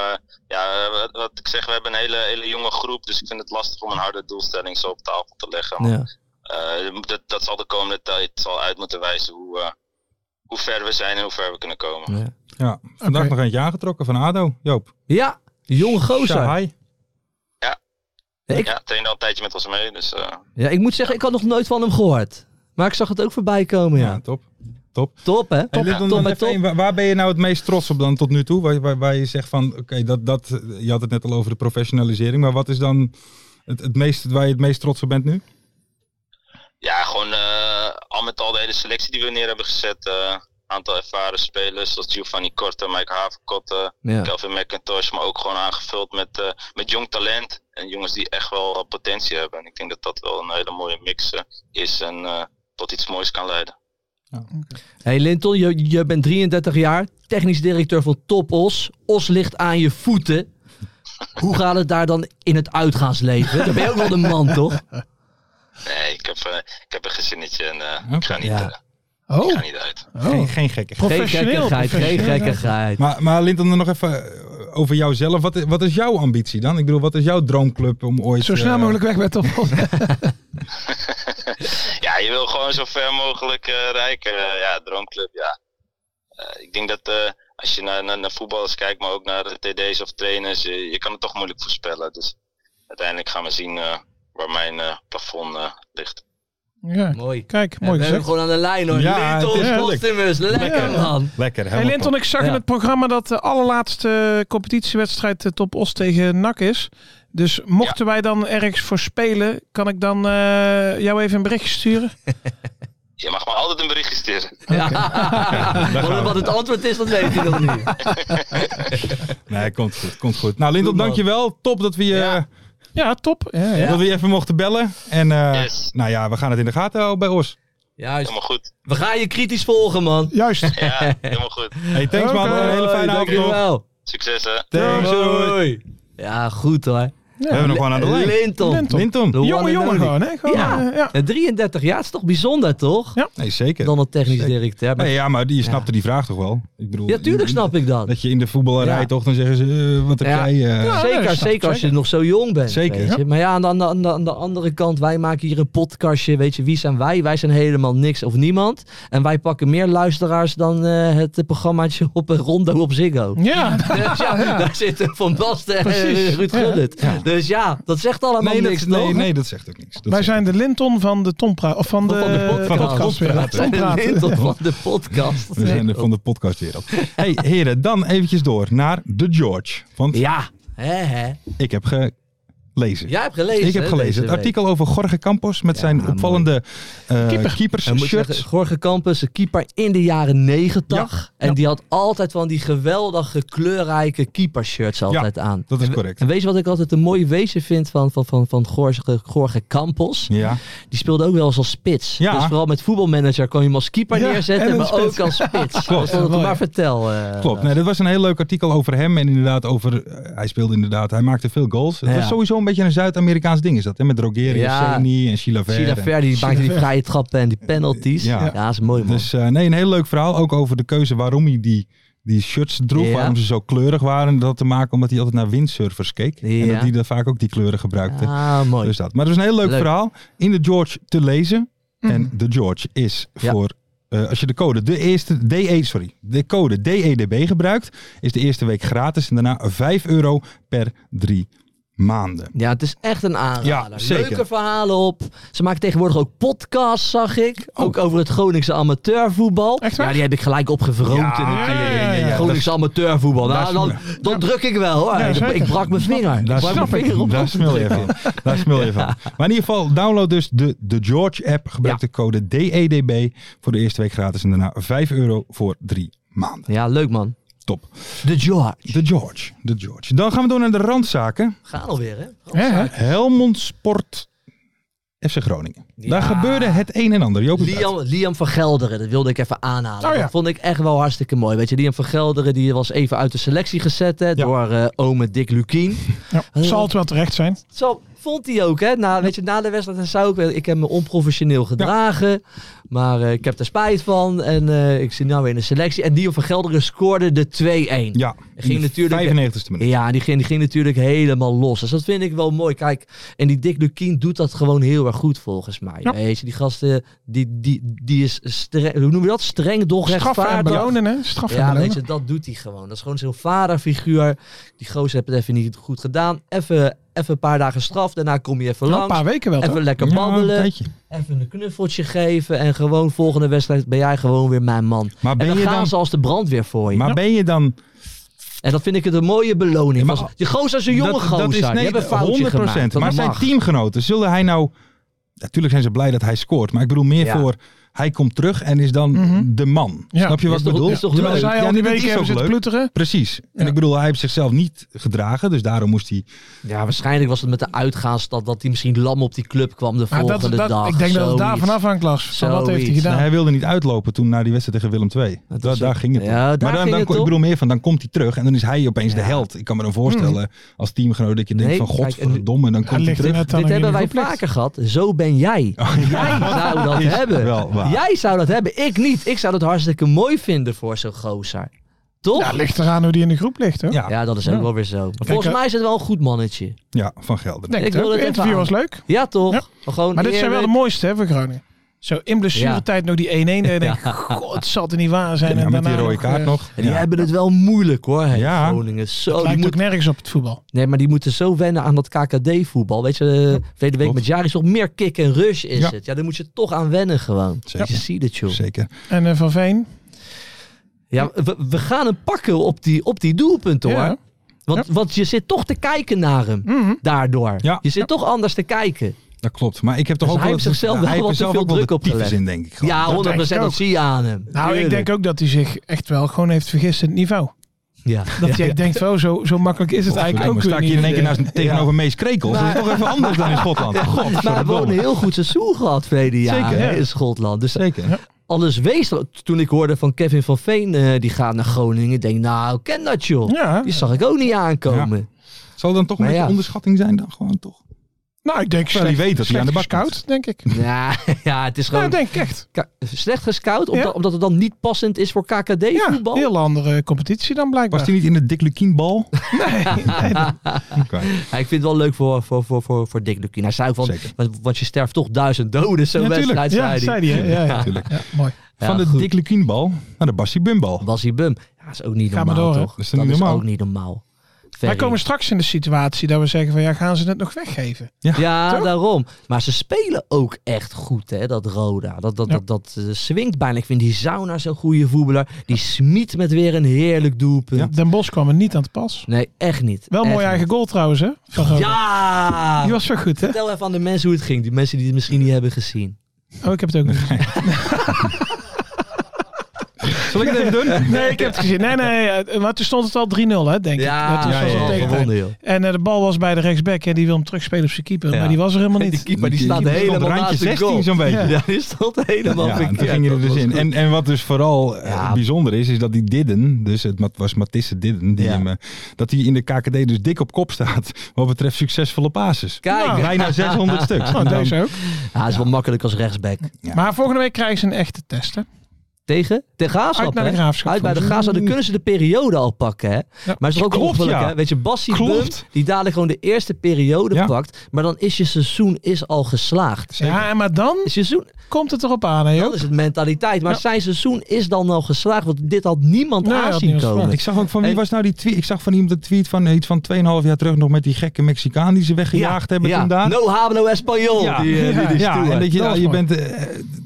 [SPEAKER 1] Ja, eh, wat, wat ik zeg, we hebben een hele, hele jonge groep, dus ik vind het lastig om een harde doelstelling zo op tafel te leggen. Maar, eh, dat, dat zal de komende tijd zal uit moeten wijzen hoe, eh, hoe ver we zijn en hoe ver we kunnen komen.
[SPEAKER 3] Ja, vandaag nog eentje aangetrokken van ADO, Joop.
[SPEAKER 4] Ja, die jonge gozer.
[SPEAKER 3] Shahai.
[SPEAKER 4] Ik-
[SPEAKER 1] Ja, trainde al een tijdje met ons mee, dus eh,
[SPEAKER 4] Ja, ik moet zeggen, ik had nog nooit van hem gehoord. Maar ik zag het ook voorbij komen, ja.
[SPEAKER 3] top. Top.
[SPEAKER 4] Top, hè?
[SPEAKER 3] Hey,
[SPEAKER 4] Top,
[SPEAKER 3] Lip, dan-
[SPEAKER 4] top,
[SPEAKER 3] dan
[SPEAKER 4] top.
[SPEAKER 3] even één. Waar- Waar ben je nou het meest trots op dan tot nu toe? Waar, waar, waar je zegt van, oké, dat, dat, eh, je had het net al over de professionalisering, maar wat is dan het, het meest, waar je het meest trots op bent nu?
[SPEAKER 1] Ja, gewoon eh, al met al de hele selectie die we neer hebben gezet. eh aantal ervaren spelers zoals Giovanni Korte, Mike Haverkotte,
[SPEAKER 4] Ja.
[SPEAKER 1] Kelvin McIntosh. Maar ook gewoon aangevuld met, eh, met jong talent. En jongens die echt wel wat potentie hebben. En ik denk dat dat wel een hele mooie mix eh, is en eh, tot iets moois kan leiden.
[SPEAKER 4] hey Linton, je, je bent 33 jaar, technisch directeur van Top Os. Os ligt aan je voeten. Hoe gaat het daar dan in het uitgaansleven? Dan ben je ook wel de man, toch?
[SPEAKER 1] Nee, ik heb, eh, ik heb een gezinnetje en eh, ik, ga niet, eh, ik
[SPEAKER 5] Oh,
[SPEAKER 1] ga niet uit.
[SPEAKER 5] oh.
[SPEAKER 3] Geen, geen gekke.
[SPEAKER 4] Geen
[SPEAKER 5] Professioneel,
[SPEAKER 4] gekkigheid, geen
[SPEAKER 5] professioneel.
[SPEAKER 4] gekkigheid.
[SPEAKER 3] Maar, maar Linton, dan nog even eh, over jouzelf. Wat, wat is jouw ambitie dan? Ik bedoel, wat is jouw droomclub om ooit...
[SPEAKER 5] Zo snel
[SPEAKER 3] eh,
[SPEAKER 5] mogelijk weg bij Topos.
[SPEAKER 1] ja, je wil gewoon zo ver mogelijk eh rijken. Eh, ja, droomclub, ja. Eh, ik denk dat eh, als je naar, naar, naar voetballers kijkt, maar ook naar de TD's of trainers, je, je kan het toch moeilijk voorspellen. Dus uiteindelijk gaan we zien eh, waar mijn eh, plafond eh, ligt.
[SPEAKER 5] ja.
[SPEAKER 4] Mooi.
[SPEAKER 5] Kijk,
[SPEAKER 4] Ja,
[SPEAKER 5] mooi
[SPEAKER 4] we hebben
[SPEAKER 5] gezegd.
[SPEAKER 4] gewoon aan de lijn, hoor.
[SPEAKER 3] Ja,
[SPEAKER 4] Linton,
[SPEAKER 3] tuurlijk.
[SPEAKER 4] Costimus, lekker, man.
[SPEAKER 3] Lekker,
[SPEAKER 5] Hey
[SPEAKER 3] helemaal
[SPEAKER 5] Linton,
[SPEAKER 3] top.
[SPEAKER 5] ik zag in
[SPEAKER 4] Ja.
[SPEAKER 5] het programma dat de allerlaatste competitiewedstrijd eh, Top Os tegen NAC is. Dus mochten wij dan ergens voor spelen, kan ik dan eh, jou even een berichtje sturen?
[SPEAKER 1] Je mag me altijd een berichtje
[SPEAKER 4] *laughs*
[SPEAKER 1] sturen.
[SPEAKER 4] Ja. Wat- Wat het antwoord is, dat weet ik nog niet.
[SPEAKER 3] Nee, komt goed, komt goed. Nou Linton, dankjewel. Top dat we je...
[SPEAKER 5] Ja, top. Ja, ja.
[SPEAKER 3] Dat we je even mochten bellen. En eh,
[SPEAKER 1] Yes.
[SPEAKER 3] nou ja, we gaan het in de gaten houden bij Os.
[SPEAKER 4] Juist.
[SPEAKER 1] Helemaal goed.
[SPEAKER 4] We gaan je kritisch volgen, man.
[SPEAKER 5] Juist.
[SPEAKER 1] Ja, helemaal goed.
[SPEAKER 3] Hey, thanks man.
[SPEAKER 5] Oké.
[SPEAKER 3] Een hele fijne avond nog.
[SPEAKER 4] Dankjewel.
[SPEAKER 1] Succes hè.
[SPEAKER 3] Thanks, doei.
[SPEAKER 4] Ja, goed hoor.
[SPEAKER 3] We hebben hem gewoon aan de lijn.
[SPEAKER 4] Linton.
[SPEAKER 5] Linton.
[SPEAKER 3] Linton.
[SPEAKER 4] De one
[SPEAKER 5] Jonge
[SPEAKER 4] and
[SPEAKER 5] jongen
[SPEAKER 4] only.
[SPEAKER 5] gewoon, hè? Gewoon,
[SPEAKER 4] Ja.
[SPEAKER 5] eh, ja.
[SPEAKER 4] En 33 jaar, het is toch bijzonder, toch?
[SPEAKER 5] Ja.
[SPEAKER 3] Nee, zeker.
[SPEAKER 4] Dan al technisch directeur. Maar-
[SPEAKER 3] Nee, ja, maar die snapte die vraag toch wel? Ik bedoel,
[SPEAKER 4] Ja, tuurlijk snap ik dat.
[SPEAKER 3] Dat je in de voetballerij
[SPEAKER 4] Ja.
[SPEAKER 3] toch, dan zeggen ze, eh, wat heb
[SPEAKER 4] Ja.
[SPEAKER 3] jij... eh,
[SPEAKER 5] Ja. nee,
[SPEAKER 4] zeker,
[SPEAKER 5] dat snap ik,
[SPEAKER 4] zeker als je
[SPEAKER 5] zeker.
[SPEAKER 4] nog zo jong bent.
[SPEAKER 3] Zeker,
[SPEAKER 4] weet je. Maar ja, aan de, aan, de, aan de- aan de andere kant, wij maken hier een podcastje. Weet je, wie zijn wij? Wij zijn helemaal niks of niemand. En wij pakken meer luisteraars dan eh, het eh, programmaatje *laughs* op een Rondo op Ziggo.
[SPEAKER 5] Ja.
[SPEAKER 4] Dus *laughs* ja, daar zitten Van Basten en
[SPEAKER 5] Precies.
[SPEAKER 4] eh, Ruud
[SPEAKER 5] Ja.
[SPEAKER 4] Gullit. Dus ja, dat zegt allemaal
[SPEAKER 3] Nee,
[SPEAKER 4] niks,
[SPEAKER 3] dat, nee,
[SPEAKER 4] toch?
[SPEAKER 3] nee, dat zegt ook niks. Dat
[SPEAKER 5] Wij
[SPEAKER 3] zegt-
[SPEAKER 5] zijn de Linton van de Tompra. Of van de,
[SPEAKER 4] Van de podcast.
[SPEAKER 5] weer.
[SPEAKER 4] Wij zijn de
[SPEAKER 5] Tompraat.
[SPEAKER 4] Linton van de podcast.
[SPEAKER 3] We zijn de- van de
[SPEAKER 4] *laughs*
[SPEAKER 3] podcastwereld. hey, heren, dan eventjes door naar de George. Want
[SPEAKER 4] Ja, hè, hè.
[SPEAKER 3] ik heb gelezen.
[SPEAKER 4] Jij hebt gelezen.
[SPEAKER 3] ik heb
[SPEAKER 4] hè,
[SPEAKER 3] gelezen.
[SPEAKER 4] deze
[SPEAKER 3] Het
[SPEAKER 4] week.
[SPEAKER 3] artikel over Jorge Campos met
[SPEAKER 4] Ja,
[SPEAKER 3] zijn
[SPEAKER 4] mooi.
[SPEAKER 3] opvallende eh
[SPEAKER 4] En moet zeggen,
[SPEAKER 3] keepers-shirts.
[SPEAKER 4] Jorge Campus, een keeper in de jaren negentig. En die had altijd van die geweldige kleurrijke keepershirts altijd aan.
[SPEAKER 3] Dat is correct.
[SPEAKER 4] En weet je wat ik altijd een mooi wezen vind van, van, van, van Jorge, Jorge Campos?
[SPEAKER 3] Ja.
[SPEAKER 4] Die speelde ook wel eens als spits.
[SPEAKER 3] Ja.
[SPEAKER 4] Dus vooral met voetbalmanager kon je hem als keeper
[SPEAKER 3] Ja, en
[SPEAKER 4] neerzetten,
[SPEAKER 3] een
[SPEAKER 4] maar
[SPEAKER 3] spits.
[SPEAKER 4] ook
[SPEAKER 3] *laughs*
[SPEAKER 4] als spits.
[SPEAKER 3] Klopt.
[SPEAKER 4] Dus dat ik
[SPEAKER 3] Mooi.
[SPEAKER 4] hem maar vertel. eh.
[SPEAKER 3] Klopt. Nee, dat was een heel leuk artikel over hem. En inderdaad over... eh, hij speelde inderdaad... Hij maakte veel goals. Het
[SPEAKER 4] Ja.
[SPEAKER 3] was sowieso een beetje een Zuid-Amerikaans ding is dat. Hè? Met Rogerio,
[SPEAKER 4] Ja.
[SPEAKER 3] Ceni en Chilaver.
[SPEAKER 4] Sila
[SPEAKER 3] En-
[SPEAKER 4] Verdi die maakte die vrije trappen en die penalties.
[SPEAKER 3] Ja.
[SPEAKER 4] Ja, dat is mooi man.
[SPEAKER 3] Dus eh, nee, een heel leuk verhaal. Ook over de keuze waarom hij die, die shirts droeg.
[SPEAKER 4] Ja.
[SPEAKER 3] Waarom ze zo kleurig waren. Dat had te maken omdat hij altijd naar windsurfers keek. En
[SPEAKER 4] Ja.
[SPEAKER 3] dat die daar vaak ook die kleuren gebruikte.
[SPEAKER 4] ah, mooi.
[SPEAKER 3] Dus dat. Maar het was een heel leuk,
[SPEAKER 4] Leuk.
[SPEAKER 3] verhaal. In de George te lezen. En de George is
[SPEAKER 4] Ja.
[SPEAKER 3] voor. eh, als je de code de eerste DE, sorry, de code E DEDB gebruikt, is de eerste week gratis en daarna 5 euro per drie maanden.
[SPEAKER 4] Ja, het is echt een aanrader.
[SPEAKER 3] Ja, zeker.
[SPEAKER 4] Leuke verhalen op. Ze maken tegenwoordig ook podcasts, zag ik.
[SPEAKER 3] Oh.
[SPEAKER 4] Ook over het Groningse amateurvoetbal. Echt Ja, die heb ik gelijk opgevroomd in het Groningse amateurvoetbal. Nou, dan, dan druk ik wel hoor.
[SPEAKER 3] Ja,
[SPEAKER 4] Ik-
[SPEAKER 3] zeker.
[SPEAKER 4] ik brak mijn vinger.
[SPEAKER 3] Daar,
[SPEAKER 4] ik brak mijn
[SPEAKER 3] snap
[SPEAKER 4] vinger
[SPEAKER 3] ik,
[SPEAKER 4] op.
[SPEAKER 3] daar smul je van. Daar smul je van. Maar in ieder geval, download dus de, de George app. Gebruik de code DEDB voor de eerste week gratis. En daarna 5 euro voor drie maanden.
[SPEAKER 4] Ja, leuk man.
[SPEAKER 3] Top.
[SPEAKER 4] De George.
[SPEAKER 3] De George. De George. Dan gaan we door naar de randzaken.
[SPEAKER 4] Gaan alweer hè.
[SPEAKER 3] Helmond Sport FC Groningen. Daar
[SPEAKER 4] Ja.
[SPEAKER 3] gebeurde het een en ander. Joop,
[SPEAKER 4] Liam, Liam van Gelderen, dat wilde ik even aanhalen.
[SPEAKER 3] Oh ja.
[SPEAKER 4] Dat vond ik echt wel hartstikke mooi. Weet je, Liam van Gelderen die was even uit de selectie gezet hè, door eh ome Dick Lukien.
[SPEAKER 5] Ja, zal het wel terecht zijn.
[SPEAKER 4] Zo vond hij ook, hè? Na, weet je, na de wedstrijd dan zou ik wel. Ik heb me onprofessioneel gedragen. Maar eh, ik heb er spijt van. En eh, ik zit nu weer in de selectie. En Dion van Gelderen scoorde de 2-1.
[SPEAKER 3] Ja,
[SPEAKER 4] En ging natuurlijk.
[SPEAKER 3] 95ste minuut.
[SPEAKER 4] Ja, die ging, die ging natuurlijk helemaal los. Dus dat vind ik wel mooi. Kijk, en die Dick Lukien doet dat gewoon heel erg goed volgens mij.
[SPEAKER 5] Ja.
[SPEAKER 4] Weet je, die gasten, die, die, die is streng, hoe noem je dat? Streng, doch
[SPEAKER 5] Straffen en
[SPEAKER 4] rechtvaardig.
[SPEAKER 5] belonen, hè? Straffen en
[SPEAKER 4] Ja, weet
[SPEAKER 5] belonen.
[SPEAKER 4] je, dat doet hij gewoon. Dat is gewoon zo'n vaderfiguur. Die gozer heeft het even niet goed gedaan. Even, even een paar dagen straf. Daarna kom je even
[SPEAKER 5] Nou, een
[SPEAKER 4] langs.
[SPEAKER 5] paar weken wel,
[SPEAKER 4] Even
[SPEAKER 5] toch?
[SPEAKER 4] lekker
[SPEAKER 5] Ja,
[SPEAKER 4] babbelen.
[SPEAKER 5] een tijdje.
[SPEAKER 4] even een knuffeltje geven. En gewoon volgende wedstrijd ben jij gewoon weer mijn man.
[SPEAKER 3] Maar ben
[SPEAKER 4] en dan
[SPEAKER 3] je
[SPEAKER 4] gaan
[SPEAKER 3] dan-
[SPEAKER 4] ze als de brandweer voor je.
[SPEAKER 3] Maar ben je dan...
[SPEAKER 4] En dat vind ik het een mooie beloning. Van- die gozer is een jonge gozer. die hebben een foutje gemaakt. Dat
[SPEAKER 3] Maar zijn
[SPEAKER 4] mag.
[SPEAKER 3] teamgenoten, zullen hij nou... Natuurlijk zijn ze blij dat hij scoort. Maar ik bedoel meer
[SPEAKER 4] Ja.
[SPEAKER 3] voor... Hij komt terug en is dan de man.
[SPEAKER 5] Mhm. Ja.
[SPEAKER 3] Snap je wat
[SPEAKER 4] Is
[SPEAKER 3] ik
[SPEAKER 4] toch-
[SPEAKER 3] bedoel?
[SPEAKER 4] is toch
[SPEAKER 3] Terwijl-
[SPEAKER 4] leuk?
[SPEAKER 5] Zij al
[SPEAKER 3] Ja,
[SPEAKER 5] die
[SPEAKER 3] nee, dat
[SPEAKER 5] weken
[SPEAKER 3] is
[SPEAKER 5] hebben
[SPEAKER 3] ook
[SPEAKER 5] zitten
[SPEAKER 3] leuk.
[SPEAKER 5] ploeteren.
[SPEAKER 3] Precies. En ik bedoel, hij heeft zichzelf niet gedragen. Dus daarom moest hij...
[SPEAKER 4] Ja, waarschijnlijk was het met de uitgaansstad dat hij misschien lam op die club kwam de
[SPEAKER 5] Maar dat,
[SPEAKER 4] volgende
[SPEAKER 5] dat-
[SPEAKER 4] dag.
[SPEAKER 5] ik denk dat het daar
[SPEAKER 4] zoiets.
[SPEAKER 5] vanaf hangt, Lars. Van wat heeft hij
[SPEAKER 4] Zoiets.
[SPEAKER 5] gedaan?
[SPEAKER 3] Nou, hij wilde niet uitlopen toen na die wedstrijd tegen Willem II. Dat
[SPEAKER 4] was
[SPEAKER 3] daar
[SPEAKER 4] het.
[SPEAKER 3] ging het om.
[SPEAKER 4] Ja, daar
[SPEAKER 3] maar dan,
[SPEAKER 4] ging
[SPEAKER 3] dan,
[SPEAKER 4] het
[SPEAKER 3] ik
[SPEAKER 4] om.
[SPEAKER 3] bedoel meer van, dan komt hij terug en dan is hij opeens de held. Ik kan me dan voorstellen als teamgenoot dat je denkt
[SPEAKER 4] Mhm. Nee,
[SPEAKER 3] van
[SPEAKER 4] kijk, en nu-
[SPEAKER 3] godverdomme, dan komt hij
[SPEAKER 5] ligt er
[SPEAKER 3] terug.
[SPEAKER 5] net aan
[SPEAKER 4] Dit
[SPEAKER 5] een
[SPEAKER 4] hebben wij
[SPEAKER 5] nieuwe plek.
[SPEAKER 4] vaker gehad. Zo ben jij.
[SPEAKER 5] Oh.
[SPEAKER 4] Jij zou dat
[SPEAKER 3] Is
[SPEAKER 4] hebben.
[SPEAKER 3] wel waar.
[SPEAKER 4] Jij zou dat hebben. Ik niet. Ik zou dat hartstikke mooi vinden voor zo'n gozer. Toch?
[SPEAKER 5] Ja, ligt eraan hoe die in de groep ligt, hoor.
[SPEAKER 3] Ja,
[SPEAKER 4] Ja, dat is ook wel weer zo. Volgens
[SPEAKER 5] eh,
[SPEAKER 4] mij is het wel een goed mannetje.
[SPEAKER 3] ja, van Gelder.
[SPEAKER 5] Denk
[SPEAKER 4] Ik
[SPEAKER 5] ik
[SPEAKER 4] wil
[SPEAKER 5] het
[SPEAKER 4] het
[SPEAKER 5] Het
[SPEAKER 4] even
[SPEAKER 5] interview was
[SPEAKER 4] aan.
[SPEAKER 5] leuk.
[SPEAKER 4] Ja, toch? Gewoon
[SPEAKER 5] Maar dit zijn wel de
[SPEAKER 4] eerlijk.
[SPEAKER 5] mooiste, hè, voor Groningen. Zo in blessuretijd nog die 1-1. En
[SPEAKER 3] *laughs*
[SPEAKER 5] dan denk ik, god, het zal er niet waar zijn.
[SPEAKER 3] Ja,
[SPEAKER 5] en
[SPEAKER 3] met die
[SPEAKER 5] daarna
[SPEAKER 3] rode
[SPEAKER 5] nog,
[SPEAKER 3] kaart
[SPEAKER 5] eh,
[SPEAKER 3] nog.
[SPEAKER 4] En die
[SPEAKER 3] Ja.
[SPEAKER 4] hebben het wel moeilijk hoor. hè,
[SPEAKER 3] Ja.
[SPEAKER 4] Groningen. Zo, die
[SPEAKER 5] Lijkt ook
[SPEAKER 4] moet,
[SPEAKER 5] nergens op het voetbal.
[SPEAKER 4] nee, maar die moeten zo wennen aan dat KKD-voetbal. Weet je, eh, verleden week
[SPEAKER 3] klopt.
[SPEAKER 4] met Jaris nog meer kick en rush is
[SPEAKER 3] Ja.
[SPEAKER 4] het. Ja, daar moet je toch aan wennen gewoon.
[SPEAKER 3] Zeker.
[SPEAKER 4] Je ziet het, joh.
[SPEAKER 3] Zeker.
[SPEAKER 5] En eh, Van Veen.
[SPEAKER 4] Ja, we, we gaan hem pakken op die, op die doelpunten
[SPEAKER 5] Ja. Mhm.
[SPEAKER 4] hoor. Want, want je zit toch te kijken naar hem. Daardoor.
[SPEAKER 3] Ja.
[SPEAKER 4] Je zit toch anders te kijken.
[SPEAKER 3] Dat klopt. Maar ik heb toch
[SPEAKER 4] Dus
[SPEAKER 3] ook
[SPEAKER 4] hij
[SPEAKER 3] wel
[SPEAKER 4] heeft
[SPEAKER 3] het-
[SPEAKER 4] zichzelf
[SPEAKER 3] hij
[SPEAKER 4] wel wat te
[SPEAKER 3] heeft zelf
[SPEAKER 4] veel
[SPEAKER 3] ook wel
[SPEAKER 4] druk
[SPEAKER 3] de tyfus
[SPEAKER 4] opgelegd.
[SPEAKER 3] in, denk ik. gewoon.
[SPEAKER 4] Ja,
[SPEAKER 5] denk
[SPEAKER 4] 100%
[SPEAKER 5] ik
[SPEAKER 4] dat
[SPEAKER 5] ook.
[SPEAKER 4] zie je aan hem.
[SPEAKER 5] Nou, ik denk ook dat hij zich echt wel gewoon heeft vergist in het niveau.
[SPEAKER 4] Ja.
[SPEAKER 5] Dat hij denkt, oh, zo, zo makkelijk is het eigenlijk
[SPEAKER 3] Godverdomme,
[SPEAKER 5] ook
[SPEAKER 3] sta ik
[SPEAKER 5] weer
[SPEAKER 3] hier in één keer
[SPEAKER 5] niet.
[SPEAKER 3] naast, tegenover Mees Krekels. Dat is toch even anders dan in
[SPEAKER 4] *laughs*
[SPEAKER 3] Schotland.
[SPEAKER 4] Maar we hebben
[SPEAKER 3] Godverdomme.
[SPEAKER 4] een heel goed seizoen gehad verleden jaar
[SPEAKER 3] Zeker,
[SPEAKER 4] hè,
[SPEAKER 3] ja.
[SPEAKER 4] in Schotland. Dus
[SPEAKER 3] Zeker.
[SPEAKER 4] alles wees er- toen ik hoorde van Kevin van Veen, eh, die gaat naar Groningen. Ik denk, nou, ken dat joh.
[SPEAKER 5] Ja.
[SPEAKER 4] Die zag ik ook niet aankomen.
[SPEAKER 3] Zal dan toch een
[SPEAKER 4] Maar
[SPEAKER 3] beetje
[SPEAKER 4] ja.
[SPEAKER 3] onderschatting zijn dan gewoon toch?
[SPEAKER 5] Nou, ik denk
[SPEAKER 3] Terwijl
[SPEAKER 5] slecht,
[SPEAKER 3] hij weet dat hij aan de
[SPEAKER 5] slecht
[SPEAKER 3] bak moet.
[SPEAKER 5] gescout, denk ik.
[SPEAKER 4] Ja, *laughs* ja het is
[SPEAKER 5] Nou,
[SPEAKER 4] gewoon
[SPEAKER 5] ik denk echt.
[SPEAKER 4] ka- slecht gescout, omdat,
[SPEAKER 5] Ja.
[SPEAKER 4] omdat het dan niet passend is voor
[SPEAKER 5] Ja,
[SPEAKER 4] KKD-voetbal.
[SPEAKER 5] heel andere competitie dan blijkbaar.
[SPEAKER 3] Was hij niet in de Dick
[SPEAKER 4] *laughs*
[SPEAKER 3] Lukien bal? nee.
[SPEAKER 4] Ja, ik vind het wel leuk voor, voor, voor, voor, voor Dick Lukien. Hij zei ook van,
[SPEAKER 3] Zeker.
[SPEAKER 4] want, want je sterft toch duizend doden zo'n
[SPEAKER 5] ja, tuurlijk.
[SPEAKER 4] wedstrijd,
[SPEAKER 5] Ja,
[SPEAKER 4] zei hij.
[SPEAKER 5] zei hij. hè. Ja, ja.
[SPEAKER 3] Natuurlijk.
[SPEAKER 5] Ja, mooi.
[SPEAKER 4] Ja,
[SPEAKER 3] Van de
[SPEAKER 4] goed.
[SPEAKER 3] Dick Lukien bal naar de Bassie Bumbal.
[SPEAKER 4] Bassie Bum. Ja, is ook niet
[SPEAKER 5] Ga maar
[SPEAKER 4] normaal,
[SPEAKER 5] door, hè.
[SPEAKER 4] toch?
[SPEAKER 3] Dat is toch niet normaal?
[SPEAKER 4] ook niet normaal.
[SPEAKER 5] Wij
[SPEAKER 4] Ferry.
[SPEAKER 5] komen straks in de situatie dat we zeggen van ja, gaan ze het nog weggeven?
[SPEAKER 4] Ja,
[SPEAKER 5] *laughs* Toch?
[SPEAKER 4] daarom. Maar ze spelen ook echt goed, hè, dat Roda. Dat, dat,
[SPEAKER 5] Ja.
[SPEAKER 4] dat, dat eh, swingt bijna. Ik vind die Sauna zo'n goede voetballer. Die smiet met weer een heerlijk doelpunt.
[SPEAKER 5] Den Bos kwam er niet aan te pas.
[SPEAKER 4] Nee, echt niet.
[SPEAKER 5] Wel
[SPEAKER 4] Echt
[SPEAKER 5] mooi
[SPEAKER 4] niet.
[SPEAKER 5] eigen goal trouwens, hè? Van Roda.
[SPEAKER 4] Ja!
[SPEAKER 5] Die was zo goed, hè?
[SPEAKER 4] Vertel even aan de mensen hoe het ging. Die mensen die het misschien niet hebben gezien.
[SPEAKER 5] Oh, ik heb het ook niet. gezien.
[SPEAKER 3] Zal ik
[SPEAKER 4] *laughs*
[SPEAKER 3] het even doen?
[SPEAKER 5] Nee, ik heb het gezien. Nee, nee, eh, maar toen stond het al 3-0, hè, denk
[SPEAKER 4] Ja,
[SPEAKER 5] ik. Dat
[SPEAKER 4] ja,
[SPEAKER 5] was
[SPEAKER 4] ja,
[SPEAKER 5] al
[SPEAKER 4] ja,
[SPEAKER 5] tegen-
[SPEAKER 4] gewonnen, joh.
[SPEAKER 5] En eh, de bal was bij de rechtsback en die wil hem terugspelen op zijn keeper,
[SPEAKER 4] Ja.
[SPEAKER 5] maar die was er helemaal
[SPEAKER 4] Die
[SPEAKER 5] niet.
[SPEAKER 4] keeper die staat
[SPEAKER 3] keeper stond
[SPEAKER 4] helemaal
[SPEAKER 3] randje
[SPEAKER 4] naast de
[SPEAKER 3] 16
[SPEAKER 4] goal.
[SPEAKER 3] zo'n beetje.
[SPEAKER 4] *laughs* Ja, die stond helemaal
[SPEAKER 3] Ja, en
[SPEAKER 4] verkeerd.
[SPEAKER 3] toen ging je er dus
[SPEAKER 4] Dat was
[SPEAKER 3] in.
[SPEAKER 4] goed.
[SPEAKER 3] En, en wat dus vooral eh,
[SPEAKER 4] Ja.
[SPEAKER 3] bijzonder is, is dat die Didden, dus het mat- was Matisse Didden, die
[SPEAKER 4] Ja.
[SPEAKER 3] hem, eh, dat hij in de KKD dus dik op kop staat *laughs* wat betreft succesvolle pases.
[SPEAKER 4] Kijk.
[SPEAKER 3] Nou,
[SPEAKER 4] *laughs*
[SPEAKER 3] bijna 600 stuks. Nou,
[SPEAKER 5] Oh,
[SPEAKER 4] Nou.
[SPEAKER 3] En dan-
[SPEAKER 5] deze ook.
[SPEAKER 4] Ja, hij is wel makkelijk als rechtsback.
[SPEAKER 3] Ja.
[SPEAKER 5] Maar volgende week krijgen ze een echte test, hè?
[SPEAKER 4] Tegen? Tegen Graafschap,
[SPEAKER 5] Uit naar de
[SPEAKER 4] hè?
[SPEAKER 5] Graafschap,
[SPEAKER 4] Uit bij de
[SPEAKER 5] volgens mij.
[SPEAKER 4] Graafschap. Dan kunnen ze de periode al pakken, hè? Maar het is toch ook een
[SPEAKER 5] Klopt,
[SPEAKER 4] ongeluk,
[SPEAKER 5] ja.
[SPEAKER 4] hè? Weet je, Bassi
[SPEAKER 5] Klopt.
[SPEAKER 4] Bum, die dadelijk gewoon de eerste periode pakt. Maar dan is je seizoen is al geslaagd.
[SPEAKER 5] Ja, maar dan
[SPEAKER 4] seizoen,
[SPEAKER 5] komt het erop aan, hè, joh?
[SPEAKER 4] Dat is het mentaliteit. Maar zijn seizoen is dan al geslaagd. Want dit had niemand
[SPEAKER 5] Nee, had
[SPEAKER 4] aanzien
[SPEAKER 5] niemand
[SPEAKER 4] komen.
[SPEAKER 5] verwacht.
[SPEAKER 3] Ik zag ook van wie
[SPEAKER 4] En-
[SPEAKER 3] was nou die tweet? Ik zag van iemand een tweet van iets van 2,5 jaar terug nog met die gekke Mexicaan die ze weggejaagd hebben
[SPEAKER 4] ja.
[SPEAKER 3] toen daar.
[SPEAKER 4] No hablo español.
[SPEAKER 3] Ja,
[SPEAKER 4] die, eh, die- die
[SPEAKER 3] ja,
[SPEAKER 4] stoer.
[SPEAKER 3] en dat je,
[SPEAKER 4] was
[SPEAKER 3] je
[SPEAKER 4] mooi.
[SPEAKER 3] bent eh,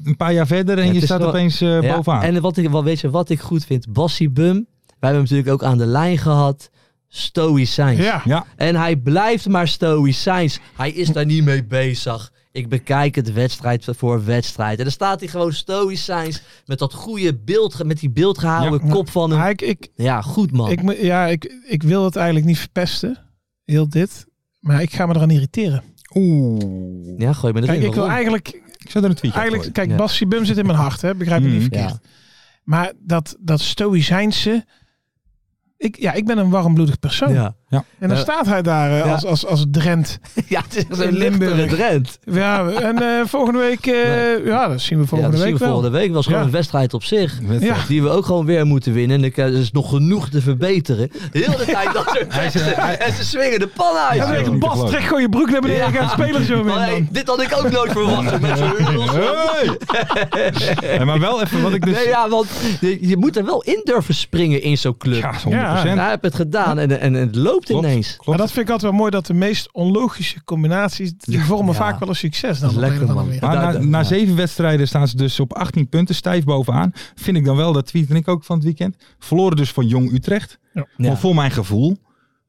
[SPEAKER 3] een paar jaar verder en
[SPEAKER 4] Het
[SPEAKER 3] je
[SPEAKER 4] is
[SPEAKER 3] staat
[SPEAKER 4] wel-
[SPEAKER 3] opeens eh,
[SPEAKER 4] Ja,
[SPEAKER 3] bovenaan.
[SPEAKER 4] En wat ik, wel, weet je wat ik goed vind? Bassie Bum. Wij hebben hem natuurlijk ook aan de lijn gehad. Stoïcijns.
[SPEAKER 5] Ja.
[SPEAKER 3] ja.
[SPEAKER 4] En hij blijft maar stoïcijns. Hij is daar niet mee bezig. Ik bekijk het wedstrijd voor wedstrijd. En dan staat hij gewoon stoïcijns. Met dat goede beeld. Met die beeldgehouden kop van hem.
[SPEAKER 5] Ja, ik, ik,
[SPEAKER 4] Ja, goed man.
[SPEAKER 5] ik, moet- ja ik, ik wil het eigenlijk niet verpesten, heel dit. Maar ik ga me eraan irriteren.
[SPEAKER 3] Oeh.
[SPEAKER 4] ja, gooi me erin.
[SPEAKER 5] Kijk, ik wil
[SPEAKER 4] waarom?
[SPEAKER 5] eigenlijk
[SPEAKER 3] Ik zou er een
[SPEAKER 5] Eigenlijk,
[SPEAKER 3] tweetje Eigenlijk...
[SPEAKER 5] kijk,
[SPEAKER 4] Ja. Mm.
[SPEAKER 5] Bassi Bum zit in mijn hart, hè? begrijp je niet
[SPEAKER 3] Mhm.
[SPEAKER 5] verkeerd. Maar dat, dat stoïcijnse... Ik, ja, ik ben een warmbloedig persoon.
[SPEAKER 4] Ja,
[SPEAKER 5] En dan
[SPEAKER 4] Eh,
[SPEAKER 5] staat hij daar eh,
[SPEAKER 4] ja.
[SPEAKER 5] als, als, als Drent.
[SPEAKER 4] *laughs* ja het is een
[SPEAKER 5] In Limburg.
[SPEAKER 4] Limburg. Drent.
[SPEAKER 5] Ja, en eh, volgende week... eh,
[SPEAKER 4] Nee.
[SPEAKER 5] Ja, dat zien we
[SPEAKER 4] ja,
[SPEAKER 5] volgende
[SPEAKER 4] dat zien
[SPEAKER 5] week
[SPEAKER 4] we
[SPEAKER 5] wel.
[SPEAKER 4] volgende week. was gewoon
[SPEAKER 5] Ja.
[SPEAKER 4] een wedstrijd op zich.
[SPEAKER 5] Ja.
[SPEAKER 4] Die we ook gewoon weer moeten winnen. En ik- eh, er is nog genoeg te verbeteren. Heel de tijd dat soort teksten. En ze swingen de pan uit.
[SPEAKER 5] Ja, dan denk ik,
[SPEAKER 3] Ja.
[SPEAKER 5] Bas, trek gewoon je broek naar beneden. Ik ga spelen zo
[SPEAKER 4] Maar
[SPEAKER 5] weer.
[SPEAKER 4] hey, dit had ik ook nooit verwacht. Met zo'n hurdels. *laughs*
[SPEAKER 3] Ja, maar wel even wat ik dus...
[SPEAKER 4] Nee, ja, want je, je moet er wel in durven springen in zo'n club.
[SPEAKER 3] Ja, 100%.
[SPEAKER 4] Ja, hij heeft het gedaan en, en, en het loopt
[SPEAKER 3] Klopt,
[SPEAKER 4] ineens.
[SPEAKER 3] klopt.
[SPEAKER 5] Maar dat vind ik altijd wel mooi, dat de meest onlogische combinaties... die vormen
[SPEAKER 4] Ja.
[SPEAKER 5] vaak wel een succes dan. op
[SPEAKER 4] Lekker,
[SPEAKER 5] een of andere
[SPEAKER 4] man.
[SPEAKER 5] manier.
[SPEAKER 3] Maar
[SPEAKER 4] Ja,
[SPEAKER 3] na,
[SPEAKER 4] daar-
[SPEAKER 3] na
[SPEAKER 4] ja.
[SPEAKER 3] zeven wedstrijden staan ze dus op 18 punten, stijf bovenaan. Vind ik dan wel, dat tweet en ik ook van het weekend. Verloren dus van Jong Utrecht.
[SPEAKER 4] Ja.
[SPEAKER 3] Maar voor mijn gevoel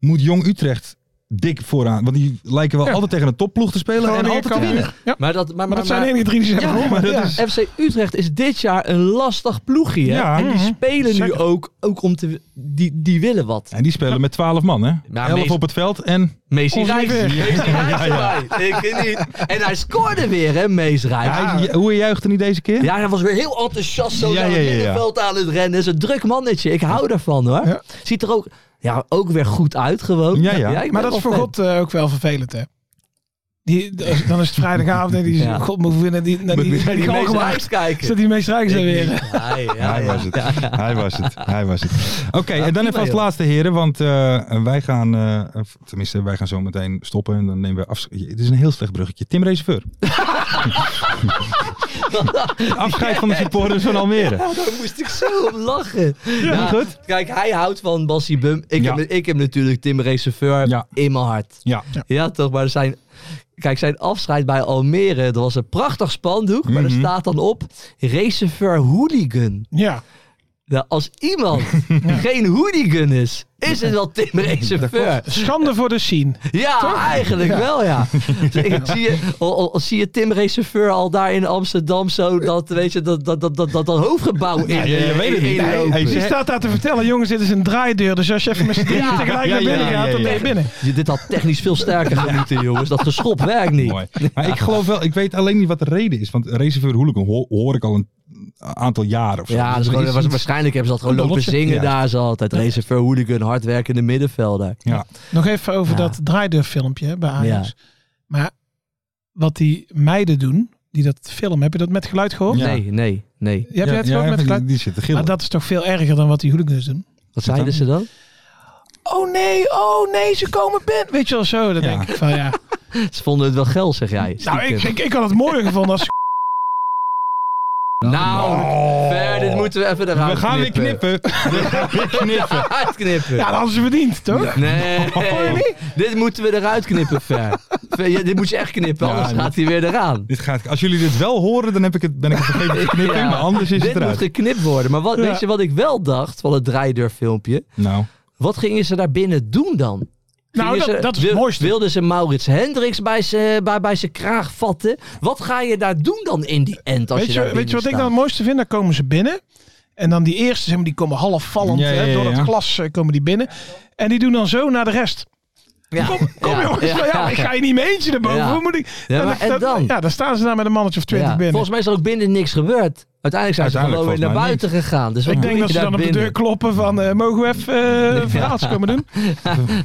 [SPEAKER 3] moet Jong Utrecht dik vooraan. Want die lijken wel
[SPEAKER 5] Ja.
[SPEAKER 3] altijd tegen een topploeg te spelen en
[SPEAKER 5] Groningen
[SPEAKER 3] altijd te
[SPEAKER 5] kan-
[SPEAKER 3] winnen.
[SPEAKER 5] Ja.
[SPEAKER 4] Maar dat, maar, maar,
[SPEAKER 5] Maar dat zijn de
[SPEAKER 4] maar-
[SPEAKER 5] enige drie die zijn gewonnen.
[SPEAKER 3] maar dat
[SPEAKER 5] Ja.
[SPEAKER 3] is-
[SPEAKER 4] FC Utrecht is dit jaar een lastig ploegje. hè?
[SPEAKER 3] Ja,
[SPEAKER 4] en die
[SPEAKER 3] mhm.
[SPEAKER 4] spelen nu
[SPEAKER 3] Zeker.
[SPEAKER 4] ook, ook om te... Die, die willen wat.
[SPEAKER 3] En die spelen met 12 man, hè?
[SPEAKER 4] Ja,
[SPEAKER 3] 11
[SPEAKER 4] meest-
[SPEAKER 3] op het veld en...
[SPEAKER 4] Mees
[SPEAKER 5] Ons
[SPEAKER 4] Rijks.
[SPEAKER 5] niet
[SPEAKER 4] Mees
[SPEAKER 5] weer.
[SPEAKER 4] Rijks erbij. *laughs* Ik niet. En hij scoorde weer, hè, Mees Rijks.
[SPEAKER 3] Ja, je- hoe juichte hij deze keer?
[SPEAKER 4] Ja, hij was weer heel enthousiast zo
[SPEAKER 3] Ja,
[SPEAKER 4] naar
[SPEAKER 3] ja,
[SPEAKER 4] het
[SPEAKER 3] ja, ja.
[SPEAKER 4] middenveld aan het rennen. Is een druk mannetje. Ik hou daarvan hoor.
[SPEAKER 5] Ja.
[SPEAKER 4] Ziet er ook, ja, ook weer goed uit gewoon.
[SPEAKER 3] Ja, ja.
[SPEAKER 4] ik
[SPEAKER 5] Maar
[SPEAKER 4] ben
[SPEAKER 5] dat is
[SPEAKER 4] wel
[SPEAKER 5] voor
[SPEAKER 4] fan.
[SPEAKER 5] God eh, ook wel vervelend, hè? Die, dan is het vrijdagavond en die
[SPEAKER 4] *laughs* Ja.
[SPEAKER 5] God moet weer naar die, naar die,
[SPEAKER 4] Moet
[SPEAKER 5] naar
[SPEAKER 4] naar
[SPEAKER 5] die
[SPEAKER 4] die
[SPEAKER 5] galgenwaard.
[SPEAKER 4] Mees Rijks kijken.
[SPEAKER 5] Zet die meest rijk zijn weer.
[SPEAKER 4] Ja, ja, ja,
[SPEAKER 3] Hij
[SPEAKER 4] ja.
[SPEAKER 3] was het. Hij was het. Hij was
[SPEAKER 4] *laughs*
[SPEAKER 3] het. Oké, en dan
[SPEAKER 4] prima,
[SPEAKER 3] even als
[SPEAKER 4] joh.
[SPEAKER 3] laatste heren, want eh, wij gaan, eh, of tenminste wij gaan zo meteen stoppen en dan nemen we afscheid. Het is een heel slecht bruggetje. Tim Reserveur.
[SPEAKER 4] *laughs*
[SPEAKER 3] afscheid van de supporters van Almere.
[SPEAKER 4] Oh, *laughs* daar moest ik zo om lachen. Ja,
[SPEAKER 3] goed.
[SPEAKER 4] Kijk, hij houdt van Bassie Bum. Ik,
[SPEAKER 3] Ja.
[SPEAKER 4] heb, ik heb natuurlijk Tim Reserveur
[SPEAKER 3] Ja.
[SPEAKER 4] in mijn hart.
[SPEAKER 3] Ja.
[SPEAKER 4] Ja, toch, maar zijn. Kijk, zijn afscheid bij Almere, dat was een prachtig spandoek, maar er
[SPEAKER 3] Mhm.
[SPEAKER 4] staat dan op: Reserveur Hooligan.
[SPEAKER 5] Ja.
[SPEAKER 4] Nou, als
[SPEAKER 3] *laughs*
[SPEAKER 4] iemand geen hooligan is, is het wel Tim Reserveur.
[SPEAKER 5] Schande voor de scene.
[SPEAKER 4] Ja, eigenlijk wel,
[SPEAKER 3] *laughs*
[SPEAKER 4] ja. Dus Ik zie, je, al, al- al zie je Tim Reserveur al daar in Amsterdam zo dat, weet je, dat, dat, dat, dat, dat, dat hoofdgebouw in.
[SPEAKER 3] je- je weet het
[SPEAKER 4] in-
[SPEAKER 3] niet.
[SPEAKER 4] in-
[SPEAKER 3] Nee,
[SPEAKER 4] lopen.
[SPEAKER 3] hij
[SPEAKER 5] Die staat daar te vertellen, jongens, dit is een draaideur. Dus als je even met z'n drieën
[SPEAKER 4] Ja.
[SPEAKER 5] tegelijk
[SPEAKER 3] Ja,
[SPEAKER 5] naar
[SPEAKER 3] ja,
[SPEAKER 5] binnen
[SPEAKER 3] ja,
[SPEAKER 5] gaat, dan
[SPEAKER 3] ja,
[SPEAKER 5] ben je
[SPEAKER 3] ja.
[SPEAKER 5] binnen.
[SPEAKER 4] Dit had technisch veel sterker gemoeten, jongens. Dat geschop werkt niet.
[SPEAKER 3] Mooi. Maar ik geloof wel, ik weet alleen niet wat de reden is. Want Reserveur Hooligan hoor, hoor ik al een aantal jaren of zo.
[SPEAKER 4] Ja, dat is
[SPEAKER 3] Er
[SPEAKER 4] gewoon,
[SPEAKER 3] iets-
[SPEAKER 4] waarschijnlijk hebben ze dat gewoon
[SPEAKER 3] Een
[SPEAKER 4] lopen
[SPEAKER 3] bolletje.
[SPEAKER 4] zingen
[SPEAKER 3] Ja.
[SPEAKER 4] daar. Ze altijd Reserveur Hooligan, hardwerkende middenvelder.
[SPEAKER 3] Ja.
[SPEAKER 5] Nog even over
[SPEAKER 4] Ja.
[SPEAKER 5] dat draaideurfilmpje hè, bij Ajax. Maar wat die meiden doen, die dat film, heb je dat met geluid gehoord?
[SPEAKER 3] Ja.
[SPEAKER 4] Nee, nee, nee.
[SPEAKER 5] Heb je het
[SPEAKER 3] ja,
[SPEAKER 5] gehoord met
[SPEAKER 3] die-
[SPEAKER 5] geluid?
[SPEAKER 3] Die zitten
[SPEAKER 5] Maar
[SPEAKER 3] gillen.
[SPEAKER 5] dat is toch veel erger dan wat die hooligans doen?
[SPEAKER 4] Wat zeiden ze dan?
[SPEAKER 5] Oh nee, oh nee, ze komen binnen. Weet je wel zo, dan
[SPEAKER 3] Ja.
[SPEAKER 5] denk ik van
[SPEAKER 3] *laughs*
[SPEAKER 5] ja.
[SPEAKER 4] Ze vonden het wel geil, zeg jij.
[SPEAKER 5] Nou,
[SPEAKER 4] stiekem.
[SPEAKER 5] ik, ik, ik had het mooier gevonden als *laughs*
[SPEAKER 4] Nou, ver, dit moeten we even eruit
[SPEAKER 3] We gaan weer knippen. We gaan weer
[SPEAKER 4] *laughs*
[SPEAKER 3] knippen.
[SPEAKER 4] Uitknippen.
[SPEAKER 5] Ja, dat hadden ze verdiend, toch?
[SPEAKER 3] *laughs*
[SPEAKER 4] Nee, dit moeten we eruit knippen, Fer. Fer, ja, dit moet je echt knippen,
[SPEAKER 3] Ja,
[SPEAKER 4] anders
[SPEAKER 3] dit-
[SPEAKER 4] gaat hij weer eraan.
[SPEAKER 3] Dit gaat, als jullie dit wel horen, dan heb ik het, ben ik het vergeten
[SPEAKER 4] *laughs*
[SPEAKER 3] te knippen.
[SPEAKER 4] Ja,
[SPEAKER 3] Maar anders is
[SPEAKER 4] dit
[SPEAKER 3] het
[SPEAKER 4] moet
[SPEAKER 3] eruit.
[SPEAKER 4] geknipt worden. Maar wat,
[SPEAKER 5] Ja.
[SPEAKER 4] weet je wat ik wel dacht van het draaideurfilmpje?
[SPEAKER 3] Nou,
[SPEAKER 4] Wat gingen ze daar binnen doen dan?
[SPEAKER 5] Nou,
[SPEAKER 4] Gingen
[SPEAKER 5] dat,
[SPEAKER 4] ze-
[SPEAKER 5] dat is het
[SPEAKER 4] wil-
[SPEAKER 5] mooiste.
[SPEAKER 4] Wilden ze Maurits Hendricks bij zijn bij, bij zijn kraag vatten? Wat ga je daar doen dan in die end als
[SPEAKER 5] Weet je,
[SPEAKER 4] daar
[SPEAKER 5] weet je wat
[SPEAKER 4] binnen
[SPEAKER 5] ik dan het
[SPEAKER 4] staat?
[SPEAKER 5] mooiste vind? Dan komen ze binnen. En dan die eerste, zeg maar, die komen half vallend
[SPEAKER 3] Ja, ja,
[SPEAKER 5] hè, door
[SPEAKER 3] ja,
[SPEAKER 5] dat
[SPEAKER 3] ja.
[SPEAKER 5] glas eh, komen die binnen. En die doen dan zo naar de rest.
[SPEAKER 4] Ja.
[SPEAKER 5] Kom, kom
[SPEAKER 4] Ja,
[SPEAKER 5] jongens,
[SPEAKER 4] ja.
[SPEAKER 5] maar ja, ik ga je niet mee eentje naar boven.
[SPEAKER 4] Ja.
[SPEAKER 5] Hoe moet ik...
[SPEAKER 4] Ja, maar en
[SPEAKER 5] dat-
[SPEAKER 4] dan?
[SPEAKER 5] Ja, dan staan ze daar met een mannetje of twintig
[SPEAKER 4] Ja,
[SPEAKER 5] binnen.
[SPEAKER 4] Volgens mij is er ook binnen niks gebeurd. Uiteindelijk zijn ze
[SPEAKER 3] Uiteindelijk
[SPEAKER 4] gewoon weer naar
[SPEAKER 3] volgens mij
[SPEAKER 4] buiten gegaan. Dus wat
[SPEAKER 5] ik
[SPEAKER 4] doe
[SPEAKER 5] denk
[SPEAKER 4] je
[SPEAKER 5] dat ze
[SPEAKER 4] daar
[SPEAKER 5] dan op de
[SPEAKER 4] binnen?
[SPEAKER 5] deur kloppen van eh, mogen we even eh
[SPEAKER 4] Ja.
[SPEAKER 5] verhaaltje komen
[SPEAKER 4] *laughs*
[SPEAKER 5] doen?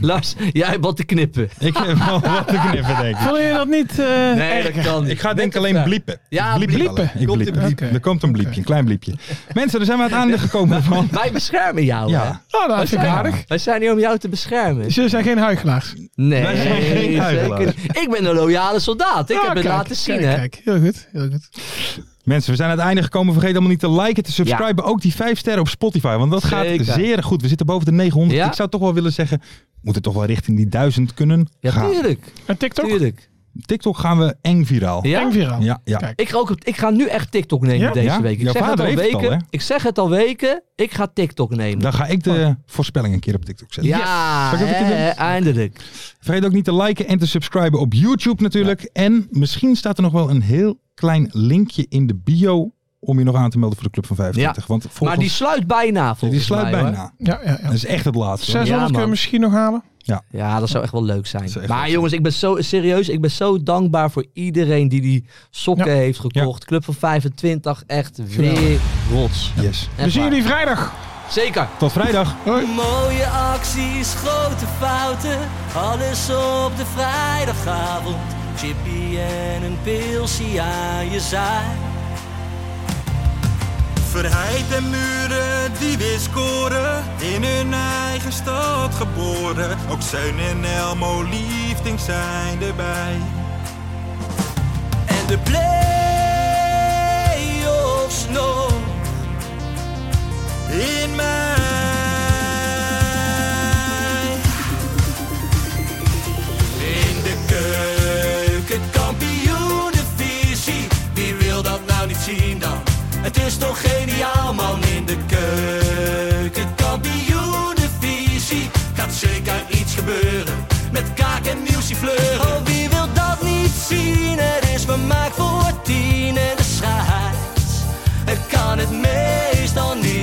[SPEAKER 4] Lars, jij hebt wat te knippen.
[SPEAKER 3] Ik heb
[SPEAKER 4] *laughs*
[SPEAKER 3] wel wat te knippen, denk ik.
[SPEAKER 5] Vond je dat niet? eh,
[SPEAKER 4] Nee, dat kan niet.
[SPEAKER 3] Ik ga denk
[SPEAKER 4] Met
[SPEAKER 3] ik alleen
[SPEAKER 4] elkaar.
[SPEAKER 3] bliepen.
[SPEAKER 4] Ja,
[SPEAKER 3] Bliep
[SPEAKER 4] bliepen.
[SPEAKER 3] alleen. Ik
[SPEAKER 4] Komt
[SPEAKER 3] bliep.
[SPEAKER 4] een
[SPEAKER 5] bliep.
[SPEAKER 3] Er komt een bliepje, een klein bliepje. Mensen, daar zijn we aan het einde gekomen van.
[SPEAKER 4] Wij beschermen jou, hè?
[SPEAKER 3] Ja.
[SPEAKER 5] Nou, dat
[SPEAKER 4] Wij
[SPEAKER 5] is ik
[SPEAKER 4] zijn,
[SPEAKER 5] aardig.
[SPEAKER 4] wij zijn hier om jou te beschermen.
[SPEAKER 5] Ze zijn geen huigelaars.
[SPEAKER 4] Nee,
[SPEAKER 3] Wij zijn geen
[SPEAKER 4] zeker
[SPEAKER 3] huichelaars.
[SPEAKER 4] niet. Ik ben een loyale soldaat. Ik
[SPEAKER 5] Ja,
[SPEAKER 4] heb het
[SPEAKER 5] Ah, kijk,
[SPEAKER 4] laten zien,
[SPEAKER 5] kijk,
[SPEAKER 4] hè?
[SPEAKER 5] Kijk, heel goed, heel goed.
[SPEAKER 3] Mensen, we zijn aan het einde gekomen. Vergeet allemaal niet te liken, te subscriben. Ook die 5 sterren op Spotify, want dat gaat
[SPEAKER 4] Zeker.
[SPEAKER 3] zeer goed. We zitten boven de 900.
[SPEAKER 4] Ja.
[SPEAKER 3] Ik zou toch wel willen zeggen, we moeten toch wel richting die 1000 kunnen
[SPEAKER 4] Ja,
[SPEAKER 3] gaan.
[SPEAKER 4] tuurlijk.
[SPEAKER 5] En TikTok?
[SPEAKER 4] tuurlijk.
[SPEAKER 3] TikTok gaan we eng viraal.
[SPEAKER 4] Ja?
[SPEAKER 5] Eng viraal.
[SPEAKER 3] Ja, ja.
[SPEAKER 5] Kijk.
[SPEAKER 4] Ik ga, ook, op- ik ga nu echt TikTok nemen
[SPEAKER 5] Ja?
[SPEAKER 4] deze
[SPEAKER 3] Ja?
[SPEAKER 4] week. Ik
[SPEAKER 3] Jouw
[SPEAKER 4] zeg het
[SPEAKER 3] vader
[SPEAKER 4] al
[SPEAKER 3] heeft het
[SPEAKER 4] weken.
[SPEAKER 3] al, hè?
[SPEAKER 4] ik zeg het al weken. Ik ga TikTok nemen.
[SPEAKER 3] Dan ga ik de voorspelling een keer op TikTok zetten.
[SPEAKER 4] ja,
[SPEAKER 3] Zal ik dat een keer
[SPEAKER 4] hè,
[SPEAKER 3] doen?
[SPEAKER 4] eindelijk.
[SPEAKER 3] Vergeet ook niet te liken en te subscriben op YouTube natuurlijk. En misschien staat er nog wel een heel klein linkje in de bio om je nog aan te melden voor de Club van 25. Want volgens,
[SPEAKER 4] Maar die sluit bijna,
[SPEAKER 3] die
[SPEAKER 4] volgens
[SPEAKER 3] sluit
[SPEAKER 4] mij, hoor.
[SPEAKER 3] bijna.
[SPEAKER 5] Ja, ja, ja.
[SPEAKER 3] Dat is echt het laatste. hoor.
[SPEAKER 5] 600
[SPEAKER 4] Ja, man.
[SPEAKER 5] kunnen we misschien nog halen.
[SPEAKER 4] Ja, dat zou echt wel leuk zijn.
[SPEAKER 3] Dat zou echt
[SPEAKER 4] Maar
[SPEAKER 3] leuk
[SPEAKER 4] jongens, ik ben zo serieus. Ik ben zo dankbaar voor iedereen die die sokken
[SPEAKER 5] Ja.
[SPEAKER 4] heeft gekocht. Club van 25, echt weer rots.
[SPEAKER 3] Yes.
[SPEAKER 4] Echt
[SPEAKER 5] We zien
[SPEAKER 4] waar.
[SPEAKER 5] jullie vrijdag.
[SPEAKER 4] Zeker.
[SPEAKER 3] Tot vrijdag.
[SPEAKER 2] Mooie acties, grote fouten, alles op de vrijdagavond. Chippy en een pilsie aan je zaai.
[SPEAKER 7] Verheid en muren die weer scoren, in hun eigen stad geboren. Ook Zijn en Elmo liefding zijn erbij.
[SPEAKER 2] En de play-offs nog
[SPEAKER 7] In mij.
[SPEAKER 2] in de keuken, kampioen de visie. Wie wil dat nou niet zien dan? Het is toch geniaal man in de keuken, kampioen de visie. Gaat zeker iets gebeuren met kaak en nieuwsie fleuren. Oh, wie wil dat niet zien? Het is vermaakt voor tien en de scheids. Het kan het meestal niet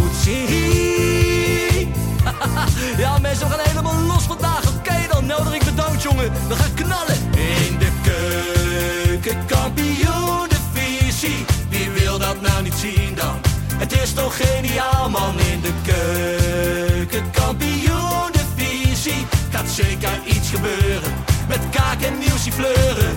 [SPEAKER 2] goed zien. Ja, mensen, we gaan helemaal los vandaag. Oké, dan nodig ik bedankt, jongen. We gaan knallen. In de keuken, kampioen, de visie. Wie wil dat nou niet zien dan? Het is toch geniaal, man. In de keuken, kampioen, de visie. Gaat zeker iets gebeuren. Met kaak en nieuwsie fleuren.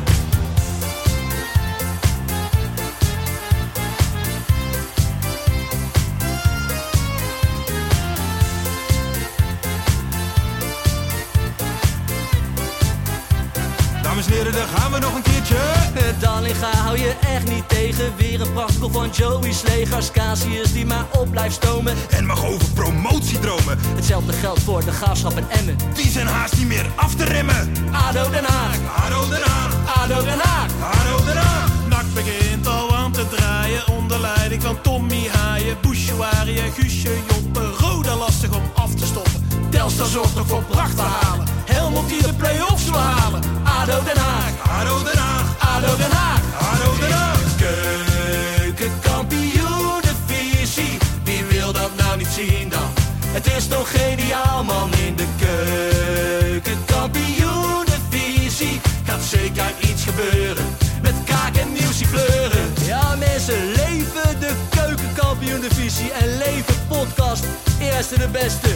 [SPEAKER 7] Dames en heren, daar gaan we nog een keertje.
[SPEAKER 2] Eh, Dallinga hou je echt niet tegen. Weer een prachtkel van Joey's legers. Casius die maar op blijft stomen. Eh,
[SPEAKER 7] En mag over promotiedromen,
[SPEAKER 2] Hetzelfde geldt voor de graafschap en Emmen.
[SPEAKER 7] die zijn haast niet meer af te remmen.
[SPEAKER 2] ADO Den Haag.
[SPEAKER 7] Haro eraan,
[SPEAKER 2] ADO Den Haag.
[SPEAKER 7] haro eraan.
[SPEAKER 2] Nak begint al aan te draaien onder leiding van Tommy Haaien, Bouchouari en Guusje Joppen. Roda lastig om af te stoppen. Telstar zorgt nog voor pracht te halen. Helmond die de play-offs wil halen. ADO Den Haag. ADO Den Haag. ADO Den Haag. ADO Den Haag. Keukenkampioenenvisie. Wie wil dat nou niet zien dan? Het is toch geniaal man in de keukenkampioenenvisie. Gaat zeker iets gebeuren. Met kaak en nieuwsie kleuren. Ja mensen, leven de keukenkampioenenvisie. En leven podcast. Eerste de beste.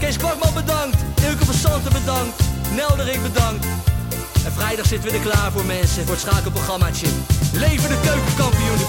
[SPEAKER 2] Kees Kwakman bedankt. Ilke van Santen bedankt. Nelderik bedankt. En vrijdag zitten we er klaar voor mensen, voor het schakelprogrammaatje. Leven de keukenkampioen